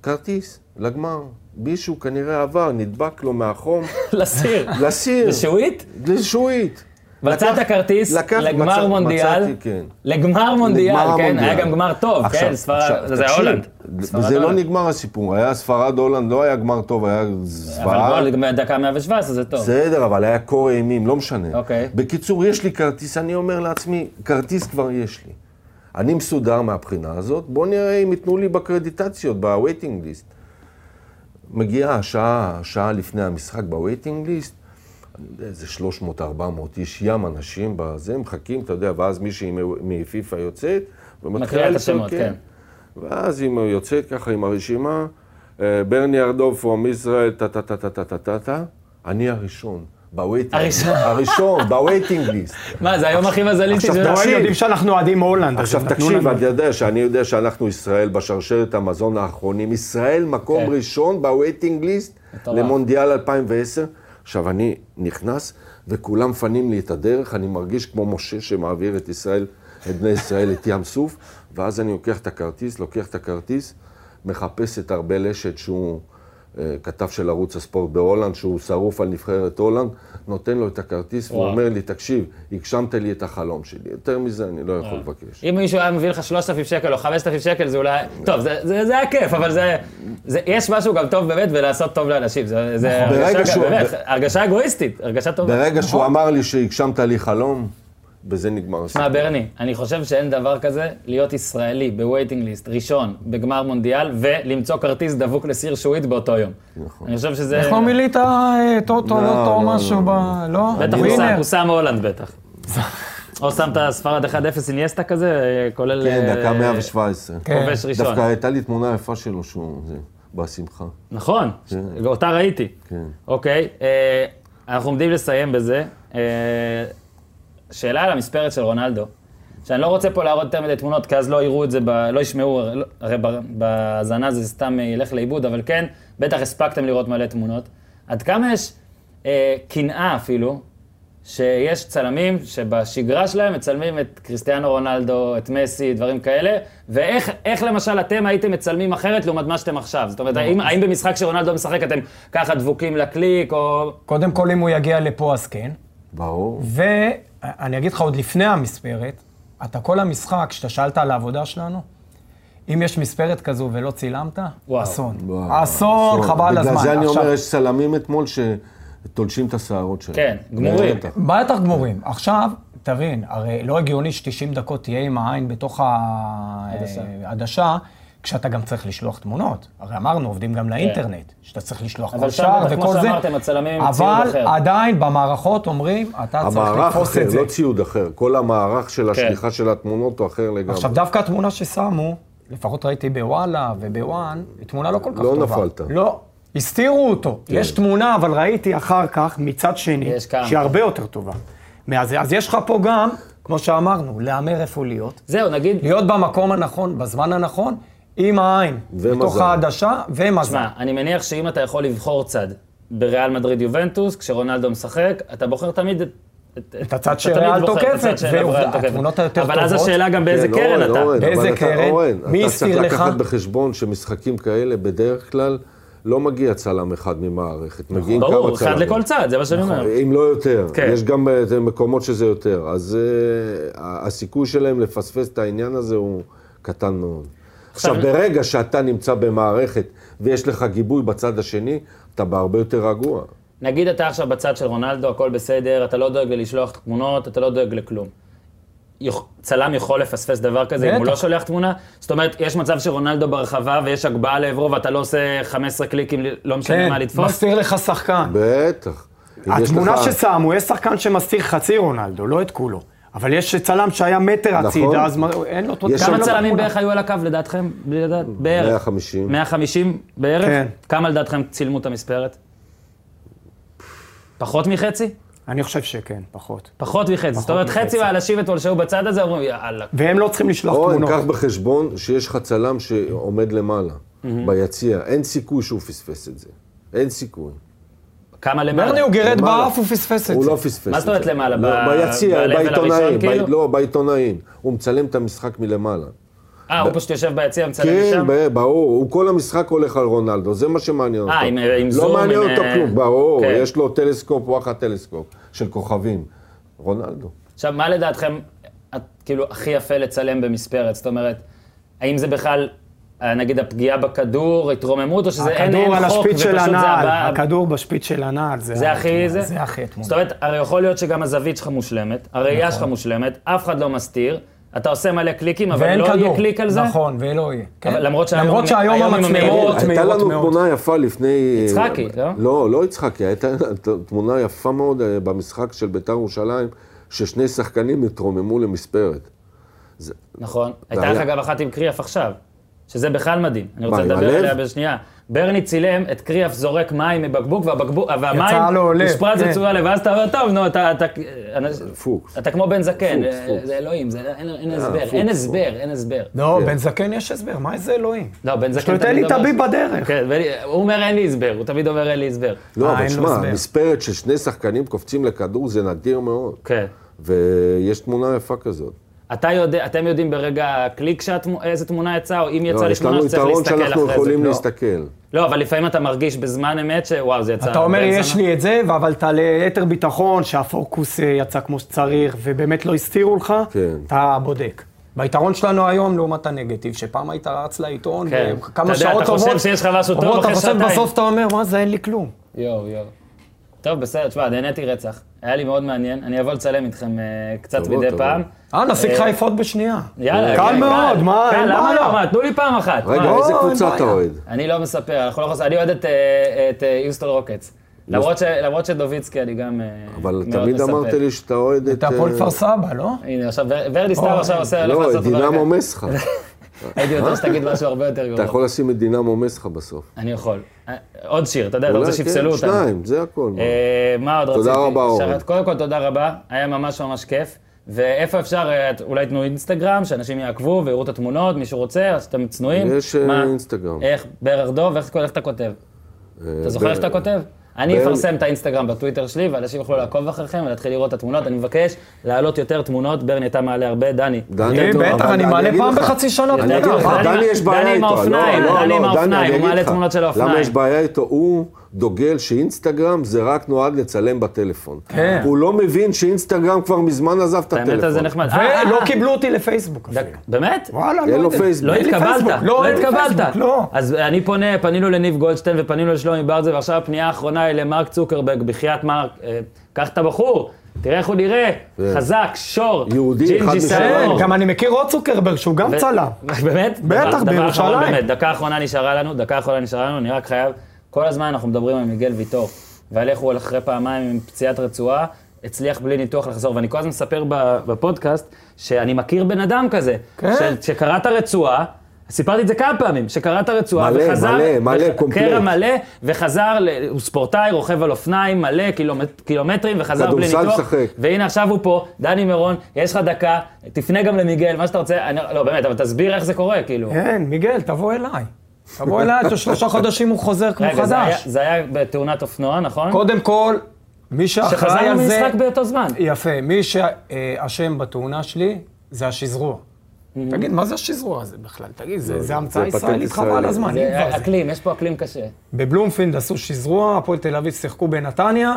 [SPEAKER 2] כרטיס לגמר. מישהו כנראה עבר, נדבק לו מהחום,
[SPEAKER 1] לסיר.
[SPEAKER 2] לסיר.
[SPEAKER 1] לשועית?
[SPEAKER 2] לשועית.
[SPEAKER 1] מצאת
[SPEAKER 2] לא. לקח-
[SPEAKER 1] כרטיס
[SPEAKER 2] לקח-
[SPEAKER 1] לגמר
[SPEAKER 2] מצא-
[SPEAKER 1] מונדיאל,
[SPEAKER 2] מצאתי, כן.
[SPEAKER 1] לגמר מונדיאל,
[SPEAKER 2] נגמר
[SPEAKER 1] כן, היה
[SPEAKER 2] המונדיאל.
[SPEAKER 1] גם גמר טוב,
[SPEAKER 2] עכשיו-
[SPEAKER 1] כן, ספרד,
[SPEAKER 2] עכשיו,
[SPEAKER 1] זה
[SPEAKER 2] תקשיב,
[SPEAKER 1] הולנד. ספרד
[SPEAKER 2] וזה לא
[SPEAKER 1] הולנד.
[SPEAKER 2] נגמר הסיפור, היה ספרד הולנד, לא היה גמר טוב, היה זוועה.
[SPEAKER 1] אבל בוא, דקה 117 זה טוב.
[SPEAKER 2] בסדר, אבל היה קור אימים, לא משנה.
[SPEAKER 1] אוקיי.
[SPEAKER 2] בקיצור, יש לי כרטיס, אני אומר לעצמי, כרטיס כבר יש לי. אני מסודר מהבחינה הזאת, בואו נראה אם ייתנו לי בקרדיטציות, ב-waiting list. מגיעה השעה, שעה לפני המשחק בווייטינג ליסט, אני יודע, איזה 300-400 איש, ים אנשים בזה, מחכים, אתה יודע, ואז מישהי מ- מפיפ"א יוצאת,
[SPEAKER 1] מקריאה
[SPEAKER 2] ומתחילה
[SPEAKER 1] את השמות, כן.
[SPEAKER 2] ואז אם היא יוצאת ככה עם הרשימה, אה, ברני ארדוף פרום ישראל, טה-טה-טה-טה-טה-טה, אני הראשון, בווייטינג.
[SPEAKER 1] הראשון.
[SPEAKER 2] הראשון, בווייטינג ליסט.
[SPEAKER 1] מה, זה היום הכי מזליסטי
[SPEAKER 2] עכשיו,
[SPEAKER 1] שלנו.
[SPEAKER 2] תקשיב.
[SPEAKER 5] הם יודעים שאנחנו אוהדים הולנד. אז
[SPEAKER 2] עכשיו
[SPEAKER 5] הם נתנו
[SPEAKER 2] תקשיב,
[SPEAKER 5] לנו-
[SPEAKER 2] אני יודע שאני יודע שאנחנו ישראל בשרשרת המזון האחרונים. ישראל מקום
[SPEAKER 1] כן.
[SPEAKER 2] ראשון בווייטינג ליסט
[SPEAKER 1] מטורף.
[SPEAKER 2] למונדיאל 2010. עכשיו אני נכנס וכולם מפנים לי את הדרך, אני מרגיש כמו משה שמעביר את ישראל, את בני ישראל, את ים סוף, ואז אני לוקח את הכרטיס, לוקח את הכרטיס, מחפש את ארבל אשת שהוא אה, כתב של ערוץ הספורט בהולנד, שהוא שרוף על נבחרת הולנד, נותן לו את הכרטיס, והוא
[SPEAKER 1] וואו.
[SPEAKER 2] אומר לי, תקשיב, הגשמת לי את החלום שלי, יותר מזה אני לא יכול לבקש.
[SPEAKER 1] אם מישהו היה מביא לך 3,000 שקל או 5,000 שקל, זה אולי... טוב, זה- זה זה היה כיף, אבל זה... זה- יש משהו גם טוב באמת בלעשות טוב לאנשים. זה זה
[SPEAKER 2] נכון. ברגע
[SPEAKER 1] הרגשה גם-
[SPEAKER 2] שהוא-
[SPEAKER 1] באמת, הרגשה אגואיסטית, הרגשה טובה.
[SPEAKER 2] ברגע שהוא
[SPEAKER 3] נכון.
[SPEAKER 2] אמר לי שהגשמת לי חלום, בזה נגמר
[SPEAKER 1] שמע,
[SPEAKER 2] הסיפור.
[SPEAKER 1] ברני, אני חושב שאין דבר כזה להיות ישראלי בווייטינג ליסט ראשון בגמר מונדיאל ולמצוא כרטיס דבוק לסיר שועית באותו יום. נכון. אני חושב שזה...
[SPEAKER 3] איך לא מילאת אה, טוטו,
[SPEAKER 2] לא,
[SPEAKER 3] לוטו או
[SPEAKER 2] לא,
[SPEAKER 3] משהו
[SPEAKER 2] לא,
[SPEAKER 3] ב... לא?
[SPEAKER 1] בטח, הוא
[SPEAKER 3] ווינר?
[SPEAKER 1] שם- הוא שם הולנד בטח. או שם את הספרד 1-0 איניאסטה כזה, אה, כולל...
[SPEAKER 2] כן,
[SPEAKER 1] אה,
[SPEAKER 2] דקה 117.
[SPEAKER 3] כן.
[SPEAKER 1] כובש ראשון.
[SPEAKER 2] דווקא הייתה לי תמונה יפה שלו שהוא, זה, בשמחה.
[SPEAKER 1] נכון, אותה ראיתי.
[SPEAKER 2] כן.
[SPEAKER 1] אוקיי, אה, אנחנו עומדים לסיים בזה. אה, שאלה על המספרת של רונלדו, שאני לא רוצה פה להראות יותר מדי תמונות, כי אז לא יראו את זה, ב, לא ישמעו, הרי- לא- הרי ב- בהאזנה זה סתם אה, ילך לאיבוד, אבל כן, בטח הספקתם לראות מלא תמונות. עד כמה יש אה, קנאה אפילו, שיש צלמים שבשגרה שלהם מצלמים את קריסטיאנו רונלדו, את מסי, דברים כאלה, ואיך איך למשל אתם הייתם מצלמים אחרת לעומת מה שאתם עכשיו? זאת אומרת, האם, האם במשחק שרונלדו משחק אתם ככה דבוקים לקליק, או...
[SPEAKER 3] קודם כל, אם הוא יגיע לפה, אז כן.
[SPEAKER 2] ברור.
[SPEAKER 3] ואני אגיד לך, עוד לפני המספרת, אתה כל המשחק, כשאתה שאלת על העבודה שלנו, אם יש מספרת כזו ולא צילמת,
[SPEAKER 1] וואו.
[SPEAKER 3] אסון.
[SPEAKER 2] וואו,
[SPEAKER 3] אסון, חבל על הזמן.
[SPEAKER 2] בגלל זה אני
[SPEAKER 3] עכשיו-
[SPEAKER 2] אומר, יש צלמים אתמול שתולשים את השערות שלהם.
[SPEAKER 1] כן, גמורים.
[SPEAKER 2] בטח.
[SPEAKER 3] בטח גמורים. עכשיו, תבין, הרי לא הגיוני ש-90 דקות תהיה עם העין בתוך העדשה, כשאתה גם צריך לשלוח תמונות. הרי אמרנו, עובדים גם לאינטרנט, שאתה צריך לשלוח
[SPEAKER 1] כן. אבל
[SPEAKER 3] כל
[SPEAKER 1] שם,
[SPEAKER 3] שער
[SPEAKER 1] כמו
[SPEAKER 3] וכל זה.
[SPEAKER 1] שאמרתם, הצלמים עם ציוד אחר.
[SPEAKER 3] אבל עדיין, במערכות אומרים, אתה צריך
[SPEAKER 2] המערך
[SPEAKER 3] לתפוס
[SPEAKER 2] אחר,
[SPEAKER 3] את זה. כן.
[SPEAKER 2] לא ציוד אחר. כל המערך של השליחה של התמונות הוא אחר לגמרי.
[SPEAKER 3] עכשיו, דווקא התמונה ששמו, לפחות ראיתי בוואלה ובוואן, היא תמונה לא כל כך
[SPEAKER 2] לא
[SPEAKER 3] טובה.
[SPEAKER 2] נפלת. כן.
[SPEAKER 3] לא, הסתירו אותו.
[SPEAKER 5] יש תמונה, אבל ראיתי אחר כך, מצד שני,
[SPEAKER 1] יש כמה.
[SPEAKER 5] שהיא הרבה יותר טובה. מאז, אז יש לך פה גם, כמו שאמרנו, להמר איפה להיות.
[SPEAKER 1] זהו, נגיד,
[SPEAKER 3] להיות במקום הנכון, בזמן הנכון, עם העין.
[SPEAKER 2] ומזל.
[SPEAKER 3] בתוך העדשה, ומזל.
[SPEAKER 1] תשמע, אני מניח שאם אתה יכול לבחור צד בריאל מדריד יובנטוס, כשרונלדו משחק, אתה בוחר תמיד את...
[SPEAKER 3] את הצד
[SPEAKER 1] אתה תמיד
[SPEAKER 3] שריאל
[SPEAKER 1] בוחר את הצד
[SPEAKER 3] תוקפת,
[SPEAKER 1] של
[SPEAKER 3] ועובדה,
[SPEAKER 1] ריאל תוקפת.
[SPEAKER 3] התמונות היותר
[SPEAKER 1] אבל אז
[SPEAKER 3] טובות-
[SPEAKER 1] השאלה גם באיזה
[SPEAKER 2] כן,
[SPEAKER 1] קרן
[SPEAKER 2] אורן,
[SPEAKER 1] אתה.
[SPEAKER 2] אורן,
[SPEAKER 3] באיזה
[SPEAKER 2] אבל אתה-
[SPEAKER 3] קרן?
[SPEAKER 2] אורן,
[SPEAKER 3] מי
[SPEAKER 2] אתה צריך
[SPEAKER 3] הסתיר לך?
[SPEAKER 2] לקחת בחשבון שמשחקים כאלה, בדרך כלל, לא מגיע צלם אחד ממערכת,
[SPEAKER 3] נכון.
[SPEAKER 2] מגיעים כמה צלמים.
[SPEAKER 1] ברור, אחד לכל צד, זה מה שאני אומר.
[SPEAKER 2] אם לא יותר.
[SPEAKER 1] כן.
[SPEAKER 2] יש גם אה, זה מקומות שזה יותר. אז אה, ה- הסיכוי שלהם לפספס את העניין הזה הוא קטן מאוד. עכשיו,
[SPEAKER 1] עכשיו-
[SPEAKER 2] ברגע שאתה נמצא במערכת ויש לך גיבוי בצד השני, אתה בהרבה יותר רגוע.
[SPEAKER 1] נגיד אתה עכשיו בצד של רונלדו, הכל בסדר, אתה לא דואג ללשלוח תמונות, אתה לא דואג לכלום. יוכ- צלם יכול לפספס דבר כזה אם הוא
[SPEAKER 3] בטח.
[SPEAKER 1] לא שולח תמונה? זאת אומרת, יש מצב שרונלדו ברחבה ויש הגבהה לעברו ואתה לא עושה 15 קליקים, לא משנה
[SPEAKER 3] כן,
[SPEAKER 1] מה לתפוס?
[SPEAKER 3] מסתיר לך שחקן.
[SPEAKER 2] בטח. אם יש
[SPEAKER 5] התמונה
[SPEAKER 2] לך-
[SPEAKER 5] ששמו, יש שחקן שמסתיר חצי רונלדו, לא את כולו. אבל יש צלם שהיה מטר הצידה, אז מה- אין לו אותו...
[SPEAKER 2] נכון. יש
[SPEAKER 1] כמה
[SPEAKER 2] שם-
[SPEAKER 1] צלמים בערך היו על הקו לדעתכם? בלי לדעת, בערך.
[SPEAKER 2] 150.
[SPEAKER 1] 150 בערך?
[SPEAKER 5] כן.
[SPEAKER 1] כמה לדעתכם צילמו את המספרת? פחות מחצי?
[SPEAKER 5] אני חושב שכן, פחות.
[SPEAKER 1] פחות מחצי. זאת אומרת, חצי מהאנשים אתמול שהיו בצד הזה אומרים, יאללה.
[SPEAKER 5] והם לא צריכים לשלוח
[SPEAKER 2] אורן,
[SPEAKER 5] תמונות.
[SPEAKER 2] קח בחשבון שיש לך צלם שעומד למעלה, ביציע. אין סיכוי שהוא פספס את זה. אין סיכוי.
[SPEAKER 1] כמה למעלה?
[SPEAKER 3] ברני הוא גירד
[SPEAKER 2] למעלה.
[SPEAKER 3] באף, הוא פספס את
[SPEAKER 2] הוא
[SPEAKER 3] זה.
[SPEAKER 2] לא פספס את זה.
[SPEAKER 1] מה זאת אומרת למעלה?
[SPEAKER 2] לא,
[SPEAKER 1] ב-
[SPEAKER 2] ביציע,
[SPEAKER 1] ב-level הראשון,
[SPEAKER 2] בעיתונאים.
[SPEAKER 1] כאילו?
[SPEAKER 2] ב- לא, בעיתונאים. הוא מצלם את המשחק מלמעלה.
[SPEAKER 1] אה, הוא פשוט יושב ביציע ומצלם
[SPEAKER 2] כן,
[SPEAKER 1] משם?
[SPEAKER 2] ב- ברור. הוא כל המשחק הולך על רונלדו, זה מה שמעניין אותו.
[SPEAKER 1] אה, עם- עם זום,
[SPEAKER 2] לא מעניין
[SPEAKER 1] עם,
[SPEAKER 2] אותו
[SPEAKER 1] אה,
[SPEAKER 2] כלום, ברור.
[SPEAKER 1] כן.
[SPEAKER 2] יש לו טלסקופ, וואחד טלסקופ, של כוכבים. רונלדו.
[SPEAKER 1] עכשיו, מה לדעתכם, את- כאילו, הכי יפה לצלם במספרת? זאת אומרת, האם זה בכלל, אה, נגיד, הפגיעה בכדור, התרוממות, או שזה אין אין חוק,
[SPEAKER 5] הכדור על השפיץ של
[SPEAKER 1] ופשוט זה
[SPEAKER 5] הנעל,
[SPEAKER 1] הבא-
[SPEAKER 5] הכדור בשפיץ של הנעל,
[SPEAKER 1] זה הכי זה?
[SPEAKER 3] אה, אוקיי, זה הכי אתמול. נכון.
[SPEAKER 1] זאת אומרת, הרי יכול להיות שגם הזווית שלך מושלמת, הראייה שלך מושלמת, אף אחד לא מסתיר, אתה עושה מלא קליקים, אבל
[SPEAKER 3] ואין
[SPEAKER 1] לא
[SPEAKER 3] כדור.
[SPEAKER 1] יהיה קליק על זה?
[SPEAKER 3] נכון, ולא יהיה. כן.
[SPEAKER 1] למרות שהיום-
[SPEAKER 3] למרות שהיום
[SPEAKER 1] היום עם
[SPEAKER 3] המצלמות
[SPEAKER 1] המהירות-
[SPEAKER 2] הייתה
[SPEAKER 3] מהירות
[SPEAKER 2] לנו
[SPEAKER 3] מאוד.
[SPEAKER 2] תמונה יפה לפני...
[SPEAKER 1] יצחקי, לא?
[SPEAKER 2] לא, לא יצחקי, הייתה לנו תמונה יפה מאוד אה, במשחק של בית"ר ירושלים, ששני שחקנים התרוממו למספרת.
[SPEAKER 1] נכון. הייתה
[SPEAKER 2] בעיה.
[SPEAKER 1] לך גם אחת עם קריאף עכשיו, שזה בכלל מדהים. אני רוצה
[SPEAKER 2] עם
[SPEAKER 1] לדבר
[SPEAKER 2] הלב?
[SPEAKER 1] עליה בשנייה. ברני צילם את קריאף זורק מים מבקבוק, והבקבוק- והמים
[SPEAKER 3] לו לב,
[SPEAKER 1] משפרץ
[SPEAKER 3] כן.
[SPEAKER 1] בצורה לב, ואז אתה אומר, טוב, נו, אתה... אתה- אנ-
[SPEAKER 2] פוקס.
[SPEAKER 1] אתה כמו בן זקן,
[SPEAKER 2] פוקס,
[SPEAKER 1] אה,
[SPEAKER 2] פוקס.
[SPEAKER 1] זה אלוהים, זה- אין- אין הסבר,
[SPEAKER 2] פוקס,
[SPEAKER 1] אין
[SPEAKER 2] פוקס.
[SPEAKER 1] הסבר, אין הסבר.
[SPEAKER 3] לא,
[SPEAKER 2] כן.
[SPEAKER 3] בן זקן יש הסבר, מה איזה אלוהים?
[SPEAKER 1] לא, בן זקן
[SPEAKER 5] יש לו את אלי
[SPEAKER 1] אומר-
[SPEAKER 5] טביב בדרך.
[SPEAKER 1] כן, ואלי- הוא אומר אין לי הסבר, הוא תמיד אומר אין לי הסבר.
[SPEAKER 2] לא,
[SPEAKER 3] אה,
[SPEAKER 2] אבל
[SPEAKER 3] אין
[SPEAKER 2] שמע,
[SPEAKER 3] לו הסבר.
[SPEAKER 2] מספרת של שני שחקנים קופצים לכדור זה נדיר מאוד.
[SPEAKER 1] כן.
[SPEAKER 2] ויש תמונה יפה כזאת.
[SPEAKER 1] אתה יודע, אתם יודעים ברגע הקליק שאת- איזה תמונה יצאה, או אם יצא
[SPEAKER 2] לא,
[SPEAKER 1] לי
[SPEAKER 2] יש
[SPEAKER 1] תמונה
[SPEAKER 2] לנו
[SPEAKER 1] שצריך
[SPEAKER 2] יתרון
[SPEAKER 1] להסתכל אחרי זה.
[SPEAKER 2] שאנחנו יכולים
[SPEAKER 1] לא.
[SPEAKER 2] להסתכל.
[SPEAKER 1] לא, אבל לפעמים אתה מרגיש בזמן אמת שוואו, זה יצא...
[SPEAKER 3] אתה אומר,
[SPEAKER 1] בן
[SPEAKER 3] יש
[SPEAKER 1] זונה."
[SPEAKER 5] לי את זה, אבל אתה ליתר ביטחון, שהפוקוס אה, יצא כמו שצריך, ובאמת לא הסתירו לך,
[SPEAKER 2] כן.
[SPEAKER 5] אתה בודק.
[SPEAKER 3] ביתרון שלנו היום לעומת הנגטיב, שפעם היית רץ לעיתון,
[SPEAKER 1] כן. אתה
[SPEAKER 3] כמה
[SPEAKER 1] יודע,
[SPEAKER 3] שעות
[SPEAKER 1] אתה חושב
[SPEAKER 3] טובות,
[SPEAKER 1] שיש לך משהו טוב
[SPEAKER 3] עוברות,
[SPEAKER 1] אחרי
[SPEAKER 3] אתה חושב
[SPEAKER 1] שעתיים.
[SPEAKER 3] בסוף אתה אומר, מה זה, אין לי כלום.
[SPEAKER 1] יואו, יואו. טוב, בסדר, תשמע, נהניתי רצח. היה לי מאוד מעניין, אני אבוא לצלם איתכם אה, קצת
[SPEAKER 2] תבוא,
[SPEAKER 1] מדי
[SPEAKER 2] תבוא.
[SPEAKER 1] פעם.
[SPEAKER 3] אה, נשיג
[SPEAKER 1] אה,
[SPEAKER 3] חליפות בשנייה.
[SPEAKER 1] יאללה,
[SPEAKER 5] קל
[SPEAKER 1] כן,
[SPEAKER 5] מאוד, מה,
[SPEAKER 1] קל,
[SPEAKER 5] אין
[SPEAKER 1] למה
[SPEAKER 5] בעיה.
[SPEAKER 1] לא? מה, תנו לי פעם אחת.
[SPEAKER 2] רגע,
[SPEAKER 1] מה?
[SPEAKER 2] איזה
[SPEAKER 3] אין
[SPEAKER 2] קבוצה אתה
[SPEAKER 3] בעיה.
[SPEAKER 2] אוהד?
[SPEAKER 1] אני לא מספר, אנחנו לא חסר, אני אוהד את, אה, את אה, יוסטון רוקטס. למרות ש- למרות שדוביצקי אני גם אה, מאוד
[SPEAKER 2] אבל
[SPEAKER 1] מספר.
[SPEAKER 2] תמיד אמרת לי שאתה אוהד את...
[SPEAKER 3] אתה הפועל
[SPEAKER 2] אה,
[SPEAKER 3] כפר סבא, לא?
[SPEAKER 1] הנה, עכשיו ור- ורדי סטאר
[SPEAKER 3] אוי,
[SPEAKER 1] עכשיו עושה... הולך
[SPEAKER 2] לא,
[SPEAKER 1] לעשות
[SPEAKER 2] את
[SPEAKER 1] אותו
[SPEAKER 2] דינמו
[SPEAKER 1] דקה.
[SPEAKER 2] מסחה.
[SPEAKER 1] הייתי יודע שתגיד משהו הרבה יותר
[SPEAKER 2] אתה
[SPEAKER 1] גרוע.
[SPEAKER 2] יכול לשים את דינמו מסחה בסוף.
[SPEAKER 1] אני יכול. אה, עוד שיר, אתה יודע, אתה רוצה
[SPEAKER 2] אולי, כן,
[SPEAKER 1] שיפסלו אותנו.
[SPEAKER 2] שניים, זה הכל. מה.
[SPEAKER 1] אה, מה עוד רציתי?
[SPEAKER 2] תודה רבה, אורן.
[SPEAKER 1] שרת, קודם כל, תודה רבה, היה ממש ממש כיף. ואיפה אפשר, אה, את- אולי תנו אינסטגרם, שאנשים יעקבו ויראו את התמונות, מי שרוצה, אז אתם צנועים.
[SPEAKER 2] יש, אה,
[SPEAKER 1] מה?
[SPEAKER 2] אינסטגרם. אה,
[SPEAKER 1] איך, בערך דוב, איך איך אתה כותב? אתה זוכר
[SPEAKER 2] ב-
[SPEAKER 1] איך אתה כותב? אני
[SPEAKER 2] ב-
[SPEAKER 1] אפרסם את האינסטגרם בטוויטר שלי, ואנשים יוכלו לעקוב אחריכם ולהתחיל לראות את התמונות. אני מבקש להעלות יותר תמונות, ברני אתה מעלה הרבה, דני.
[SPEAKER 2] דני,
[SPEAKER 3] אני
[SPEAKER 2] טוב,
[SPEAKER 3] בטח,
[SPEAKER 2] אבל
[SPEAKER 3] אני מעלה
[SPEAKER 2] אגיד
[SPEAKER 3] פעם
[SPEAKER 2] לך-
[SPEAKER 3] בחצי שנה,
[SPEAKER 2] אני
[SPEAKER 3] אתה
[SPEAKER 2] אגיד
[SPEAKER 3] יודע.
[SPEAKER 2] לך,
[SPEAKER 1] דני-
[SPEAKER 2] דני יש
[SPEAKER 1] דני עם
[SPEAKER 2] בעיה איתו. לא,
[SPEAKER 1] האופניים,
[SPEAKER 2] לא,
[SPEAKER 1] דני
[SPEAKER 2] לא,
[SPEAKER 1] עם האופניים,
[SPEAKER 2] אני
[SPEAKER 1] הוא
[SPEAKER 2] אגיד
[SPEAKER 1] מעלה
[SPEAKER 2] לך.
[SPEAKER 1] תמונות של האופניים.
[SPEAKER 2] למה יש בעיה איתו? הוא דוגל שאינסטגרם זה רק נועד לצלם בטלפון.
[SPEAKER 3] כן.
[SPEAKER 2] הוא לא מבין שאינסטגרם כבר מזמן עזב את
[SPEAKER 1] האמת,
[SPEAKER 2] הטלפון.
[SPEAKER 1] זה נחמד. אה, אה,
[SPEAKER 5] ולא
[SPEAKER 1] אה,
[SPEAKER 5] קיבלו אותי לפייסבוק. אפילו.
[SPEAKER 1] דק- באמת?
[SPEAKER 5] וואלה,
[SPEAKER 2] אין לו
[SPEAKER 5] יודע.
[SPEAKER 1] לא
[SPEAKER 2] פייסבוק.
[SPEAKER 5] לי פייסבוק.
[SPEAKER 1] התקבלת,
[SPEAKER 5] לא,
[SPEAKER 1] לא
[SPEAKER 5] אין לי
[SPEAKER 1] התקבלת. אה,
[SPEAKER 5] פייסבוק, לא.
[SPEAKER 1] אז אני פונה, פנינו לניב גולדשטיין ופנינו לשלומי ברזל, ועכשיו הפנייה האחרונה היא למרק צוקרברג, בחייאת מרק, אה, קח את הבחור, תראה איך הוא נראה,
[SPEAKER 2] כן.
[SPEAKER 1] חזק, שור,
[SPEAKER 2] יהודי, אחד
[SPEAKER 1] ג'ינג'י
[SPEAKER 2] משלנו.
[SPEAKER 5] כן,
[SPEAKER 1] סלור.
[SPEAKER 5] גם אני מכיר עוד צוקרברג שהוא גם
[SPEAKER 2] לא
[SPEAKER 1] ו-
[SPEAKER 5] צלם.
[SPEAKER 1] באמת?
[SPEAKER 5] בטח,
[SPEAKER 1] דבר- דבר
[SPEAKER 5] בירושלים.
[SPEAKER 1] אחרון, באמת, דקה אחרונה נשארה לנו, דקה אחרונה נשארה לנו, אני רק חייב, כל הזמן אנחנו מדברים על מיגל ויטור, ועל איך הוא הולך אחרי פעמיים עם פציעת רצועה, הצליח בלי ניתוח לחזור, ואני כל הזמן מספר ב- בפודקאסט, שאני מכיר בן אדם כזה,
[SPEAKER 2] כן.
[SPEAKER 1] ש- שקרע את הרצועה, סיפרתי את זה כמה פעמים, שקרע את הרצועה
[SPEAKER 2] מלא,
[SPEAKER 1] וחזר,
[SPEAKER 2] מלא, מלא,
[SPEAKER 1] וח-
[SPEAKER 2] קומפלט.
[SPEAKER 1] קרע מלא, וחזר, ל- הוא ספורטאי, רוכב על אופניים, מלא קילומט- קילומטרים, וחזר בלי
[SPEAKER 2] כדורסל
[SPEAKER 1] ניתוח.
[SPEAKER 2] משחק.
[SPEAKER 1] והנה עכשיו הוא פה, דני מירון, יש לך דקה, תפנה גם למיגל, מה שאתה רוצה, אני, לא באמת, אבל תסביר איך זה קורה, כאילו.
[SPEAKER 3] כן, מיגל, תבוא אליי. תבוא אליי, תוך שלושה חודשים הוא חוזר כמו
[SPEAKER 1] רגע, זה היה,
[SPEAKER 3] חדש.
[SPEAKER 1] זה היה בתאונת אופנוע, נכון?
[SPEAKER 3] קודם כל, מי שאחראי על
[SPEAKER 1] שחזרנו
[SPEAKER 3] זה... אה,
[SPEAKER 1] ממשחק באותו זמן.
[SPEAKER 3] יפה, מי שאשם בתאונה שלי, זה השזרוע.
[SPEAKER 1] Mm-hmm.
[SPEAKER 3] תגיד, מה זה השזרוע הזה בכלל? תגיד, זה זה המצאה
[SPEAKER 2] לא, זה פטנט
[SPEAKER 3] ישראלית חבל
[SPEAKER 2] ישראלי.
[SPEAKER 3] הזמן, אם
[SPEAKER 1] זה
[SPEAKER 3] כבר זה.
[SPEAKER 1] אקלים, יש פה אקלים קשה.
[SPEAKER 3] בבלומפילד עשו שזרוע, הפועל תל אביב שיחקו בנתניה.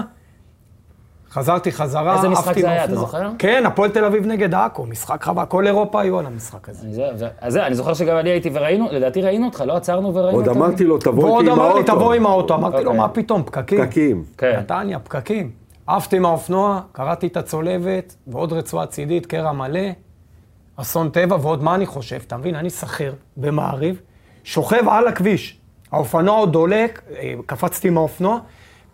[SPEAKER 3] חזרתי חזרה,
[SPEAKER 1] איזה משחק
[SPEAKER 3] עפתי
[SPEAKER 1] זה היה, אתה
[SPEAKER 3] מאופנוע.
[SPEAKER 1] זוכר?
[SPEAKER 3] כן, הפועל תל אביב נגד עכו, משחק חבל, כל אירופה היו על המשחק הזה.
[SPEAKER 1] אני זה, זה, אז זה, אני זוכר שגם אני הייתי וראינו, לדעתי ראינו אותך, לא עצרנו וראינו
[SPEAKER 2] עוד
[SPEAKER 1] אותך.
[SPEAKER 2] אמרתי לו, תבוא איתי עם
[SPEAKER 3] ועוד
[SPEAKER 2] האוטו.
[SPEAKER 3] אמר לי, תבוא עם האוטו, אמרתי לו,
[SPEAKER 1] אוקיי.
[SPEAKER 3] מה פתאום, פקקים.
[SPEAKER 2] פקקים.
[SPEAKER 1] כן.
[SPEAKER 3] נתניה, פקקים. עפתי מהאופנוע, קרעתי את הצולבת, ועוד רצועה צידית, קרע מלא, אסון טבע, ועוד מה אני חושב, אתה מבין? אני שכיר במעריב, שוכב על הכביש, האופנוע עוד דולק, אה, קפצתי עם האופנוע,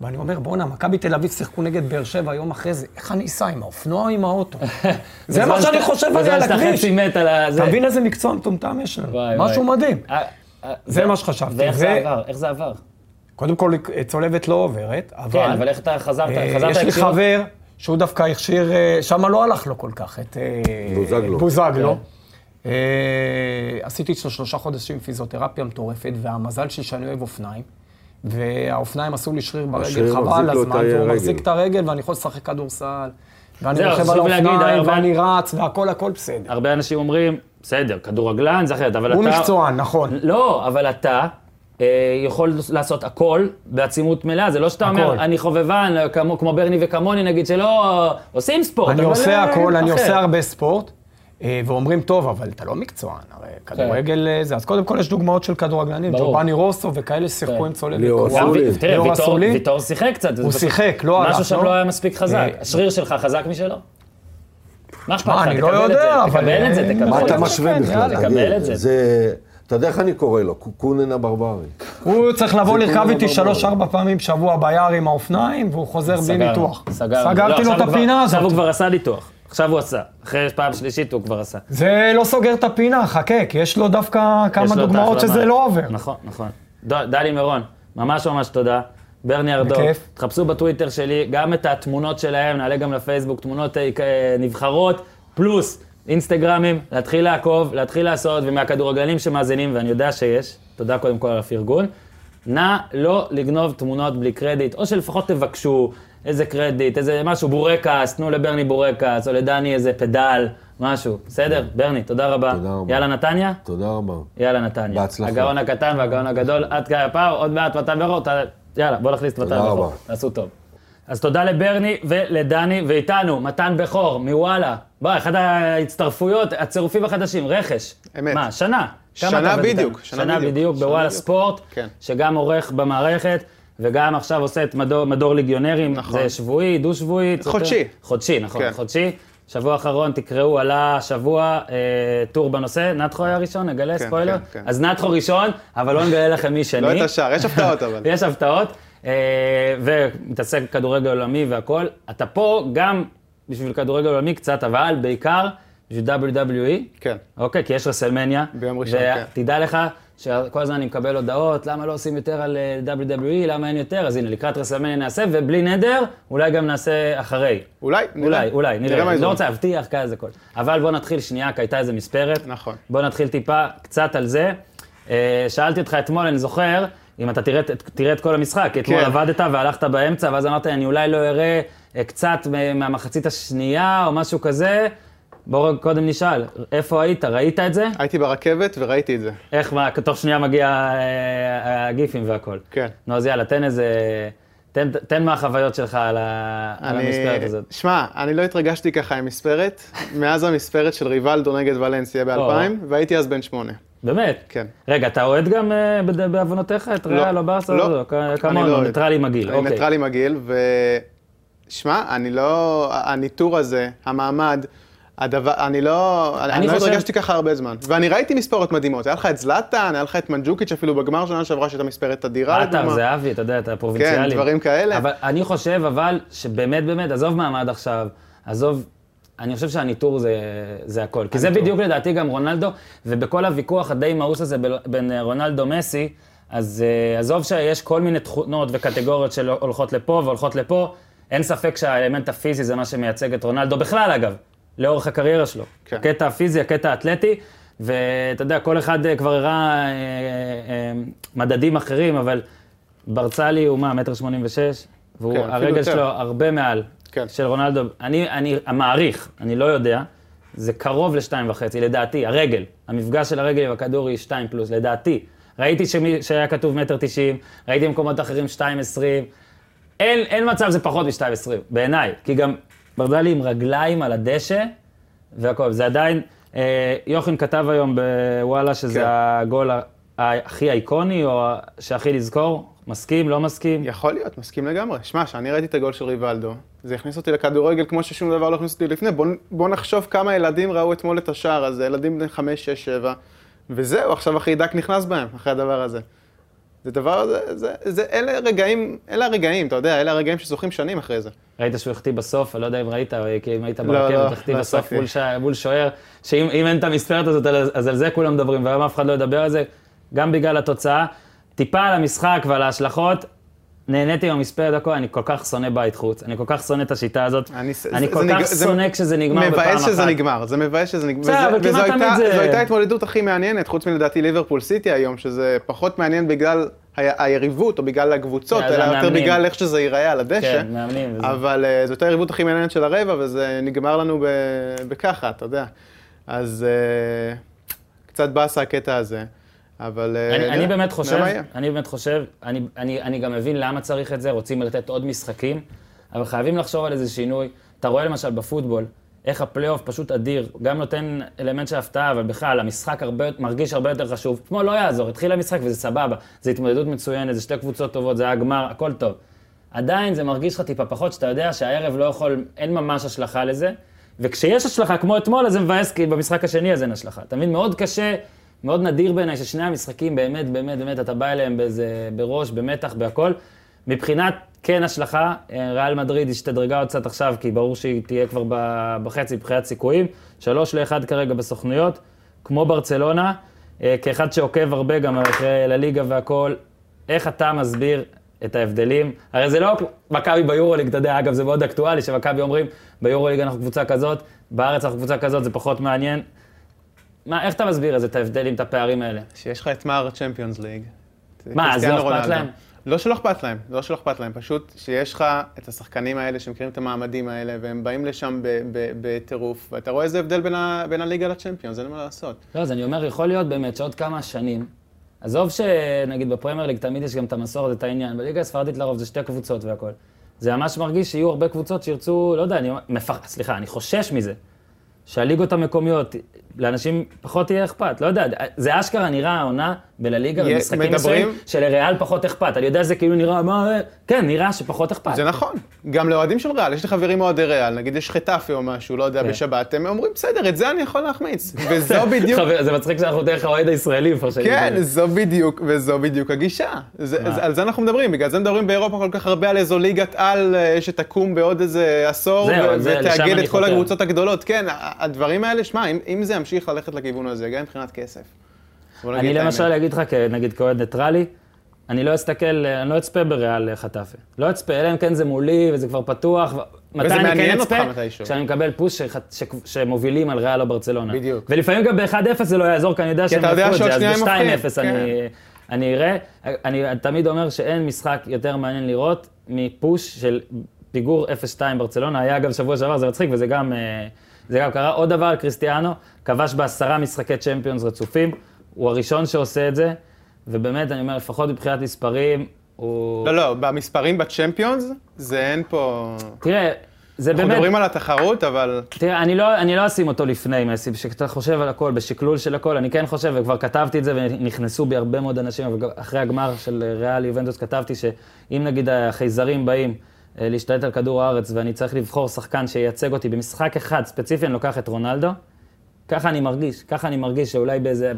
[SPEAKER 3] ואני אומר, בואנה, מכבי תל אביב שיחקו נגד באר שבע יום אחרי זה, איך אני אסע, עם האופנוע או עם האוטו? זה מה
[SPEAKER 1] בזמן
[SPEAKER 3] שאני
[SPEAKER 1] שאתה-
[SPEAKER 3] חושב עליה על
[SPEAKER 1] בזמן שאתה
[SPEAKER 3] הכביש.
[SPEAKER 1] חצי מת על הזה.
[SPEAKER 3] אתה מבין איזה מקצוע מטומטם יש לנו?
[SPEAKER 1] וואי, וואי.
[SPEAKER 3] משהו מדהים.
[SPEAKER 1] אה, אה,
[SPEAKER 3] זה מה שחשבתי.
[SPEAKER 1] ואיך זה
[SPEAKER 3] זה-
[SPEAKER 1] עבר? איך זה עבר?
[SPEAKER 3] קודם כל, צולבת לא עוברת, אבל...
[SPEAKER 1] כן, אבל איך אתה חזרת?
[SPEAKER 3] אה,
[SPEAKER 1] חזרת
[SPEAKER 3] יש לי
[SPEAKER 1] לקשירות?
[SPEAKER 3] חבר שהוא דווקא הכשיר, שם לא הלך לו כל כך, את אה,
[SPEAKER 2] בוזגלו.
[SPEAKER 3] בוזגלו.
[SPEAKER 1] כן.
[SPEAKER 3] אה, עשיתי אצלו שלושה חודשים פיזיותרפיה מטורפת, והמזל שלי שאני אוהב אופניים. והאופניים עשו לי שריר
[SPEAKER 2] השריר
[SPEAKER 3] ברגל,
[SPEAKER 2] מחזיק
[SPEAKER 3] חבל
[SPEAKER 2] לו את
[SPEAKER 3] הזמן, והוא
[SPEAKER 2] הרגל.
[SPEAKER 3] מחזיק את הרגל, ואני יכול לשחק כדורסל, ואני
[SPEAKER 1] זהו,
[SPEAKER 3] רוכב
[SPEAKER 1] חשוב
[SPEAKER 3] על
[SPEAKER 1] להגיד,
[SPEAKER 3] האופניים,
[SPEAKER 1] הרבה-
[SPEAKER 3] ואני רץ, והכל הכל בסדר.
[SPEAKER 1] הרבה אנשים אומרים, בסדר, כדורגלן זה אחרת, אבל
[SPEAKER 3] הוא
[SPEAKER 1] אתה...
[SPEAKER 3] מקצוען, נכון.
[SPEAKER 1] לא, אבל אתה אה, יכול לעשות הכל בעצימות מלאה, זה לא שאתה אומר,
[SPEAKER 3] הכל.
[SPEAKER 1] אני חובבן, אה, כמו, כמו ברני וכמוני, נגיד שלא אה, עושים ספורט.
[SPEAKER 3] אני
[SPEAKER 1] אבל,
[SPEAKER 3] עושה
[SPEAKER 1] אה,
[SPEAKER 3] הכל, אני
[SPEAKER 1] אחר.
[SPEAKER 3] עושה הרבה ספורט, אה, ואומרים, טוב, אבל אתה לא מקצוען, הרי כדורגל אה, זה. אז קודם כל יש דוגמאות של כדורגלנים,
[SPEAKER 1] כן. ברור.
[SPEAKER 3] ג'ובאני רוסו וכאלה ששיחקו
[SPEAKER 1] כן.
[SPEAKER 3] עם צולבת.
[SPEAKER 2] ליאור
[SPEAKER 1] גם
[SPEAKER 3] קרועה.
[SPEAKER 2] אסולין.
[SPEAKER 1] ו- תראה,
[SPEAKER 3] ליאור
[SPEAKER 1] ויטור-
[SPEAKER 3] אסולין.
[SPEAKER 1] ויטור שיחק קצת. זה
[SPEAKER 3] הוא
[SPEAKER 1] פשוט-
[SPEAKER 3] שיחק, לא הלך,
[SPEAKER 1] משהו שם
[SPEAKER 3] לא?
[SPEAKER 1] לא היה מספיק חזק.
[SPEAKER 3] אה,
[SPEAKER 1] השריר שלך חזק משלו? מה אכפת
[SPEAKER 3] מה,
[SPEAKER 1] לך?
[SPEAKER 3] אני לא
[SPEAKER 1] תקבל את
[SPEAKER 3] יודע,
[SPEAKER 1] זה,
[SPEAKER 3] אבל-
[SPEAKER 1] תקבל את זה,
[SPEAKER 3] מה
[SPEAKER 1] תקבל
[SPEAKER 2] מה
[SPEAKER 1] את
[SPEAKER 2] אתה
[SPEAKER 1] זה.
[SPEAKER 2] משווה בכלל?
[SPEAKER 1] יאללה.
[SPEAKER 2] תגיד?
[SPEAKER 1] קבל את זה.
[SPEAKER 2] זה... אתה יודע איך אני קורא לו? קוקונן הברברי.
[SPEAKER 3] הוא צריך לבוא
[SPEAKER 2] זה
[SPEAKER 3] לרכב
[SPEAKER 2] כאילו
[SPEAKER 3] איתי
[SPEAKER 2] לא
[SPEAKER 3] שלוש-ארבע פעמים בשבוע ביער עם האופניים, והוא חוזר בלי
[SPEAKER 1] סגרנו,
[SPEAKER 3] ניתוח.
[SPEAKER 1] סגרנו. לא,
[SPEAKER 3] סגרתי לו
[SPEAKER 1] עכשיו
[SPEAKER 3] את
[SPEAKER 1] הוא כבר-
[SPEAKER 3] הפינה
[SPEAKER 1] עכשיו הוא
[SPEAKER 3] הזאת.
[SPEAKER 1] כבר עשה ניתוח. עכשיו הוא עשה. אחרי פעם שלישית הוא כבר עשה.
[SPEAKER 3] זה לא סוגר את הפינה, חכה, כי יש לו דווקא
[SPEAKER 1] יש
[SPEAKER 3] כמה
[SPEAKER 1] לו את
[SPEAKER 3] דוגמאות
[SPEAKER 1] ההחלמה.
[SPEAKER 3] שזה לא עובר.
[SPEAKER 1] נכון, נכון. ד- דלי מירון, ממש ממש תודה. ברני ארדור,
[SPEAKER 3] בכיף.
[SPEAKER 1] תחפשו בטוויטר שלי גם את התמונות שלהם, נעלה גם לפייסבוק, תמונות אה, כ- אה, נבחרות, פלוס אינסטגרמים, להתחיל לעקוב, להתחיל לעשות, ומהכדורגלנים שמאזינים, ואני יודע שיש, תודה קודם כל על הפרגון. נא לא לגנוב תמונות בלי קרדיט, או שלפחות תבקשו איזה קרדיט, איזה משהו, בורקס, תנו לברני בורקס, או לדני איזה פדל, משהו, בסדר? ברני, תודה רבה.
[SPEAKER 2] תודה רבה.
[SPEAKER 1] יאללה, נתניה?
[SPEAKER 2] תודה רבה.
[SPEAKER 1] יאללה, נתניה.
[SPEAKER 2] בהצלחה.
[SPEAKER 1] הגאון הקטן והגאון הגדול, עד כאן הפער, עוד מעט מתן ברור, ת... יאללה, בוא נכניס את מתן
[SPEAKER 2] תודה
[SPEAKER 1] בכור,
[SPEAKER 2] רבה.
[SPEAKER 1] תעשו טוב. אז תודה לברני ולדני, ואיתנו, מתן בכור, מוואלה. בוא, אחת ההצטרפויות, הצירופים החדשים, רכש.
[SPEAKER 6] אמת.
[SPEAKER 1] מה, שנה. כמה
[SPEAKER 6] שנה
[SPEAKER 1] אתה עובד
[SPEAKER 6] בדיוק,
[SPEAKER 1] איתנו?
[SPEAKER 6] שנה
[SPEAKER 1] שנה
[SPEAKER 6] בדיוק.
[SPEAKER 1] בדיוק
[SPEAKER 6] שנה
[SPEAKER 1] בוואלה
[SPEAKER 6] בדיוק.
[SPEAKER 1] ספורט,
[SPEAKER 6] כן.
[SPEAKER 1] שגם עורך במערכת, וגם עכשיו עושה את מדור, מדור ליגיונרים.
[SPEAKER 6] נכון.
[SPEAKER 1] זה שבועי, דו-שבועי. צוטר-
[SPEAKER 6] חודשי.
[SPEAKER 1] חודשי, נכון,
[SPEAKER 6] כן.
[SPEAKER 1] חודשי. שבוע אחרון, תקראו, עלה השבוע אה, טור בנושא. נתחו היה ראשון, נגלה
[SPEAKER 6] כן,
[SPEAKER 1] ספוילר.
[SPEAKER 6] כן, כן.
[SPEAKER 1] אז נתחו ראשון, אבל לא נגלה לכם מי שני.
[SPEAKER 6] לא את השאר, יש הפתעות אבל.
[SPEAKER 1] יש הפתעות, אה, ומתעסק כדורגל עולמי והכול. אתה פה גם בשביל כדורגל עולמי קצת, אבל בעיקר בשביל WWE.
[SPEAKER 6] כן.
[SPEAKER 1] אוקיי, כי יש רסלמניה.
[SPEAKER 6] ביום ראשון, כן.
[SPEAKER 1] ותדע לך שכל הזמן אני מקבל הודעות, למה לא עושים יותר על אה, WWE, למה אין יותר, אז הנה, לקראת רסלמניה נעשה, ובלי נדר, אולי גם נעשה אחרי.
[SPEAKER 6] אולי,
[SPEAKER 1] אולי, אולי, נראה.
[SPEAKER 6] מה
[SPEAKER 1] אני לא
[SPEAKER 6] יזרום.
[SPEAKER 1] רוצה להבטיח כזה הכל. אבל בוא נתחיל שנייה, כי הייתה איזה מספרת.
[SPEAKER 6] נכון.
[SPEAKER 1] בוא נתחיל טיפה, קצת על זה. אה, שאלתי אותך אתמול, אני זוכר, אם אתה תראה, את- תראה את כל המשחק, כי אתמול
[SPEAKER 6] כן.
[SPEAKER 1] עבדת והלכת באמצע, ואז אמרת, אני אולי לא אראה אה, קצת מה- מהמחצית השנייה או משהו כזה. בואו רק קודם נשאל, איפה היית? ראית את זה?
[SPEAKER 6] הייתי ברכבת וראיתי את זה.
[SPEAKER 1] איך, מה, תוך שנייה מגיע אה, הגיפים והכל.
[SPEAKER 6] כן.
[SPEAKER 1] נו, אז יאללה, תן איזה... תן, תן מהחוויות שלך על, ה, על
[SPEAKER 6] אני-
[SPEAKER 1] המספרת הזאת.
[SPEAKER 6] שמע, אני לא התרגשתי ככה עם מספרת, מאז המספרת של ריבלדו נגד ולנסיה
[SPEAKER 1] לא.
[SPEAKER 6] ב-2000, והייתי אז בן שמונה.
[SPEAKER 1] באמת?
[SPEAKER 6] כן.
[SPEAKER 1] רגע, אתה אוהד גם אה, בד- בעוונותיך את ריאל לא, או ברסה?
[SPEAKER 6] לא,
[SPEAKER 1] כ-
[SPEAKER 6] אני
[SPEAKER 1] כמונו,
[SPEAKER 6] לא אוהד.
[SPEAKER 1] ניטרלי מגעיל.
[SPEAKER 6] אני
[SPEAKER 1] אוקיי.
[SPEAKER 6] ניטרלי מגעיל, ו... שמע, אני לא... הניטור הזה, המעמד, הדבר... אני לא... אני, אני לא
[SPEAKER 1] חושב-
[SPEAKER 6] התרגשתי ככה הרבה זמן. ואני ראיתי מספרות מדהימות, היה לך את זלאטן, היה לך את מנג'וקיץ' אפילו בגמר שנה שעברה שהייתה מספרת אדירה.
[SPEAKER 1] עטר,
[SPEAKER 6] לדוגמה.
[SPEAKER 1] זהבי, אתה יודע, אתה פרובינציאלי.
[SPEAKER 6] כן, דברים כאלה.
[SPEAKER 1] אבל אני חושב, אבל, שבאמת, באמת, עזוב מעמד עכשיו, עזוב... אני חושב שהניטור זה, זה הכל. כי זה בדיוק לדעתי גם רונלדו, ובכל הוויכוח הדי מאוס הזה בל- בין אה, רונלדו מסי, אז אה, עזוב שיש כל מיני תכונות וקטגוריות שהולכות לפה והולכות לפה, אין ספק שהאלמנט הפיזי זה מה שמייצג את רונלדו בכלל, אגב, לאורך הקריירה שלו.
[SPEAKER 6] כן.
[SPEAKER 1] הקטע הפיזי, הקטע האתלטי, ואתה יודע, כל אחד אה, כבר הראה אה, אה, מדדים אחרים, אבל ברצלי הוא מה, מטר שמונים ושש, והוא,
[SPEAKER 6] כן, אפילו
[SPEAKER 1] הרגל
[SPEAKER 6] יותר.
[SPEAKER 1] שלו הרבה מעל
[SPEAKER 6] כן.
[SPEAKER 1] של רונלדו. אני, אני המעריך, אני לא יודע, זה קרוב לשתיים וחצי, לדעתי, הרגל, המפגש של הרגל עם הכדור היא שתיים פלוס, לדעתי. ראיתי שמי, שהיה כתוב מטר תשעים, ראיתי במקומות אחרים שתיים עשרים. אין, אין מצב זה פחות מ-2.20, בעיניי. כי גם ברדלי עם רגליים על הדשא, והכל. זה עדיין, אה, יוחין כתב היום בוואלה שזה
[SPEAKER 6] כן.
[SPEAKER 1] הגול ה- הכי אייקוני, או ה- שהכי לזכור. מסכים, לא מסכים?
[SPEAKER 6] יכול להיות, מסכים לגמרי. שמע, כשאני ראיתי את הגול של ריבלדו, זה הכניס אותי לכדורגל כמו ששום דבר לא הכניס אותי לפני. בוא, בוא נחשוב כמה ילדים ראו אתמול את השער הזה, ילדים בני 5, 6, 7, וזהו, עכשיו החיידק נכנס בהם, אחרי הדבר הזה. זה דבר, זה, זה, זה, אלה רגעים, אלה הרגעים, אתה יודע, אלה הרגעים שזוכים שנים אחרי זה.
[SPEAKER 1] ראית שהוא החטיא בסוף, אני לא יודע אם ראית, אבל כי אם היית
[SPEAKER 6] לא, לא,
[SPEAKER 1] ברכבת, החטיא
[SPEAKER 6] לא
[SPEAKER 1] בסוף
[SPEAKER 6] עסקתי.
[SPEAKER 1] מול ש- מול שוער, שאם אם אין את המספרת הזאת, אז- אז על זה כולם מדברים, והיום אף אחד לא ידבר על זה, גם בגלל התוצאה. טיפה על המשחק ועל ההשלכות. נהניתי מהמספרת הכל, אני כל כך שונא בית חוץ, אני כל כך שונא את השיטה הזאת, אני,
[SPEAKER 6] ס- זה-
[SPEAKER 1] כל
[SPEAKER 6] זה
[SPEAKER 1] כך
[SPEAKER 6] נג- זה
[SPEAKER 1] שונא כשזה נגמר בפעם אחת.
[SPEAKER 6] מבאס שזה נגמר, זה מבאס שזה נגמר.
[SPEAKER 1] בסדר,
[SPEAKER 6] וזה-
[SPEAKER 1] אבל כמעט
[SPEAKER 6] וזו
[SPEAKER 1] תמיד אה,
[SPEAKER 6] הייתה-
[SPEAKER 1] זה-
[SPEAKER 6] זו הייתה ההתמודדות הכי מעניינת, חוץ מלדעתי ליברפול סיטי היום, שזה פחות מעניין בגלל ה- היריבות או בגלל הקבוצות,
[SPEAKER 1] כן, זה
[SPEAKER 6] אלא יותר
[SPEAKER 1] המאמנים.
[SPEAKER 6] בגלל איך שזה ייראה על הדשא.
[SPEAKER 1] כן, מאמנים וזה.
[SPEAKER 6] אבל אה, זו הייתה היריבות הכי מעניינת של הרבע, וזה נגמר לנו ב- בככה, אתה יודע. אז אה, קצת באסה הקטע הזה, אבל... אה,
[SPEAKER 1] אני,
[SPEAKER 6] נראה-
[SPEAKER 1] אני באמת
[SPEAKER 6] נראה
[SPEAKER 1] חושב,
[SPEAKER 6] מה יהיה.
[SPEAKER 1] אני באמת חושב, אני, אני, אני גם מבין למה צריך את זה, רוצים לתת עוד משחקים, אבל חייבים לחשוב על איזה שינוי. אתה רואה למשל בפוטבול, איך הפלייאוף פשוט אדיר, גם נותן אלמנט של הפתעה, אבל בכלל, המשחק הרבה, מרגיש הרבה יותר חשוב. כמו לא יעזור, התחיל המשחק וזה סבבה, זו התמודדות מצוינת, זה שתי קבוצות טובות, זה היה גמר, הכל טוב. עדיין זה מרגיש לך טיפה פחות, שאתה יודע שהערב לא יכול, אין ממש השלכה לזה, וכשיש השלכה כמו אתמול, אז זה מבאס, כי במשחק השני אז אין השלכה. אתה מבין? מאוד קשה, מאוד נדיר בעיניי ששני המשחקים באמת, באמת, באמת, אתה בא אליהם באיזה, בראש, במתח, בהכל. מבחינת כן השלכה, אה, ריאל מדריד השתדרגה עוד קצת עכשיו, כי ברור שהיא תהיה כבר ב- בחצי מבחינת סיכויים. שלוש לאחד כרגע בסוכנויות, כמו ברצלונה, אה, כאחד שעוקב הרבה גם אחרי לליגה והכול, איך אתה מסביר את ההבדלים? הרי זה לא רק מכבי ביורוליג, אתה יודע, אגב, זה מאוד אקטואלי, שמכבי אומרים, ביורוליג אנחנו קבוצה כזאת, בארץ אנחנו קבוצה כזאת, זה פחות מעניין. מה, איך אתה מסביר את זה, את ההבדלים, את הפערים האלה?
[SPEAKER 6] שיש לך את מאר צ'מפיונס ליג.
[SPEAKER 1] מה, אז לא
[SPEAKER 6] קריסטיאנו
[SPEAKER 1] אכפת
[SPEAKER 6] רונלדו.
[SPEAKER 1] להם?
[SPEAKER 6] לא שלא אכפת להם, לא שלא אכפת להם, פשוט שיש לך את השחקנים האלה שמכירים את המעמדים האלה, והם באים לשם ב- ב- בטירוף, ואתה רואה איזה הבדל בין, ה- בין הליגה לצ'מפיונס, אין מה לעשות.
[SPEAKER 1] לא, אז אני אומר, יכול להיות באמת שעוד כמה שנים, עזוב שנגיד בפרמייר ליג תמיד יש גם את המסורת, את העניין, בליגה הספרדית לרוב זה שתי קבוצות והכול. זה ממש מרגיש שיהיו הרבה קבוצות שירצו, לא יודע, אני אומר- מפח... סליחה, אני חושש מזה. שהליגות המקומיות, לאנשים פחות יהיה אכפת, לא יודע, זה אשכרה נראה העונה בלליגה
[SPEAKER 6] יהיה-
[SPEAKER 1] במשחקים
[SPEAKER 6] מדברים-
[SPEAKER 1] מסוימים שלריאל פחות אכפת, אני יודע זה כאילו נראה, מה, כן, נראה שפחות אכפת.
[SPEAKER 6] זה נכון, גם לאוהדים של ריאל, יש לי חברים אוהדי ריאל, נגיד יש חטאפי או משהו, לא יודע,
[SPEAKER 1] כן.
[SPEAKER 6] בשבת, הם אומרים, בסדר, את זה אני יכול להחמיץ. וזו לא בדיוק,
[SPEAKER 1] חבר, זה מצחיק שאנחנו דרך האוהד הישראלי מפרשנים.
[SPEAKER 6] כן,
[SPEAKER 1] את זה.
[SPEAKER 6] זו בדיוק, וזו בדיוק הגישה. זה,
[SPEAKER 1] אה, מה?
[SPEAKER 6] זה, על זה אנחנו מדברים, בגלל זה מדברים באירופה כל כך הרבה על איזו ליגת על אה, שתקום בעוד איזה עשור,
[SPEAKER 1] זהו,
[SPEAKER 6] ו-
[SPEAKER 1] זה- לשם
[SPEAKER 6] ותאגד
[SPEAKER 1] אני
[SPEAKER 6] את כל
[SPEAKER 1] חותר.
[SPEAKER 6] הקבוצות הגדולות. כן, ה- הדברים האלה, שמע, אם, אם זה ימשיך ללכת לכיוון הזה, גם מבחינת כסף. בוא נגיד
[SPEAKER 1] אני
[SPEAKER 6] את האמת.
[SPEAKER 1] למשל אגיד לך, כ- נגיד כאוהד ניטרלי, אני לא אסתכל, אני לא אצפה בריאל אה, חטאפה. לא אצפה, אלא אם כן זה מולי וזה כבר פתוח. ו- מתי אני
[SPEAKER 6] מעניין
[SPEAKER 1] כן
[SPEAKER 6] אותך
[SPEAKER 1] אצפה?
[SPEAKER 6] מתישהו.
[SPEAKER 1] כשאני מקבל פוש שח- ש- שמובילים על ריאל או ברצלונה.
[SPEAKER 6] בדיוק.
[SPEAKER 1] ולפעמים גם ב-1-0 זה לא יעזור, כי אני יודע שהם
[SPEAKER 6] אתה יודע
[SPEAKER 1] יעשו את
[SPEAKER 6] שעוד
[SPEAKER 1] זה, אז
[SPEAKER 6] שנייה הם
[SPEAKER 1] ב-2-0
[SPEAKER 6] הופכים, כן.
[SPEAKER 1] אני... אני אראה, אני תמיד אומר שאין משחק יותר מעניין לראות מפוש של פיגור 0-2 ברצלונה. היה אגב שבוע שעבר, זה מצחיק, וזה גם, אה, זה גם קרה. עוד דבר על קריסטיאנו, כבש בעשרה משחקי צ'מפיונס רצופים, הוא הראשון שעושה את זה, ובאמת, אני אומר, לפחות מבחינת מספרים, הוא...
[SPEAKER 6] לא, לא, במספרים בצ'מפיונס, זה אין פה...
[SPEAKER 1] תראה, זה
[SPEAKER 6] אנחנו
[SPEAKER 1] באמת...
[SPEAKER 6] מדברים על התחרות, אבל...
[SPEAKER 1] תראה, אני לא, אני לא אשים אותו לפני מסי, כשאתה חושב על הכל, בשקלול של הכל, אני כן חושב, וכבר כתבתי את זה, ונכנסו בי הרבה מאוד אנשים, אבל גם אחרי הגמר של אה, ריאל יובנטוס כתבתי שאם נגיד החייזרים באים אה, להשתלט על כדור הארץ, ואני צריך לבחור שחקן שייצג אותי במשחק אחד ספציפי, אני לוקח את רונלדו, ככה אני מרגיש, ככה אני מרגיש שאולי באיזה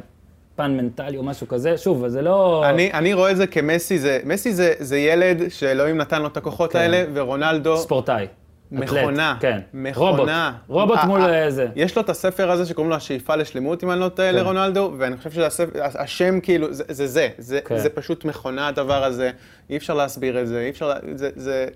[SPEAKER 1] פן מנטלי או משהו כזה, שוב, אז זה לא...
[SPEAKER 6] אני, אני רואה את זה כמסי, זה, מסי זה, זה ילד שאלוהים נתן לו את הכוחות
[SPEAKER 1] כן.
[SPEAKER 6] האלה, ורונלדו,
[SPEAKER 1] ספורטאי. אתלט,
[SPEAKER 6] מכונה.
[SPEAKER 1] כן.
[SPEAKER 6] מכונה.
[SPEAKER 1] רובוט. רובוט
[SPEAKER 6] אה,
[SPEAKER 1] מול
[SPEAKER 6] אה,
[SPEAKER 1] אה, זה. כן.
[SPEAKER 6] יש לו את הספר הזה שקוראים לו השאיפה לשלמות, אם אני לא טועה, לרונלדו, ואני חושב שהשם כאילו, זה זה, זה, זה,
[SPEAKER 1] כן.
[SPEAKER 6] זה פשוט מכונה הדבר הזה, אי אפשר להסביר את זה, אי אפשר, לה- זה, זה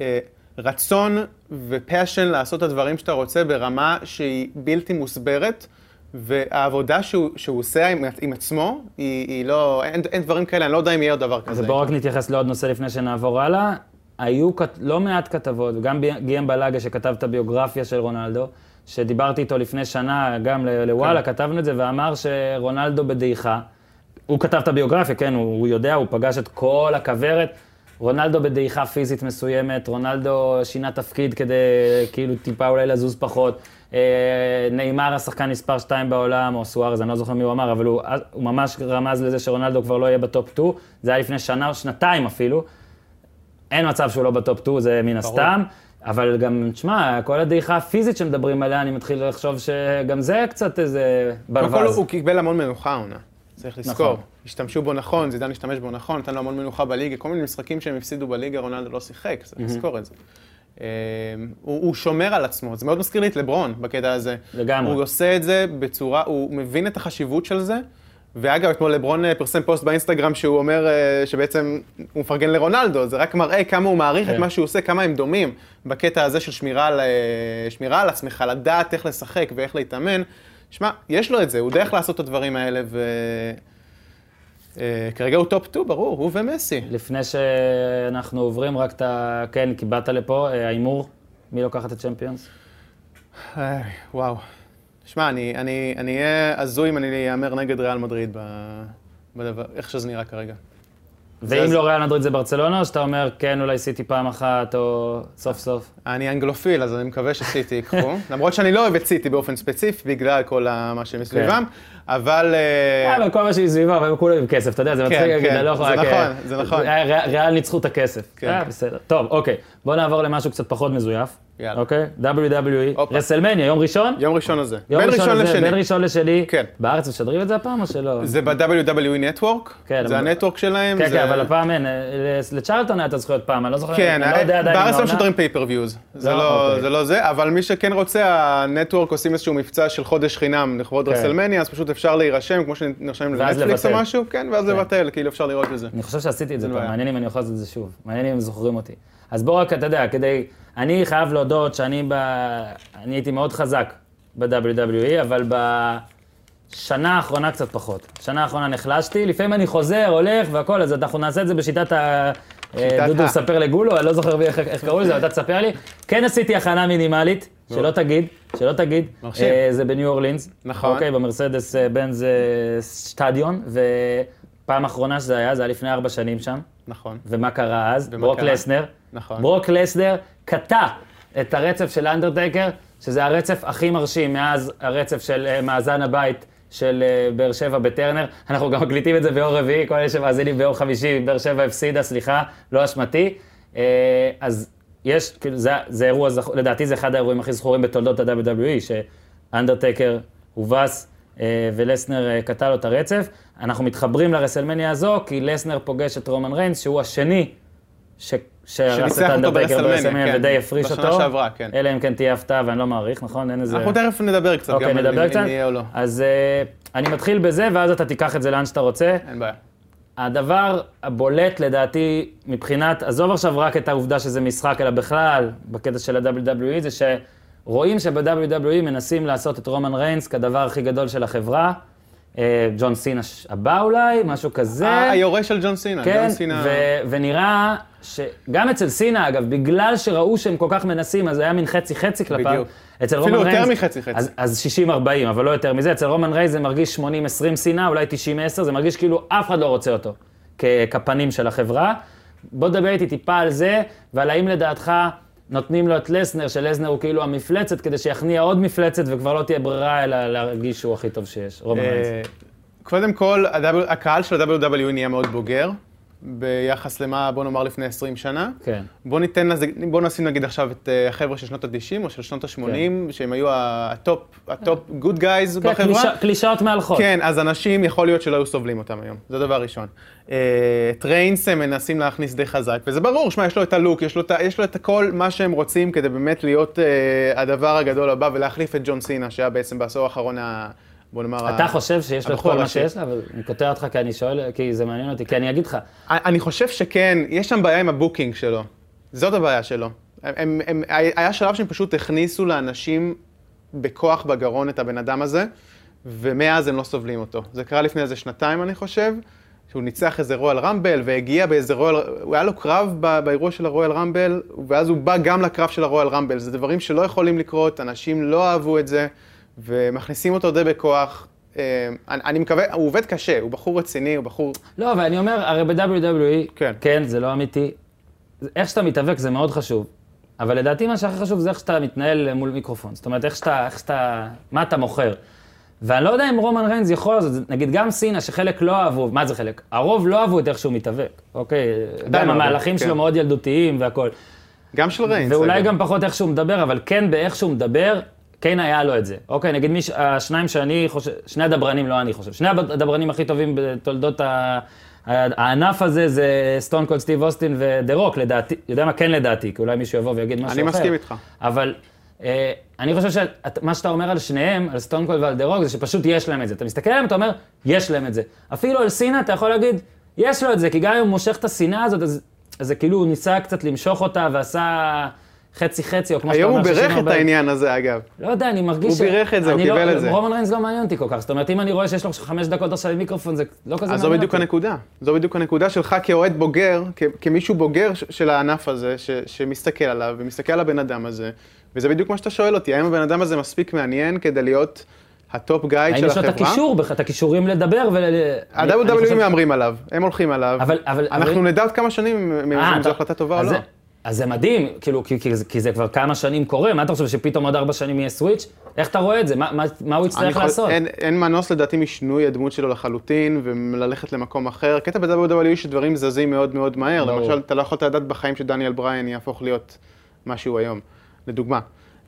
[SPEAKER 6] אה, רצון ופאשן לעשות את הדברים שאתה רוצה ברמה שהיא בלתי מוסברת. והעבודה שהוא, שהוא עושה עם, עם עצמו, היא, היא לא, אין, אין דברים כאלה, אני לא יודע אם יהיה עוד דבר כזה.
[SPEAKER 1] אז בואו רק נתייחס לעוד נושא לפני שנעבור הלאה. היו כת... לא מעט כתבות, וגם בי- גיהם בלאגה שכתב את הביוגרפיה של רונלדו, שדיברתי איתו לפני שנה, גם ל- לוואלה, כתבנו את זה, ואמר שרונלדו בדעיכה. הוא כתב את הביוגרפיה, כן, הוא, הוא יודע, הוא פגש את כל הכוורת. רונלדו בדעיכה פיזית מסוימת, רונלדו שינה תפקיד כדי כאילו טיפה אולי לזוז פחות. אה, נאמר השחקן מספר 2 בעולם, או סוארז, אני לא זוכר מי הוא אמר, אבל הוא, הוא ממש רמז לזה שרונלדו כבר לא יהיה בטופ 2, זה היה לפני שנה או שנתיים אפילו. אין מצב שהוא לא בטופ 2, זה מן הסתם. אבל גם, תשמע, כל הדעיכה הפיזית שמדברים עליה, אני מתחיל לחשוב שגם זה קצת איזה
[SPEAKER 6] קודם כל,
[SPEAKER 1] ברווז.
[SPEAKER 6] הוא קיבל המון מנוחה העונה, צריך לזכור.
[SPEAKER 1] נכון.
[SPEAKER 6] השתמשו בו נכון, זידן השתמש בו נכון, נתן לו המון מנוחה בליגה, כל מיני משחקים שהם הפסידו בליגה, רונלדו לא שיחק, צריך לזכור את זה. אמ, הוא, הוא שומר על עצמו, זה מאוד מזכיר לי את לברון בקטע הזה.
[SPEAKER 1] לגמרי.
[SPEAKER 6] הוא עושה את זה בצורה, הוא מבין את החשיבות של זה. ואגב, אתמול לברון אה, פרסם פוסט באינסטגרם שהוא אומר אה, שבעצם הוא מפרגן לרונלדו, זה רק מראה כמה הוא מעריך את
[SPEAKER 1] כן.
[SPEAKER 6] מה שהוא עושה, כמה הם דומים בקטע הזה של שמירה על, אה, שמירה על עצמך, לדעת איך לשחק ואיך להתאמן. שמע, יש לו את זה, הוא יודע איך לעשות את הדברים האלה, וכרגע הוא טופ 2, ברור, הוא ומסי.
[SPEAKER 1] לפני שאנחנו עוברים, רק את ה... כן, כי באת לפה, אה, ההימור, מי לוקח את הצ'מפיונס?
[SPEAKER 6] איי, וואו. שמע, אני, אני, אני אהיה הזוי אם אני אהמר נגד ריאל מדריד ב- בדבר, איך שזה נראה כרגע.
[SPEAKER 1] ואם
[SPEAKER 6] אז-
[SPEAKER 1] לא ריאל מדריד זה ברצלונה, או שאתה אומר, כן, אולי סיטי פעם אחת, או סוף סוף?
[SPEAKER 6] אני אנגלופיל, אז אני מקווה שסיטי ייקחו. למרות שאני לא אוהב את סיטי באופן ספציפי, בגלל כל ה- מה
[SPEAKER 1] כן.
[SPEAKER 6] שמסביבם, אבל... אה,
[SPEAKER 1] אה, אבל כל מה שמסביבה, והם כולם עם כסף, אתה יודע, זה מצחיק
[SPEAKER 6] כן,
[SPEAKER 1] להגיד,
[SPEAKER 6] כן,
[SPEAKER 1] אני לא יכול...
[SPEAKER 6] זה
[SPEAKER 1] רק,
[SPEAKER 6] נכון,
[SPEAKER 1] אה,
[SPEAKER 6] זה נכון.
[SPEAKER 1] אה, ריאל ניצחו את הכסף.
[SPEAKER 6] כן.
[SPEAKER 1] אה, בסדר. טוב, אוקיי. בואו נעבור למשהו קצת פחות מזויף.
[SPEAKER 6] יאללה.
[SPEAKER 1] אוקיי? WWE.
[SPEAKER 6] הופה.
[SPEAKER 1] רסלמניה, יום ראשון?
[SPEAKER 6] יום ראשון הזה.
[SPEAKER 1] יום
[SPEAKER 6] בין ראשון
[SPEAKER 1] הזה,
[SPEAKER 6] לשני.
[SPEAKER 1] בין ראשון לשני.
[SPEAKER 6] כן.
[SPEAKER 1] בארץ משדרים את זה הפעם או שלא?
[SPEAKER 6] זה ב-WWE Network?
[SPEAKER 1] כן,
[SPEAKER 6] זה
[SPEAKER 1] אבל-
[SPEAKER 6] הנטוורק שלהם?
[SPEAKER 1] כן,
[SPEAKER 6] זה-
[SPEAKER 1] כן, אבל הפעם אין. אה, לצ'רלטון היה את הזכויות פעם, אני לא זוכר.
[SPEAKER 6] כן,
[SPEAKER 1] אני לא יודע עדיין אם
[SPEAKER 6] בארץ לא
[SPEAKER 1] העונה-
[SPEAKER 6] משדרים פייפריוויוז, זה
[SPEAKER 1] לא,
[SPEAKER 6] לא-
[SPEAKER 1] אוקיי.
[SPEAKER 6] זה לא זה, אבל מי שכן רוצה, הנטוורק עושים איזשהו מבצע של חודש חינם לכבוד
[SPEAKER 1] כן.
[SPEAKER 6] רסלמניה, אז פשוט אפשר להירשם, כמו שנרשמים
[SPEAKER 1] ואז
[SPEAKER 6] לנטפליקס או
[SPEAKER 1] לבטל.
[SPEAKER 6] משהו, כן, ואז לבטל, כאילו אפשר לראות את זה.
[SPEAKER 1] אני חושב שעשיתי את זה
[SPEAKER 6] אין
[SPEAKER 1] פעם,
[SPEAKER 6] בעיה.
[SPEAKER 1] מעניין אם אני יכול לעשות את זה שוב. מעניין אם הם זוכרים אותי. אז בוא רק, אתה יודע, כדי... אני חייב להודות שאני ב... אני הייתי מאוד חזק ב-WWE, אבל בשנה האחרונה קצת פחות. שנה האחרונה נחלשתי, לפעמים אני חוזר, הולך והכול, אז אנחנו נעשה את זה בשיטת ה... אה, דודו,
[SPEAKER 6] ה-
[SPEAKER 1] ספר לגולו, אני לא זוכר מי- איך- איך קראו לזה, אבל אתה תספר לי. כן עשיתי הכנה מינימלית, שלא תגיד, שלא תגיד.
[SPEAKER 6] מרשים.
[SPEAKER 1] אה, זה בניו אורלינס.
[SPEAKER 6] נכון.
[SPEAKER 1] אוקיי, במרסדס אה, בנז אה, סטדיון, ופעם אחרונה שזה היה, זה היה לפני ארבע שנים שם.
[SPEAKER 6] נכון,
[SPEAKER 1] ומה קרה אז?
[SPEAKER 6] ומה
[SPEAKER 1] ברוק
[SPEAKER 6] קרה?
[SPEAKER 1] לסנר.
[SPEAKER 6] נכון.
[SPEAKER 1] ברוק לסנר קטע את הרצף של אנדרטייקר, שזה הרצף הכי מרשים מאז הרצף של אה, מאזן הבית של אה, באר שבע בטרנר. אנחנו גם מקליטים את זה ביום רביעי, כל אלה שמאזינים ביום חמישי, באר שבע הפסידה, סליחה, לא אשמתי. אה, אז יש, כאילו, זה, זה אירוע, זכ... לדעתי זה אחד האירועים הכי זכורים בתולדות ה-WWE, שאנדרטייקר הובס. אה, ולסנר אה, קטע לו את הרצף. אנחנו מתחברים לרסלמניה הזו, כי לסנר פוגש את רומן ריינס, שהוא השני ש... שהרס
[SPEAKER 6] שניצח
[SPEAKER 1] את
[SPEAKER 6] אותו
[SPEAKER 1] האנדרטייקר
[SPEAKER 6] ברסלמניה,
[SPEAKER 1] ברסלמניה
[SPEAKER 6] כן.
[SPEAKER 1] ודי הפריש אותו.
[SPEAKER 6] בשנה שעברה, כן.
[SPEAKER 1] אלא אם כן תהיה הפתעה ואני לא מעריך, נכון? אין איזה...
[SPEAKER 6] אנחנו תכף נדבר קצת גם,
[SPEAKER 1] אוקיי,
[SPEAKER 6] על
[SPEAKER 1] נדבר
[SPEAKER 6] אם-
[SPEAKER 1] קצת.
[SPEAKER 6] אם יהיה או לא,
[SPEAKER 1] אז אה, אני מתחיל בזה, ואז אתה תיקח את זה לאן שאתה רוצה.
[SPEAKER 6] אין בעיה.
[SPEAKER 1] הדבר הבולט לדעתי מבחינת, עזוב עכשיו רק את העובדה שזה משחק, אלא בכלל, בקטע של ה-WWE, זה שרואים שב-WWE מנסים לעשות את רומן ריינס כדבר הכי גדול של החברה. אה, ג'ון סינה ש- הבא אולי, משהו כזה.
[SPEAKER 6] ה- היורה אה, של ג'ון סינה,
[SPEAKER 1] כן,
[SPEAKER 6] ג'ון סינה,
[SPEAKER 1] ו- ונראה שגם אצל סינה, אגב, בגלל שראו שהם כל כך מנסים, אז זה היה מין חצי-חצי כלפיו.
[SPEAKER 6] בדיוק.
[SPEAKER 1] אצל
[SPEAKER 6] אפילו
[SPEAKER 1] רומן
[SPEAKER 6] יותר
[SPEAKER 1] ריינס-
[SPEAKER 6] מחצי-חצי.
[SPEAKER 1] אז- אז 60-40, אבל לא יותר מזה. אצל רומן ריינס זה מרגיש 80-20 סינה, אולי 90-10, זה מרגיש כאילו אף אחד לא רוצה אותו כ- כפנים של החברה. בוא תדבר איתי טיפה על זה, ועל האם לדעתך נותנים לו את לסנר, שלסנר הוא כאילו המפלצת, כדי שיכניע עוד מפלצת וכבר לא תהיה ברירה אלא להרגיש שהוא הכי טוב שיש, רומן
[SPEAKER 6] אה,
[SPEAKER 1] ריינס.
[SPEAKER 6] קודם כל, ה- הקהל של ה-WWE נהיה מאוד בוגר, ביחס למה, בוא נאמר, לפני 20 שנה.
[SPEAKER 1] כן.
[SPEAKER 6] בוא ניתן לזה, בוא נשים נגיד עכשיו את אה, החבר'ה של שנות ה-90 או של שנות ה-80, שהם היו ה- הטופ, הטופ גוד גייז
[SPEAKER 1] כן,
[SPEAKER 6] בחברה.
[SPEAKER 1] קלישא- קלישאות מהלכות.
[SPEAKER 6] כן, אז אנשים יכול להיות שלא היו סובלים אותם היום, זה דבר ראשון. אה, את ריינס הם מנסים להכניס די חזק, וזה ברור, שמע, יש לו את הלוק, יש לו את, ה- יש לו את הכל מה שהם רוצים כדי באמת להיות אה, הדבר הגדול הבא ולהחליף את ג'ון סינה, שהיה בעצם בעשור האחרון ה... בוא נאמר...
[SPEAKER 1] אתה
[SPEAKER 6] ה-
[SPEAKER 1] חושב שיש לו את
[SPEAKER 6] אה, הבחור
[SPEAKER 1] כל מה
[SPEAKER 6] הראשי.
[SPEAKER 1] שיש לו, אבל אני קוטע אותך כי אני שואל, כי זה מעניין אותי, כי אני אגיד לך,
[SPEAKER 6] אני- אני חושב שכן, יש שם בעיה עם הבוקינג שלו. זאת הבעיה שלו. הם, הם, הם, היה שלב שהם פשוט הכניסו לאנשים בכוח בגרון את הבן אדם הזה, ומאז הם לא סובלים אותו. זה קרה לפני איזה שנתיים, אני חושב, שהוא ניצח איזה רויאל רמבל, והגיע באיזה רויאל... הוא היה לו קרב ב, באירוע של הרויאל רמבל, ואז הוא בא גם לקרב של הרויאל רמבל. זה דברים שלא יכולים לקרות, אנשים לא אהבו את זה, ומכניסים אותו די בכוח. אה, אני, אני מקווה, הוא עובד קשה, הוא בחור רציני, הוא בחור...
[SPEAKER 1] לא, אבל אני אומר, הרי ב-WWE,
[SPEAKER 6] כן.
[SPEAKER 1] כן, זה לא אמיתי, זה- איך שאתה מתאבק זה מאוד חשוב, אבל לדעתי מה שהכי חשוב זה איך שאתה מתנהל מול מיקרופון, זאת אומרת, איך שאתה, איך שאתה, מה אתה מוכר. ואני לא יודע אם רומן ריינס יכול לעשות, את זה. נגיד גם סינה, שחלק לא אהבו, מה זה חלק? הרוב לא אהבו את איך שהוא מתאבק, אוקיי? גם
[SPEAKER 6] לא אהבו,
[SPEAKER 1] המהלכים
[SPEAKER 6] כן.
[SPEAKER 1] שלו מאוד ילדותיים והכול.
[SPEAKER 6] גם של ריינס.
[SPEAKER 1] ואולי
[SPEAKER 6] אגב.
[SPEAKER 1] גם פחות איך שהוא מדבר, אבל כן באיך שהוא מדבר, כן היה לו את זה. אוקיי, נגיד מי, ש- השניים שאני חושב, שני הדברנים, לא אני חושב, שני הדברנים הכי טובים בתולדות ה... הענף הזה זה סטון קולד סטיב אוסטין ודה רוק, לדעתי, יודע מה? כן לדעתי, כי אולי מישהו יבוא ויגיד משהו אחר.
[SPEAKER 6] אני מסכים איתך.
[SPEAKER 1] אבל אה, אני חושב שמה שאתה אומר על שניהם, על סטון קולד ועל דה רוק, זה שפשוט יש להם את זה. אתה מסתכל עליהם, אתה אומר, יש להם את זה. אפילו על סינה אתה יכול להגיד, יש לו את זה, כי גם אם הוא מושך את השנאה הזאת, אז, אז זה כאילו הוא ניסה קצת למשוך אותה ועשה חצי-חצי, או כמו שאתה
[SPEAKER 6] היום
[SPEAKER 1] אומר,
[SPEAKER 6] הוא בירך
[SPEAKER 1] 60-40.
[SPEAKER 6] את העניין הזה, אגב.
[SPEAKER 1] לא יודע, אני מרגיש...
[SPEAKER 6] הוא
[SPEAKER 1] ש-
[SPEAKER 6] בירך את זה, הוא
[SPEAKER 1] אני לא-
[SPEAKER 6] קיבל את זה.
[SPEAKER 1] רומן ריינס לא מעניין אותי כל כך, זאת אומרת, אם אני רואה שיש לו עכשיו חמש דקות עכשיו עם מיקרופון, זה לא כזה מעניין אותי.
[SPEAKER 6] אז זו בדיוק הנקודה. זו בדיוק הנקודה שלך כאוהד בוגר, כ- כמישהו בוגר ש- של הענף הזה, ש- שמסתכל עליו ומסתכל על הבן אדם הזה, וזה בדיוק מה שאתה שואל אותי, האם הבן אדם הזה מספיק מעניין כדי להיות הטופ גייד
[SPEAKER 1] האם
[SPEAKER 6] של
[SPEAKER 1] יש לו את
[SPEAKER 6] החברה?
[SPEAKER 1] הקישור, בכ- את הכישורים לדבר ול... אני- אני
[SPEAKER 6] ה-WWE
[SPEAKER 1] חושב-
[SPEAKER 6] מהמרים עליו, הם הולכים עליו.
[SPEAKER 1] אבל- אבל-
[SPEAKER 6] אנחנו
[SPEAKER 1] אבל-
[SPEAKER 6] נדע עוד כמה שנים אם-
[SPEAKER 1] אה,
[SPEAKER 6] אם
[SPEAKER 1] אתה-
[SPEAKER 6] זו החלטה טובה או
[SPEAKER 1] אז
[SPEAKER 6] לא.
[SPEAKER 1] זה- אז זה מדהים, כאילו, כי, כי, זה- כי זה כבר כמה שנים קורה, מה אתה חושב, שפתאום עוד ארבע שנים יהיה סוויץ'? איך אתה רואה את זה? מה, מה, מה הוא
[SPEAKER 6] אני
[SPEAKER 1] יצטרך
[SPEAKER 6] יכול-
[SPEAKER 1] לעשות?
[SPEAKER 6] אין, אין מנוס לדעתי משינוי הדמות שלו לחלוטין, וללכת למקום אחר. הקטע ב-WWE E שדברים זזים מאוד מאוד מהר.
[SPEAKER 1] ברור.
[SPEAKER 6] למשל, אתה לא יכולת לדעת בחיים שדניאל בריין יהפוך להיות מה שהוא היום. לדוגמה.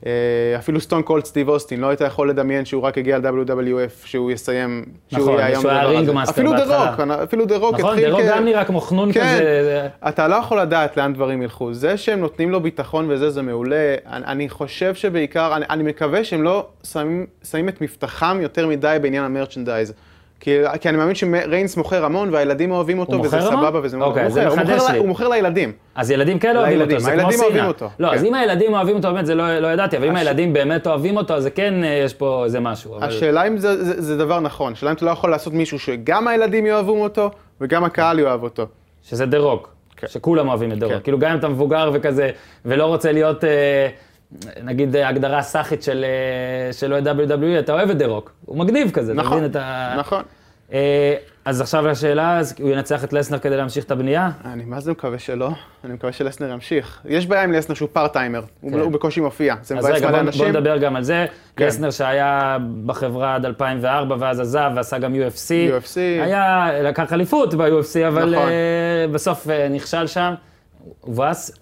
[SPEAKER 6] אה, אפילו סטון קולד סטיב אוסטין, לא היית יכול לדמיין שהוא רק הגיע ל-WWF, שהוא יסיים,
[SPEAKER 1] נכון,
[SPEAKER 6] יהיה
[SPEAKER 1] שהוא היה
[SPEAKER 6] הדבר הזה.
[SPEAKER 1] רינגמאסטר
[SPEAKER 6] אפילו דה
[SPEAKER 1] בהתחלה.
[SPEAKER 6] רוק, אפילו דה רוק
[SPEAKER 1] נכון,
[SPEAKER 6] התחיל
[SPEAKER 1] זה לא
[SPEAKER 6] כ-
[SPEAKER 1] גם נראה כמו חנון
[SPEAKER 6] כן.
[SPEAKER 1] כזה.
[SPEAKER 6] אתה לא יכול לדעת לאן דברים ילכו. זה שהם נותנים לו ביטחון וזה, זה מעולה. אני, אני חושב שבעיקר, אני, אני מקווה שהם לא שמים, שמים את מבטחם יותר מדי בעניין המרצ'נדייז. כי, כי אני מאמין שריינס מוכר המון, והילדים אוהבים אותו,
[SPEAKER 1] הוא
[SPEAKER 6] וזה
[SPEAKER 1] מוכר המון?
[SPEAKER 6] סבבה, וזה
[SPEAKER 1] אוקיי,
[SPEAKER 6] הוא
[SPEAKER 1] זה
[SPEAKER 6] מוכר, הוא
[SPEAKER 1] מחדש
[SPEAKER 6] מוכר,
[SPEAKER 1] לי.
[SPEAKER 6] ל- הוא מוכר לילדים.
[SPEAKER 1] אז ילדים כן אוהבים אותו,
[SPEAKER 6] לילדים,
[SPEAKER 1] זה כמו
[SPEAKER 6] הילדים אוהבים
[SPEAKER 1] סינה.
[SPEAKER 6] אותו,
[SPEAKER 1] לא,
[SPEAKER 6] כן.
[SPEAKER 1] אז אם הילדים אוהבים אותו, באמת, זה לא- לא ידעתי, אבל אם הילדים באמת אוהבים אותו, אז זה כן, אה, יש פה איזה משהו. אבל-
[SPEAKER 6] השאלה אם זה, זה, זה דבר נכון, השאלה אם אתה לא יכול לעשות מישהו שגם הילדים יאהבו אותו, וגם הקהל יאהב אותו.
[SPEAKER 1] שזה דה רוק,
[SPEAKER 6] כן.
[SPEAKER 1] שכולם אוהבים את דה
[SPEAKER 6] כן.
[SPEAKER 1] רוק. כאילו, גם אם אתה מבוגר וכזה, ולא רוצה להיות, אה, נגיד, אה, הגדרה סאחית של אה, של אוהד WWE, אתה אוהב את דה רוק. הוא מגניב כזה, אתה
[SPEAKER 6] נכון,
[SPEAKER 1] מבין את ה...
[SPEAKER 6] נכון.
[SPEAKER 1] אה, אז עכשיו לשאלה, אז הוא ינצח את לסנר כדי להמשיך את הבנייה?
[SPEAKER 6] אני מה זה מקווה שלא, אני מקווה שלסנר ימשיך. יש בעיה עם לסנר שהוא פארט-טיימר, הוא
[SPEAKER 1] כן.
[SPEAKER 6] הוא בקושי מופיע, זה
[SPEAKER 1] אז
[SPEAKER 6] מבאס
[SPEAKER 1] רגע,
[SPEAKER 6] מלא
[SPEAKER 1] בוא, בוא
[SPEAKER 6] אנשים.
[SPEAKER 1] נדבר גם על זה.
[SPEAKER 6] כן.
[SPEAKER 1] לסנר שהיה בחברה עד 2004 ואז עזב ועשה גם UFC.
[SPEAKER 6] UFC.
[SPEAKER 1] היה, לקח אליפות ב-UFC, אבל
[SPEAKER 6] נכון.
[SPEAKER 1] אה, בסוף אה, נכשל שם, הובס,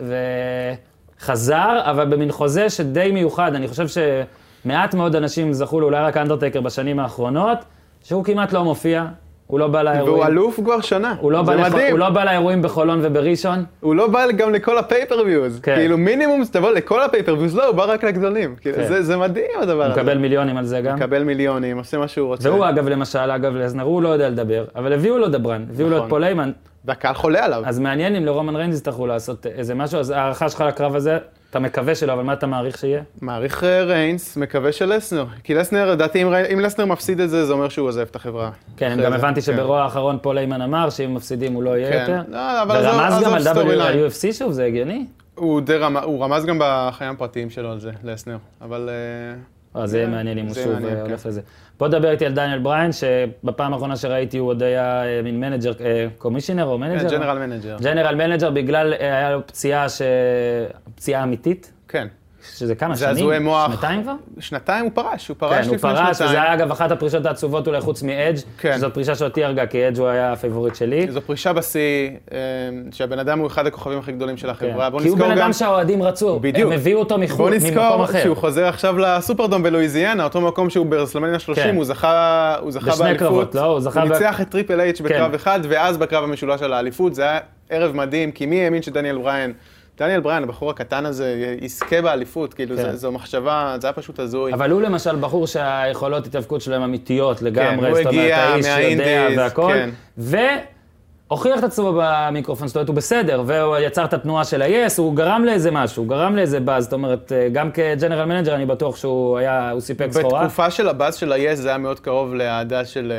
[SPEAKER 1] וחזר, אבל במין חוזה שדי מיוחד. אני חושב שמעט מאוד אנשים זכו לו, אולי רק אנדרטקר בשנים האחרונות, שהוא כמעט לא מופיע, הוא לא בא לאירועים.
[SPEAKER 6] והוא אלוף כבר שנה,
[SPEAKER 1] הוא לא, בא
[SPEAKER 6] זה
[SPEAKER 1] לח...
[SPEAKER 6] מדהים.
[SPEAKER 1] הוא לא בא לאירועים בחולון ובראשון,
[SPEAKER 6] הוא לא בא גם לכל הפייפרוויוז.
[SPEAKER 1] כן.
[SPEAKER 6] כאילו מינימום שתבוא לכל הפייפרוויוז, לא, הוא בא רק לגדולים. כאילו,
[SPEAKER 1] כן.
[SPEAKER 6] זה- זה מדהים הדבר
[SPEAKER 1] הוא
[SPEAKER 6] הזה.
[SPEAKER 1] מקבל מיליונים על זה גם.
[SPEAKER 6] מקבל מיליונים, עושה מה שהוא רוצה.
[SPEAKER 1] והוא אגב, למשל, אגב, לזנר, הוא לא יודע לדבר, אבל הביאו לו דברן, הביאו לו את
[SPEAKER 6] נכון.
[SPEAKER 1] פול היימן,
[SPEAKER 6] והקהל חולה עליו.
[SPEAKER 1] אז מעניין אם לרומן ריינס יצטרכו לעשות איזה משהו, אז ההערכה שלך לקרב הזה, אתה מקווה שלא, אבל מה אתה מעריך שיהיה?
[SPEAKER 6] מעריך אה, ריינס, מקווה שלסנר. כי לסנר, לדעתי, אם רי- אם לסנר מפסיד את זה, זה אומר שהוא עוזב את החברה.
[SPEAKER 1] כן,
[SPEAKER 6] אחרי
[SPEAKER 1] גם
[SPEAKER 6] זה,
[SPEAKER 1] הבנתי
[SPEAKER 6] כן.
[SPEAKER 1] שברוע האחרון פול היימן אמר שאם מפסידים הוא לא יהיה
[SPEAKER 6] כן.
[SPEAKER 1] יותר.
[SPEAKER 6] לא, אבל עזוב-
[SPEAKER 1] ורמז גם
[SPEAKER 6] עזוב
[SPEAKER 1] על
[SPEAKER 6] סטורי
[SPEAKER 1] W-
[SPEAKER 6] ליין.
[SPEAKER 1] על UFC שוב, זה הגיוני?
[SPEAKER 6] הוא די רמ- הוא רמז גם בחיים הפרטיים שלו על זה, לסנר. אבל... אה,
[SPEAKER 1] אה, זה יהיה מעניין אם הוא
[SPEAKER 6] זה
[SPEAKER 1] שוב
[SPEAKER 6] מעניין,
[SPEAKER 1] אה,
[SPEAKER 6] כן.
[SPEAKER 1] הולך לזה. בוא נדבר איתי על דניאל בריין, שבפעם האחרונה שראיתי הוא עוד היה אה, מין מנג'ר, קומישיונר או מנג'ר?
[SPEAKER 6] כן, ג'נרל מנג'ר.
[SPEAKER 1] ג'נרל מנג'ר בגלל, אה, היה לו פציעה, ש- פציעה אמיתית,
[SPEAKER 6] כן.
[SPEAKER 1] שזה כמה,
[SPEAKER 6] זה
[SPEAKER 1] שנים?
[SPEAKER 6] הזוהי מוח.
[SPEAKER 1] שנתיים כבר?
[SPEAKER 6] שנתיים הוא פרש, הוא
[SPEAKER 1] כן,
[SPEAKER 6] פרש
[SPEAKER 1] הוא
[SPEAKER 6] לפני שנתיים.
[SPEAKER 1] פרש, וזה היה אגב אחת הפרישות העצובות אולי חוץ מאדג',
[SPEAKER 6] כן.
[SPEAKER 1] שזאת פרישה שאותי הרגה, כי אדג' הוא היה הפייבוריט שלי.
[SPEAKER 6] זו פרישה בשיא, אה, שהבן אדם הוא אחד הכוכבים הכי גדולים של
[SPEAKER 1] כן.
[SPEAKER 6] החברה. בוא
[SPEAKER 1] כי הוא
[SPEAKER 6] נזכור גם...
[SPEAKER 1] בן אדם שהאוהדים רצו,
[SPEAKER 6] בדיוק.
[SPEAKER 1] הם הביאו אותו
[SPEAKER 6] בוא
[SPEAKER 1] מחו"ל, ממקום
[SPEAKER 6] נזכור
[SPEAKER 1] אחר.
[SPEAKER 6] שהוא חוזר עכשיו לסופרדום בלואיזיאנה, אותו מקום שהוא ברסלמניה 30,
[SPEAKER 1] כן.
[SPEAKER 6] הוא זכה, הוא זכה
[SPEAKER 1] בשני
[SPEAKER 6] באליפות.
[SPEAKER 1] קרבות, לא? הוא זכה ב-
[SPEAKER 6] הוא ניצח את טריפל אייץ' בקרב
[SPEAKER 1] כן.
[SPEAKER 6] אחד, ואז בקרב המשולש על האליפות, זה היה ערב מדהים, כי מי האמין שדניאל בריין, דניאל בריין, הבחור הקטן הזה, יזכה באליפות, כאילו,
[SPEAKER 1] כן.
[SPEAKER 6] זה- זו מחשבה, זה היה פשוט הזוי.
[SPEAKER 1] אבל הוא למשל בחור שהיכולות התאבקות שלו הן אמיתיות לגמרי,
[SPEAKER 6] כן, הוא
[SPEAKER 1] זאת אומרת,
[SPEAKER 6] הגיע
[SPEAKER 1] האיש יודע
[SPEAKER 6] מהאינדיז,
[SPEAKER 1] והכל.
[SPEAKER 6] כן.
[SPEAKER 1] והוכיח את עצמו במיקרופון, זאת אומרת, הוא בסדר, והוא יצר את התנועה של ה-yes, הוא גרם לאיזה משהו, הוא גרם לאיזה באז, זאת אומרת, אה, גם כג'נרל מנג'ר אני בטוח שהוא היה, הוא סיפק סחורה.
[SPEAKER 6] בתקופה של הבאז של ה-yes זה היה מאוד קרוב לאהדה של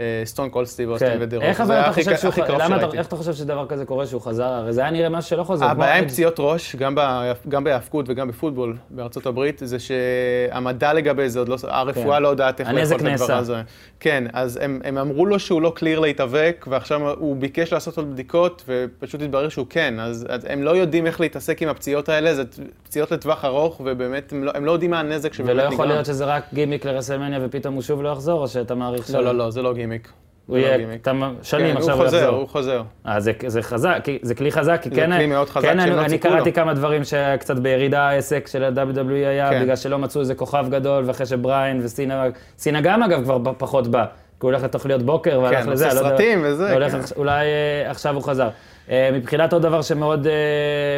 [SPEAKER 6] אה, סטון קול סטיב אוסטין
[SPEAKER 1] כן.
[SPEAKER 6] ודרוק.
[SPEAKER 1] איך אבל אתה חושב שהוא...
[SPEAKER 6] הכי קרוב
[SPEAKER 1] למה אתה-
[SPEAKER 6] שראיתי.
[SPEAKER 1] איך אתה חושב שדבר כזה קורה שהוא חזר? הרי זה היה נראה משהו שלא חוזר. כמו
[SPEAKER 6] אה, הבעיה עם
[SPEAKER 1] אדג'.
[SPEAKER 6] פציעות ראש, גם ב- גם בהאבקות וגם בפוטבול בארצות הברית, זה שהמדע לגבי זה עוד לא... הרפואה
[SPEAKER 1] כן.
[SPEAKER 6] לא יודעת איך
[SPEAKER 1] הנזק
[SPEAKER 6] לאכול את הדבר
[SPEAKER 1] נעשה.
[SPEAKER 6] הזה. כן, אז הם- הם אמרו לו שהוא לא קליר להתאבק, ועכשיו הוא ביקש לעשות עוד בדיקות, ופשוט התברר שהוא כן. אז אז הם לא יודעים איך להתעסק עם הפציעות האלה, זה פציעות לטווח ארוך, ובאמת הם לא- הם לא יודעים מה הנזק שבאמת
[SPEAKER 1] ולא
[SPEAKER 6] נגרם.
[SPEAKER 1] יכול להיות שזה רק גימיק לרסלמניה ופתאום הוא שוב לא יחזור, או שאתה מעריך
[SPEAKER 6] לא, לא, לא, זה לא גימיק.
[SPEAKER 1] הוא
[SPEAKER 6] זה לא
[SPEAKER 1] יהיה
[SPEAKER 6] גימיק.
[SPEAKER 1] כמה
[SPEAKER 6] כן,
[SPEAKER 1] שנים, עכשיו הוא
[SPEAKER 6] הוא חוזר, הוא
[SPEAKER 1] יחזור.
[SPEAKER 6] חוזר.
[SPEAKER 1] אה, זה- זה חזק, כי- זה כלי חזק, כי
[SPEAKER 6] זה
[SPEAKER 1] כן...
[SPEAKER 6] כלי מאוד חזק
[SPEAKER 1] כן,
[SPEAKER 6] שהם לא
[SPEAKER 1] אני
[SPEAKER 6] ציפו
[SPEAKER 1] קראתי
[SPEAKER 6] לו.
[SPEAKER 1] כמה דברים שקצת בירידה העסק של ה-WWE היה,
[SPEAKER 6] כן.
[SPEAKER 1] בגלל שלא מצאו איזה כוכב גדול, ואחרי שבריין וסינה, סינה גם אגב כבר ב- פחות בא, כי הוא הולך לתוכניות בוקר והלך
[SPEAKER 6] כן,
[SPEAKER 1] לזה,
[SPEAKER 6] עושה
[SPEAKER 1] אני לא יודע-
[SPEAKER 6] סרטים וזה,
[SPEAKER 1] הולך
[SPEAKER 6] כן.
[SPEAKER 1] עכש- אולי אה, עכשיו הוא חזר. אה, מבחינת עוד דבר שמאוד אה,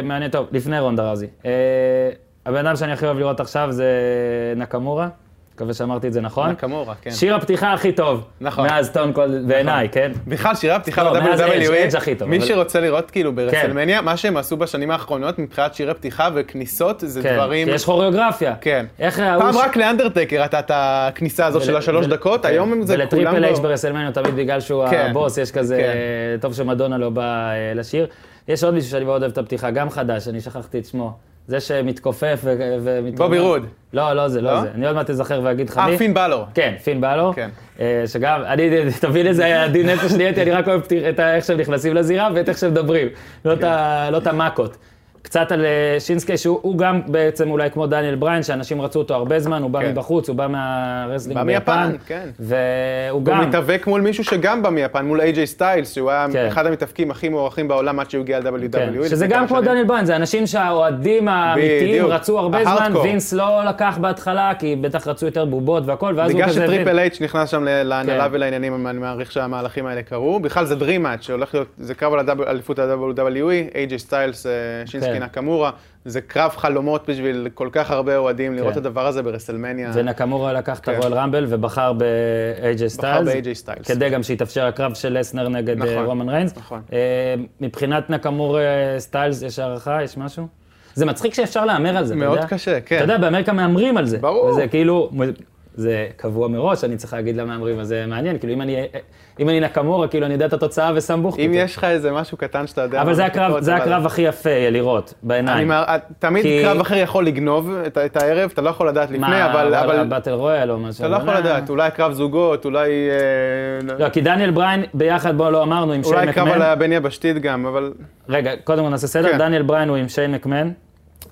[SPEAKER 1] מעניין, טוב, לפני רונדה ראזי. אה, הבן אדם שאני הכי אוהב לראות עכשיו זה נקמורה, מקווה שאמרתי את זה נכון.
[SPEAKER 6] נקמורה, כן.
[SPEAKER 1] שיר הפתיחה הכי טוב.
[SPEAKER 6] נכון.
[SPEAKER 1] מאז טון קול, בעיניי, כן?
[SPEAKER 6] בכלל, שירי הפתיחה
[SPEAKER 1] לא, מאז אדג', אדג'
[SPEAKER 6] ב-WWE,
[SPEAKER 1] הכי טוב,
[SPEAKER 6] מי
[SPEAKER 1] אבל- כן.
[SPEAKER 6] שרוצה לראות כאילו ברסלמניה, מה שהם עשו בשנים האחרונות מבחינת שירי פתיחה וכניסות, זה
[SPEAKER 1] כן,
[SPEAKER 6] דברים...
[SPEAKER 1] כי יש כוריאוגרפיה.
[SPEAKER 6] כן.
[SPEAKER 1] איך ההוא...
[SPEAKER 6] פעם
[SPEAKER 1] ש-
[SPEAKER 6] רק לאנדרטקר הייתה את הכניסה הזו של
[SPEAKER 1] ול-
[SPEAKER 6] השלוש
[SPEAKER 1] ול-
[SPEAKER 6] דקות,
[SPEAKER 1] כן.
[SPEAKER 6] היום הם זה כולם...
[SPEAKER 1] ולטריפל אייץ'
[SPEAKER 6] לא-
[SPEAKER 1] ברסלמניה תמיד בגלל שהוא
[SPEAKER 6] כן.
[SPEAKER 1] הבוס, יש כזה,
[SPEAKER 6] כן.
[SPEAKER 1] אה, טוב שמדונה לא בא אה, לשיר. יש עוד מישהו שאני מאוד אוהב את הפתיחה, גם חדש, אני שכחתי את שמו. זה שמתכופף ו- ומתרומם.
[SPEAKER 6] בובי רוד.
[SPEAKER 1] לא, לא זה, לא
[SPEAKER 6] לא?
[SPEAKER 1] זה. אני עוד מעט אזכר ואגיד לך מי.
[SPEAKER 6] אה, פין בלור.
[SPEAKER 1] כן, פין בלור.
[SPEAKER 6] כן.
[SPEAKER 1] אה, שגם, אני, תבין איזה עדין נפש
[SPEAKER 6] כן.
[SPEAKER 1] נהייתי, אני רק אוהב פתיר- את ה- איך שהם נכנסים לזירה ואת איך שהם מדברים. לא את ה- לא את המכות. קצת על אה, שינסקי, שהוא הוא גם בעצם אולי כמו דניאל בריין, שאנשים רצו אותו הרבה זמן, הוא בא
[SPEAKER 6] כן.
[SPEAKER 1] מבחוץ, הוא בא מהרסלינג
[SPEAKER 6] בא
[SPEAKER 1] ביפן.
[SPEAKER 6] מיפן, כן.
[SPEAKER 1] והוא
[SPEAKER 6] הוא
[SPEAKER 1] גם...
[SPEAKER 6] מתאבק מול מישהו שגם בא מיפן, מול איי-ג'יי סטיילס, שהוא היה
[SPEAKER 1] כן.
[SPEAKER 6] אחד המתאבקים הכי מוערכים בעולם עד שהוא הגיע ל-WWE.
[SPEAKER 1] כן,
[SPEAKER 6] לפני
[SPEAKER 1] שזה
[SPEAKER 6] כמה
[SPEAKER 1] גם כמו
[SPEAKER 6] שנים.
[SPEAKER 1] דניאל בריין, זה אנשים שהאוהדים האמיתיים
[SPEAKER 6] בדיוק,
[SPEAKER 1] רצו הרבה זמן,
[SPEAKER 6] ההארדקור.
[SPEAKER 1] וינס לא לקח בהתחלה, כי בטח רצו יותר בובות והכל, ואז הוא
[SPEAKER 6] בגלל
[SPEAKER 1] כזה... הבין-
[SPEAKER 6] שטריפל אייץ' נכנס שם ל- להנהלה
[SPEAKER 1] כן.
[SPEAKER 6] ולעניינים, אני מעריך שהמהלכים האלה קרו. בכלל זה Dream Match שהולך להיות, זה קרב על הדאב- אליפות ה-WWE, AJ סטיילס, אה, שינסקי
[SPEAKER 1] כן.
[SPEAKER 6] נקמורה, זה קרב חלומות בשביל כל כך הרבה אוהדים לראות את
[SPEAKER 1] כן.
[SPEAKER 6] הדבר הזה ברסלמניה.
[SPEAKER 1] ונקמורה לקח את
[SPEAKER 6] כן.
[SPEAKER 1] הרול רמבל ובחר ב-AJ
[SPEAKER 6] בחר
[SPEAKER 1] סטיילס.
[SPEAKER 6] ב-AJ סטיילס.
[SPEAKER 1] כדי גם שיתאפשר הקרב של לסנר נגד אה,
[SPEAKER 6] נכון,
[SPEAKER 1] רומן ריינס.
[SPEAKER 6] נכון.
[SPEAKER 1] אה, מבחינת נקמור אה, סטיילס, יש הערכה? יש משהו? זה מצחיק שאפשר להמר על זה, אתה יודע?
[SPEAKER 6] מאוד קשה, כן.
[SPEAKER 1] אתה יודע, באמריקה מהמרים על זה.
[SPEAKER 6] ברור.
[SPEAKER 1] וזה כאילו, זה קבוע מראש, אני צריך להגיד למהמרים, אז זה מעניין. כאילו, אם אני- אם אני נקמורה, כאילו, אני יודע את התוצאה וסמבוך.
[SPEAKER 6] אם יש לך איזה משהו קטן שאתה יודע...
[SPEAKER 1] אבל זה
[SPEAKER 6] מה
[SPEAKER 1] הקרב,
[SPEAKER 6] לקרות,
[SPEAKER 1] זה
[SPEAKER 6] אבל-
[SPEAKER 1] הקרב הכי יפה לראות,
[SPEAKER 6] אני
[SPEAKER 1] בעיניים.
[SPEAKER 6] מער- תמיד
[SPEAKER 1] כי-
[SPEAKER 6] קרב אחר יכול לגנוב את ה- את הערב, אתה לא יכול לדעת לפני,
[SPEAKER 1] מה,
[SPEAKER 6] אבל... אבל-
[SPEAKER 1] באטל רויאל או משהו.
[SPEAKER 6] אתה לא יכול
[SPEAKER 1] אה.
[SPEAKER 6] לדעת, אולי קרב זוגות, אולי... אה,
[SPEAKER 1] לא, כי דניאל בריין ביחד, בוא לא אמרנו, עם שיין
[SPEAKER 6] אולי קרב
[SPEAKER 1] מקמן.
[SPEAKER 6] על הבין יבשתית גם, אבל
[SPEAKER 1] רגע, קודם כל נעשה סדר,
[SPEAKER 6] כן.
[SPEAKER 1] דניאל בריין הוא עם שיין מקמן.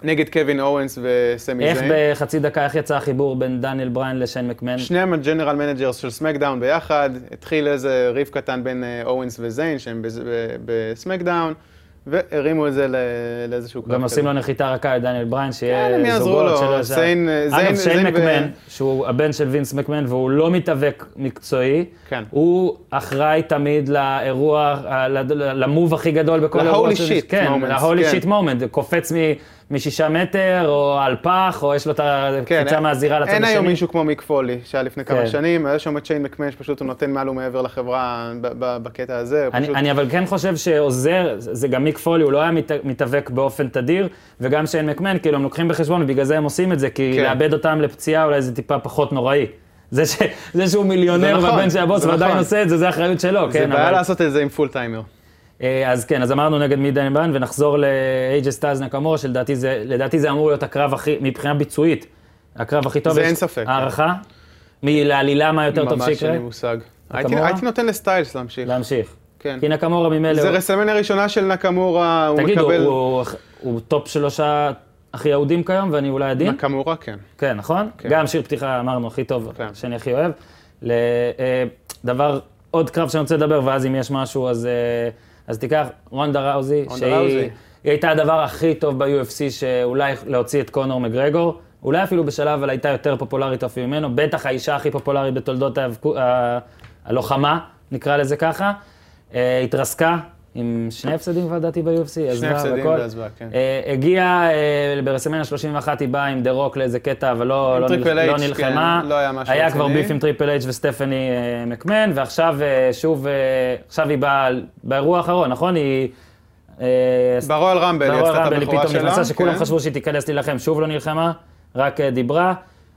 [SPEAKER 6] נגד קווין אורנס וסמי
[SPEAKER 1] איך
[SPEAKER 6] זיין.
[SPEAKER 1] בחצי דקה, איך יצא החיבור בין דניאל בריין לשיין מקמן?
[SPEAKER 6] שניהם הג'נרל מנג'רס של סמקדאון ביחד, התחיל איזה ריב קטן בין אה, אורנס וזיין שהם בז- ב- בסמקדאון, והרימו את זה ל- לאיזשהו קרב.
[SPEAKER 1] גם עושים
[SPEAKER 6] כזה.
[SPEAKER 1] לו נחיתה רכה לדניאל בריין,
[SPEAKER 6] אוקיי. כן, הם
[SPEAKER 1] שיהיה
[SPEAKER 6] יעזרו
[SPEAKER 1] זוגות
[SPEAKER 6] לו,
[SPEAKER 1] שלו. ישר.
[SPEAKER 6] זיין-
[SPEAKER 1] אגב, שיין
[SPEAKER 6] זיין- זיין ו-
[SPEAKER 1] מקמן, שהוא הבן של וינס מקמן, והוא לא מתאבק מקצועי,
[SPEAKER 6] כן.
[SPEAKER 1] הוא אחראי תמיד לאירוע, ה- ל- ל- למוב הכי גדול בכל
[SPEAKER 6] ל-holy
[SPEAKER 1] אירוע.
[SPEAKER 6] shit
[SPEAKER 1] כן,
[SPEAKER 6] moments,
[SPEAKER 1] ל-holy
[SPEAKER 6] כן.
[SPEAKER 1] shit moment, קופץ מ- משישה מטר, או על פח, או יש לו את
[SPEAKER 6] כן,
[SPEAKER 1] הקפיצה
[SPEAKER 6] אין-
[SPEAKER 1] מהזירה לצד השני.
[SPEAKER 6] אין היום מישהו כמו מיק פולי, שהיה לפני
[SPEAKER 1] כן.
[SPEAKER 6] כמה שנים, היה שם את שיין מקמן שפשוט הוא נותן מעל ומעבר לחברה ב- ב- בקטע הזה. הוא
[SPEAKER 1] אני,
[SPEAKER 6] פשוט-
[SPEAKER 1] אני אבל כן חושב שעוזר, זה זה גם מיק פולי, הוא לא היה מת, מתאבק באופן תדיר, וגם שיין מקמן, כאילו, הם לוקחים בחשבון, ובגלל זה הם עושים את זה, כי
[SPEAKER 6] כן.
[SPEAKER 1] לאבד אותם לפציעה אולי זה טיפה פחות נוראי. זה, ש, זה שהוא מיליונר
[SPEAKER 6] נכון,
[SPEAKER 1] והבן של הבוס
[SPEAKER 6] זה
[SPEAKER 1] ועדיין
[SPEAKER 6] נכון.
[SPEAKER 1] עושה את זה, זה אחריות שלו,
[SPEAKER 6] זה
[SPEAKER 1] כן,
[SPEAKER 6] בעיה
[SPEAKER 1] אבל...
[SPEAKER 6] לעשות את זה עם פול טיימר.
[SPEAKER 1] אה, אז כן, אז אמרנו נגד מי דני בן, ונחזור לאייג'ה סטאז נקמורה, שלדעתי זה, לדעתי זה אמור להיות הקרב הכי, מבחינה ביצועית, הקרב הכי טוב.
[SPEAKER 6] זה
[SPEAKER 1] יש
[SPEAKER 6] אין ספק. כן.
[SPEAKER 1] הערכה? מלעלילה מה יותר טוב
[SPEAKER 6] ממש אין
[SPEAKER 1] שיקרה?
[SPEAKER 6] לי מושג. הייתי
[SPEAKER 1] נקמורה?
[SPEAKER 6] הייתי נותן לסטיילס להמשיך.
[SPEAKER 1] להמשיך.
[SPEAKER 6] כן.
[SPEAKER 1] כי נקמורה ממילא...
[SPEAKER 6] זה
[SPEAKER 1] הוא-
[SPEAKER 6] רסלמניה הראשונה של נקמורה, הוא
[SPEAKER 1] תגיד, הוא,
[SPEAKER 6] מקבל...
[SPEAKER 1] הוא, הוא טופ שלושה הכי אהודים כיום, ואני אולי עדין?
[SPEAKER 6] נקמורה, כן.
[SPEAKER 1] כן, נכון? כן. גם שיר פתיחה אמרנו, הכי טוב, כן.
[SPEAKER 6] כן.
[SPEAKER 1] שאני הכי אוהב. ל- אה, דבר, עוד קרב שאני רוצה לדבר, ואז אם יש משהו, אז, אה, אז תיקח רונדה ראוזי,
[SPEAKER 6] רונדה
[SPEAKER 1] שהיא
[SPEAKER 6] ראוזי.
[SPEAKER 1] היא הייתה הדבר הכי טוב ב-UFC, שאולי להוציא את קונור מגרגור. אולי אפילו בשלב, אבל הייתה יותר פופולרית אפילו ממנו, בטח האישה הכי פופולרית בתולדות ההיאבקו- ה- הלוחמה, נקרא לזה ככה. אה, התרסקה עם שני הפסדים, לדעתי, ב-UFC, עזבה
[SPEAKER 6] הפסדים
[SPEAKER 1] והכל.
[SPEAKER 6] ועזבה, כן.
[SPEAKER 1] אה, הגיעה אה, ברסמניה 31, היא באה עם דה רוק לאיזה קטע, אבל לא,
[SPEAKER 6] עם
[SPEAKER 1] לא,
[SPEAKER 6] טריפל
[SPEAKER 1] נל- לא
[SPEAKER 6] H, כן,
[SPEAKER 1] נלחמה.
[SPEAKER 6] לא היה משהו
[SPEAKER 1] היה
[SPEAKER 6] רציני.
[SPEAKER 1] כבר ביף עם טריפל אייץ' וסטפני אה, מקמן, ועכשיו אה, שוב, אה, עכשיו היא באה על- באירוע האחרון, נכון? היא... אה,
[SPEAKER 6] ברואל רמבל, היא
[SPEAKER 1] ברור
[SPEAKER 6] עשתה את
[SPEAKER 1] רמבל, היא
[SPEAKER 6] הבכורה
[SPEAKER 1] פתאום
[SPEAKER 6] שלה.
[SPEAKER 1] נכנסה, שכולם
[SPEAKER 6] כן.
[SPEAKER 1] חשבו שהיא תיכנס להילחם, שוב לא נלחמה, רק אה, דיברה.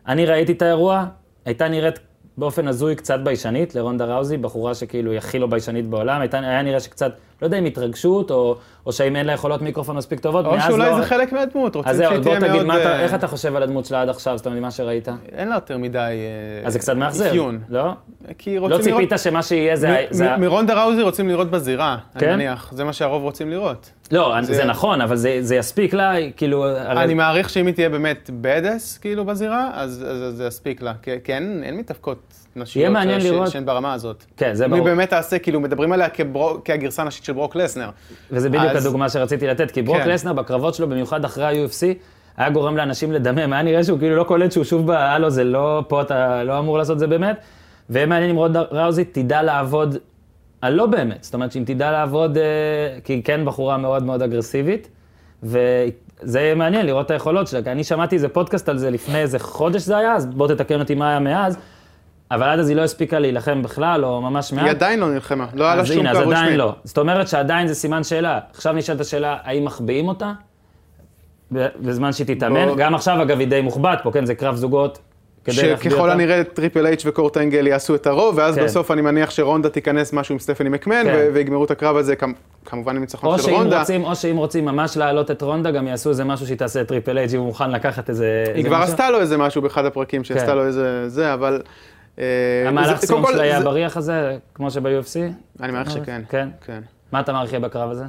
[SPEAKER 1] אני ראיתי את האירוע, הייתה נראית באופן הזוי קצת ביישנית לרונדה ראוזי, בחורה שכאילו היא הכי לא ביישנית בעולם, הייתה, היה נראה שקצת, לא יודע אם התרגשות, או, או שאם אין לה יכולות מיקרופון מספיק טובות,
[SPEAKER 6] או
[SPEAKER 1] מאז
[SPEAKER 6] שאולי
[SPEAKER 1] לא...
[SPEAKER 6] זה חלק
[SPEAKER 1] אז
[SPEAKER 6] מהדמות, רוצים
[SPEAKER 1] זהו, אז
[SPEAKER 6] שהיא
[SPEAKER 1] בוא
[SPEAKER 6] תהיה
[SPEAKER 1] תגיד,
[SPEAKER 6] מאוד...
[SPEAKER 1] מה אתה,
[SPEAKER 6] אה,
[SPEAKER 1] איך אתה חושב על הדמות שלה עד עכשיו, זאת אומרת, מה שראית?
[SPEAKER 6] אין לה יותר מדי... אה,
[SPEAKER 1] אז זה קצת מאכזב,
[SPEAKER 6] אפיון.
[SPEAKER 1] לא?
[SPEAKER 6] כי
[SPEAKER 1] לא
[SPEAKER 6] רוצים
[SPEAKER 1] ציפית
[SPEAKER 6] לראות...
[SPEAKER 1] שמה שיהיה זה... ה-
[SPEAKER 6] מ-
[SPEAKER 1] זה ה-
[SPEAKER 6] מ- מרונדה ראוזי רוצים לראות בזירה, אני
[SPEAKER 1] כן?
[SPEAKER 6] מניח. זה מה שהרוב רוצים לראות.
[SPEAKER 1] לא, זה
[SPEAKER 6] זה-
[SPEAKER 1] נכון, אבל זה- זה יספיק לה, כאילו... הרי-
[SPEAKER 6] אני מעריך שאם היא תהיה באמת בדס, כאילו, בזירה, אז אז- אז זה יספיק לה. כי- כי אין אין מתאבקות נשיות אה,
[SPEAKER 1] מעניין
[SPEAKER 6] ש-
[SPEAKER 1] לראות.
[SPEAKER 6] שהן ברמה הזאת.
[SPEAKER 1] כן, זה
[SPEAKER 6] מי
[SPEAKER 1] ברור.
[SPEAKER 6] באמת תעשה, כאילו, מדברים עליה כברו- כהגרסה הנשית של ברוק לסנר.
[SPEAKER 1] וזה בדיוק
[SPEAKER 6] אז-
[SPEAKER 1] הדוגמה שרציתי לתת, כי ברוק
[SPEAKER 6] כן.
[SPEAKER 1] לסנר בקרבות שלו, במיוחד אחרי ה-UFC, היה גורם לאנשים לדמם, היה נראה שהוא כאילו לא קולט שהוא שוב ב... הלו, זה לא... פה אתה לא אמור לעשות את זה באמת. ויהיה מעניין אם רודה ראוזי תדע לעבוד, הלא באמת, זאת אומרת שאם תדע לעבוד, אה, כי היא כן בחורה מאוד מאוד אגרסיבית, וזה יהיה מעניין לראות את היכולות שלה, כי אני שמעתי איזה פודקאסט על זה לפני איזה חודש זה היה, אז בוא תתקן אותי מה היה מאז, אבל עד אז היא לא הספיקה להילחם בכלל, או ממש מעט.
[SPEAKER 6] היא עדיין לא נלחמה, לא היה לה
[SPEAKER 1] אז
[SPEAKER 6] שום
[SPEAKER 1] הנה,
[SPEAKER 6] קרב
[SPEAKER 1] אז
[SPEAKER 6] רשמי.
[SPEAKER 1] עדיין לא. זאת אומרת שעדיין זה סימן שאלה. עכשיו נשאלת השאלה, האם מחביאים אותה? ב- בזמן שהיא תתאמן.
[SPEAKER 6] בוא.
[SPEAKER 1] גם עכשיו, אגב, היא די מוחבאת פה, כן? זה קרב זוגות. כדי להחביא
[SPEAKER 6] שככל
[SPEAKER 1] אותה.
[SPEAKER 6] הנראה טריפל אייץ' וקורט אנגל יעשו את הרוב, ואז
[SPEAKER 1] כן.
[SPEAKER 6] בסוף אני מניח שרונדה תיכנס משהו עם סטפני מקמן,
[SPEAKER 1] כן.
[SPEAKER 6] ו- ויגמרו את הקרב הזה, כמ- כמובן עם
[SPEAKER 1] או
[SPEAKER 6] ניצחון של
[SPEAKER 1] שאם
[SPEAKER 6] רונדה.
[SPEAKER 1] רוצים, או שאם רוצים ממש להעלות את רונדה, גם יעשו איזה משהו שהיא תעשה טריפל אייג' אם הוא מוכן לקחת איזה...
[SPEAKER 6] היא
[SPEAKER 1] איזה
[SPEAKER 6] כבר
[SPEAKER 1] משהו.
[SPEAKER 6] עשתה לו איזה משהו באחד הפרקים,
[SPEAKER 1] כן.
[SPEAKER 6] שעשתה לו איזה זה, אבל... אה,
[SPEAKER 1] המהלך
[SPEAKER 6] זה-
[SPEAKER 1] סיום
[SPEAKER 6] קודם כל,
[SPEAKER 1] שלה היה
[SPEAKER 6] זה-
[SPEAKER 1] בריח הזה, כמו שב-UFC?
[SPEAKER 6] אני מעריך שכן.
[SPEAKER 1] כן?
[SPEAKER 6] כן.
[SPEAKER 1] מה אתה מעריך יהיה בקרב הזה?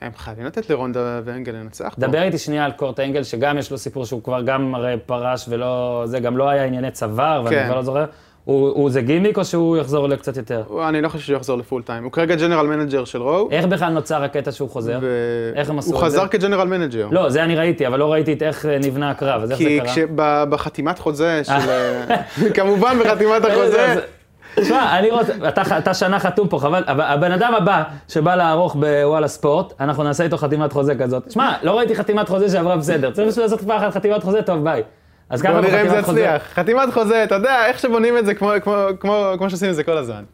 [SPEAKER 6] הם חייבים לתת לרונדה ואנגל לנצח פה.
[SPEAKER 1] דבר איתי שנייה על קורט אנגל, שגם יש לו סיפור שהוא כבר גם הרי פרש ולא... זה גם לא היה ענייני צוואר, ואני
[SPEAKER 6] כן.
[SPEAKER 1] כבר לא זוכר. הוא הוא- זה גימיק או שהוא יחזור לקצת יותר?
[SPEAKER 6] הוא- אני לא חושב שהוא יחזור לפול טיים. הוא כרגע ג'נרל מנג'ר של רואו.
[SPEAKER 1] איך בכלל נוצר הקטע שהוא חוזר?
[SPEAKER 6] ו-
[SPEAKER 1] איך הם עשו
[SPEAKER 6] הוא
[SPEAKER 1] את זה?
[SPEAKER 6] חזר כג'נרל מנג'ר.
[SPEAKER 1] לא, זה אני ראיתי, אבל לא ראיתי את איך אה, נבנה הקרב, אז איך זה
[SPEAKER 6] כי
[SPEAKER 1] קרה?
[SPEAKER 6] בחתימת חוזה של... אה, כמובן בחתימת החוזה.
[SPEAKER 1] אה, זה- שמע, אני רוצה, אתה, אתה שנה חתום פה, חבל, אבל הבן אדם הבא שבא לערוך בוואלה ספורט, אנחנו נעשה איתו חתימת חוזה כזאת. שמע, לא ראיתי חתימת חוזה שעברה בסדר, צריך בשביל לעשות פעם אחת חתימת חוזה, טוב ביי. אז ככה
[SPEAKER 6] בוא נראה אם זה
[SPEAKER 1] בחתימת חוזה.
[SPEAKER 6] יצליח. חתימת חוזה, אתה יודע, איך שבונים את זה כמו- כמו- כמו- כמו שעושים את זה כל הזמן.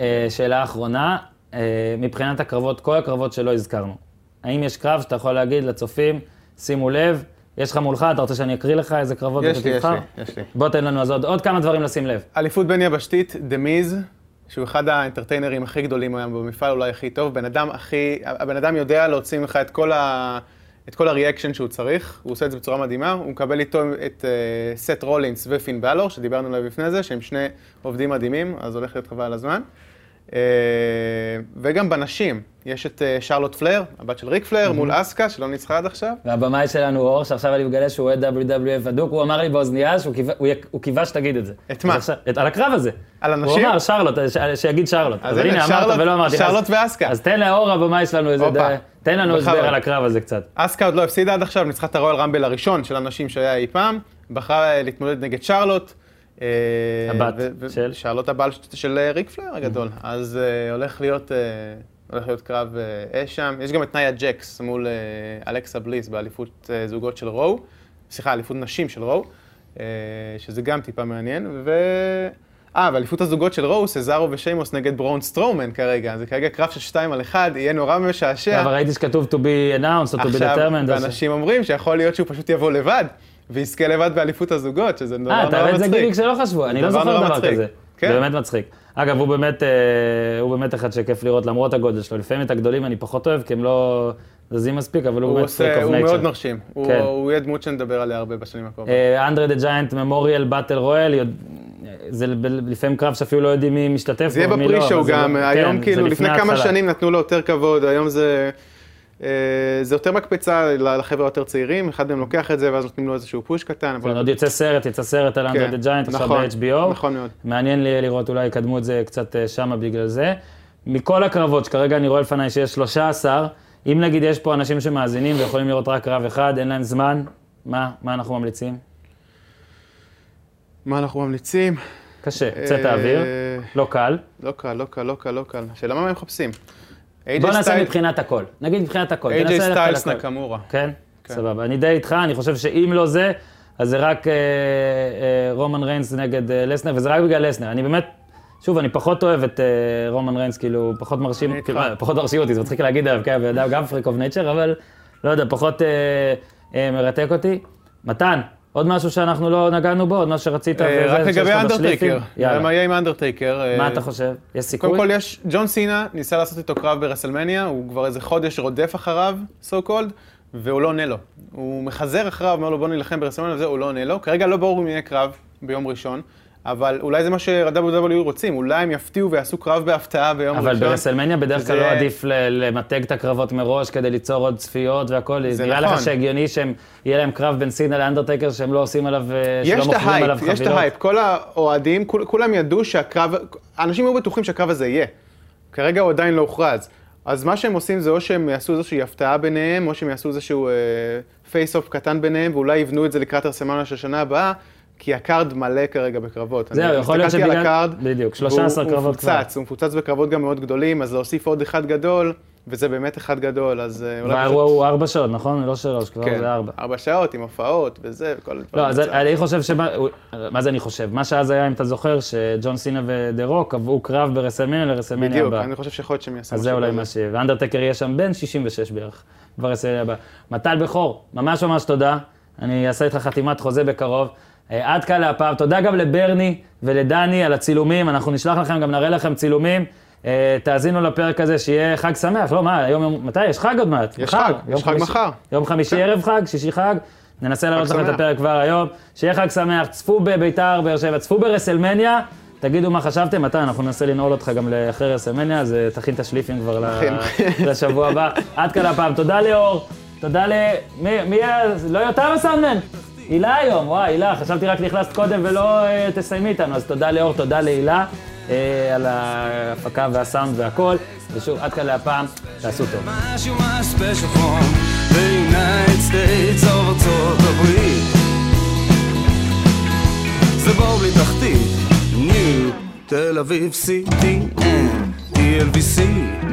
[SPEAKER 1] אה, שאלה אחרונה, אה, מבחינת הקרבות, כל הקרבות שלא הזכרנו. האם יש קרב שאתה יכול להגיד לצופים, שימו לב, יש לך מולך, אתה רוצה שאני אקריא לך איזה קרבות
[SPEAKER 6] יש
[SPEAKER 1] אתה
[SPEAKER 6] לי, יש
[SPEAKER 1] תבחר?
[SPEAKER 6] לי, יש לי.
[SPEAKER 1] בוא תן לנו אז עוד, עוד כמה דברים לשים לב.
[SPEAKER 6] אליפות בין יבשתית, דה מיז, שהוא אחד האנטרטיינרים הכי גדולים היום במפעל, אולי הכי טוב, בן אדם הכי, הבן אדם יודע להוציא ממך את כל ה... את כל הריאקשן שהוא צריך, הוא עושה את זה בצורה מדהימה, הוא מקבל איתו את אה, סט רולינס ופין בלור, שדיברנו עליו לפני זה, שהם שני עובדים מדהימים, אז הולך להיות חבל על הזמן. אה, וגם בנשים, יש את אה, שרלוט פלר, הבת של ריק פלר, מול אסקה, שלא ניצחה עד עכשיו.
[SPEAKER 1] והבמאי שלנו הוא אור, שעכשיו אני מגלה שהוא אוהד WWF הדוק, הוא אמר לי באוזנייה שהוא קיווה- הוא יק- הוא קיווה שתגיד את זה.
[SPEAKER 6] את מה?
[SPEAKER 1] אז עכשיו- את- על הקרב הזה.
[SPEAKER 6] על
[SPEAKER 1] הוא
[SPEAKER 6] הנשים?
[SPEAKER 1] אמר שרלוט, אה, ש- שיגיד שרלוט.
[SPEAKER 6] אז
[SPEAKER 1] אבל
[SPEAKER 6] הנה,
[SPEAKER 1] הנה, אמרת
[SPEAKER 6] שרלוט-
[SPEAKER 1] ולא אמרתי. אז-
[SPEAKER 6] שרלוט ואסקה.
[SPEAKER 1] אז תן לאור הבמאי שלנו איזה...
[SPEAKER 6] הופה.
[SPEAKER 1] ד- תן לנו
[SPEAKER 6] בכבוד.
[SPEAKER 1] הסבר על הקרב הזה קצת.
[SPEAKER 6] אסקה עוד לא הפסידה עד עכשיו, ניצחה את הרויאל רמבל הראשון של הנשים שהיה אי פעם, בחרה אה, להתמודד נגד שרלוט. אה,
[SPEAKER 1] הבת
[SPEAKER 6] ו- ו-
[SPEAKER 1] של? Mm-hmm.
[SPEAKER 6] שרלוט הבת ש- של אה, ריק פלר הגדול. אז אה, הולך להיות... אה, הולך להיות קרב אה, אש שם. יש גם את נאיה ג'קס מול אה, אלכסה בליס באליפות אה, זוגות של רואו. סליחה, אליפות נשים של רואו, אה, שזה גם טיפה מעניין. ו... אה, ואליפות הזוגות של רואו, סזארו ושיימוס נגד ברון סטרומן כרגע. זה כרגע קרב של שתיים על אחד, יהיה נורא משעשע.
[SPEAKER 1] אבל ראיתי שכתוב to be announced או to be
[SPEAKER 6] עכשיו,
[SPEAKER 1] determined. אז-
[SPEAKER 6] ואנשים אומרים שיכול להיות שהוא פשוט יבוא לבד, ויזכה לבד באליפות הזוגות, שזה דבר נורא
[SPEAKER 1] אה,
[SPEAKER 6] מצחיק.
[SPEAKER 1] אתה רואה את זה גימיק שלא חשבו, אני לא
[SPEAKER 6] דבר
[SPEAKER 1] זוכר
[SPEAKER 6] נורא
[SPEAKER 1] דבר
[SPEAKER 6] מצחיק.
[SPEAKER 1] כזה. זה
[SPEAKER 6] כן.
[SPEAKER 1] באמת מצחיק. אגב, הוא באמת, אה, הוא באמת אחד שכיף לראות למרות הגודל שלו. לפעמים את הגדולים אני פחות אוהב, כי הם לא זזים מספיק, אבל הוא
[SPEAKER 6] הוא
[SPEAKER 1] באמת
[SPEAKER 6] עושה,
[SPEAKER 1] freak of
[SPEAKER 6] הוא
[SPEAKER 1] nature.
[SPEAKER 6] מאוד מרשים. הוא
[SPEAKER 1] כן. אה,
[SPEAKER 6] הוא יהיה דמות שנדבר עליה הרבה בשנים הקרובות.
[SPEAKER 1] אנדרי דה ג'יינט ממוריאל באטל רואל, זה ב- לפעמים קרב שאפילו לא יודעים מי משתתף
[SPEAKER 6] זה יהיה
[SPEAKER 1] בו ומי לא,
[SPEAKER 6] בפרי שואו
[SPEAKER 1] אבל זה
[SPEAKER 6] גם,
[SPEAKER 1] לא-
[SPEAKER 6] היום
[SPEAKER 1] כן,
[SPEAKER 6] כאילו,
[SPEAKER 1] זה
[SPEAKER 6] לפני כמה
[SPEAKER 1] ההתחלה.
[SPEAKER 6] שנים נתנו לו יותר כבוד, היום זה... אה, זה יותר מקפצה לחבר'ה היותר צעירים, אחד מהם לוקח את זה ואז נותנים לו איזשהו פוש קטן, אבל...
[SPEAKER 1] עוד יוצא סרט, יצא סרט על אנדרי דה ג'יינט, עכשיו
[SPEAKER 6] נכון,
[SPEAKER 1] ב-HBO.
[SPEAKER 6] נכון מאוד.
[SPEAKER 1] מעניין לי לראות, אולי יקדמו את זה קצת אה, שמה בגלל זה. מכל הקרבות, שכרגע אני רואה לפניי שיש 13, אם נגיד יש פה אנשים שמאזינים ויכולים לראות רק קרב אחד, אין להם זמן, מה, מה אנחנו ממליצים?
[SPEAKER 6] מה אנחנו ממליצים?
[SPEAKER 1] קשה, צאת האוויר,
[SPEAKER 6] אה,
[SPEAKER 1] לא קל.
[SPEAKER 6] לא קל, לא קל, לא קל, לא קל. השאלה מה הם מחפשים?
[SPEAKER 1] בוא נעשה מבחינת הכל, נגיד מבחינת הכל.
[SPEAKER 6] AJ
[SPEAKER 1] תנסה ללכת על
[SPEAKER 6] סטיילס
[SPEAKER 1] הכל.
[SPEAKER 6] נקמורה.
[SPEAKER 1] כן? סבבה. אני די איתך, אני חושב שאם לא זה, אז זה רק אה, אה, רומן ריינס נגד אה, לסנר, וזה רק בגלל לסנר. אני באמת, שוב, אני פחות אוהב את אה, רומן ריינס, כאילו, הוא פחות מרשים,
[SPEAKER 6] אני
[SPEAKER 1] כאילו,
[SPEAKER 6] איתך.
[SPEAKER 1] אה, פחות מרשים אותי, זה מצחיק להגיד עליו, כן, הבן אדם גם פריק אוף נייצ'ר, אבל לא יודע, פחות אה, אה, מרתק אותי. מתן, עוד משהו שאנחנו לא נגענו בו, עוד משהו שרצית,
[SPEAKER 6] אה,
[SPEAKER 1] וזה,
[SPEAKER 6] רק
[SPEAKER 1] שיש
[SPEAKER 6] לגבי
[SPEAKER 1] לך
[SPEAKER 6] אנדרטייקר,
[SPEAKER 1] בשליפים?
[SPEAKER 6] נראה מה
[SPEAKER 1] יאללה.
[SPEAKER 6] יהיה עם אנדרטייקר.
[SPEAKER 1] מה
[SPEAKER 6] אה,
[SPEAKER 1] אתה חושב? יש סיכוי?
[SPEAKER 6] קודם כל יש, ג'ון סינה ניסה לעשות איתו קרב ברסלמניה, הוא כבר איזה חודש רודף אחריו, so called, והוא לא עונה לו. הוא מחזר אחריו, אומר לו בוא נילחם ברסלמניה וזה, הוא לא עונה לו. כרגע לא ברור אם יהיה קרב ביום ראשון, אבל אולי זה מה ש-WW רוצים, אולי הם יפתיעו ויעשו קרב בהפתעה ביום
[SPEAKER 1] אבל
[SPEAKER 6] ראשון.
[SPEAKER 1] ברסלמניה בדרך כלל
[SPEAKER 6] זה-
[SPEAKER 1] לא עדיף ל- למתג את הקרבות מראש כדי ליצור עוד צפיות והכול.
[SPEAKER 6] זה
[SPEAKER 1] נראה
[SPEAKER 6] נכון.
[SPEAKER 1] לך שהגיוני שהם, יהיה להם קרב בין סינה לאנדרטייקר שהם לא עושים עליו, אה, שלא
[SPEAKER 6] יש את
[SPEAKER 1] מוכרים עליו
[SPEAKER 6] ההייפ,
[SPEAKER 1] חבילות?
[SPEAKER 6] יש את ההייפ. כל האוהדים, כול- כולם ידעו שהקרב, אנשים היו בטוחים שהקרב הזה יהיה. כרגע הוא עדיין לא הוכרז. אז מה שהם עושים זה או שהם יעשו איזושהי הפתעה ביניהם, או שהם יעשו איזשהו פייס-אוף קטן ביניהם, ואולי יבנו את זה לקראת הרסמניה של שנה הבאה, כי הקארד מלא כרגע בקרבות.
[SPEAKER 1] זהו,
[SPEAKER 6] אני
[SPEAKER 1] יכול להיות
[SPEAKER 6] הסתכלתי על
[SPEAKER 1] שבגלל-
[SPEAKER 6] הקארד,
[SPEAKER 1] בדיוק, 13
[SPEAKER 6] והוא-
[SPEAKER 1] קרבות כבר.
[SPEAKER 6] הוא מפוצץ, הוא מפוצץ בקרבות גם מאוד גדולים, אז להוסיף עוד אחד גדול, וזה באמת אחד גדול, אז אה, אולי...
[SPEAKER 1] והאירוע הוא ארבע שעות, נכון? לא שלוש, כבר
[SPEAKER 6] כן,
[SPEAKER 1] זה ארבע.
[SPEAKER 6] ארבע שעות עם הופעות וזה, וכל הדברים.
[SPEAKER 1] לא, אז
[SPEAKER 6] האלה.
[SPEAKER 1] אני חושב שמה, הוא- מה זה אני חושב? מה שאז היה, אם אתה זוכר, שג'ון סינה ודה רוק קבעו קרב ברסלמניה לרסלמניה
[SPEAKER 6] בדיוק,
[SPEAKER 1] הבא.
[SPEAKER 6] אני חושב שיכול להיות שהם יעשו
[SPEAKER 1] אז זה
[SPEAKER 6] משהו לא
[SPEAKER 1] אולי
[SPEAKER 6] כזה.
[SPEAKER 1] מה ש... ואנדרטקר יהיה שם בין 66 בערך, ברסליה הבא. מטל בכור, ממש ממש תודה. אני אעשה איתך חתימת חוזה בקרוב. אה, עד כאן להפעם. תודה גם לברני ולדני על הצילומים. אנחנו נשלח לכם, גם נראה לכם צילומים. אה, תאזינו לפרק הזה, שיהיה חג שמח. לא, מה, היום, יום- מתי? יש חג עוד מעט.
[SPEAKER 6] יש
[SPEAKER 1] מחר,
[SPEAKER 6] חג,
[SPEAKER 1] יום
[SPEAKER 6] יש חג
[SPEAKER 1] חמישי-
[SPEAKER 6] מחר.
[SPEAKER 1] יום חמישי ערב חג, שישי חג. ננסה להעלות לכם את
[SPEAKER 6] שמח.
[SPEAKER 1] הפרק כבר היום. שיהיה חג שמח, צפו בביתר באר שבע, צפו ברסלמניה, תגידו מה חשבתם, מתן, אנחנו ננסה לנעול אותך גם לאחרי רסמניה, אז אה, תכין את השליפים כבר ל- לשבוע הבא. עד כאן הפעם. תודה ליאור, תודה ל... מי- מי ה... לא יותם הסאונדמן? הילה היום, וואי, הילה, חשבתי רק נכנסת קודם ולא אה, תסיימי איתנו, אז תודה ליאור, תודה להילה אה, על ההפקה והסאונד והכל, ושוב, עד כאן להפעם, תעשו טוב.
[SPEAKER 4] משהו מה special from the United States of ארצות הברית זה בור בלי Mm, תחתית, ניו, תל אביב, CDN, TLVC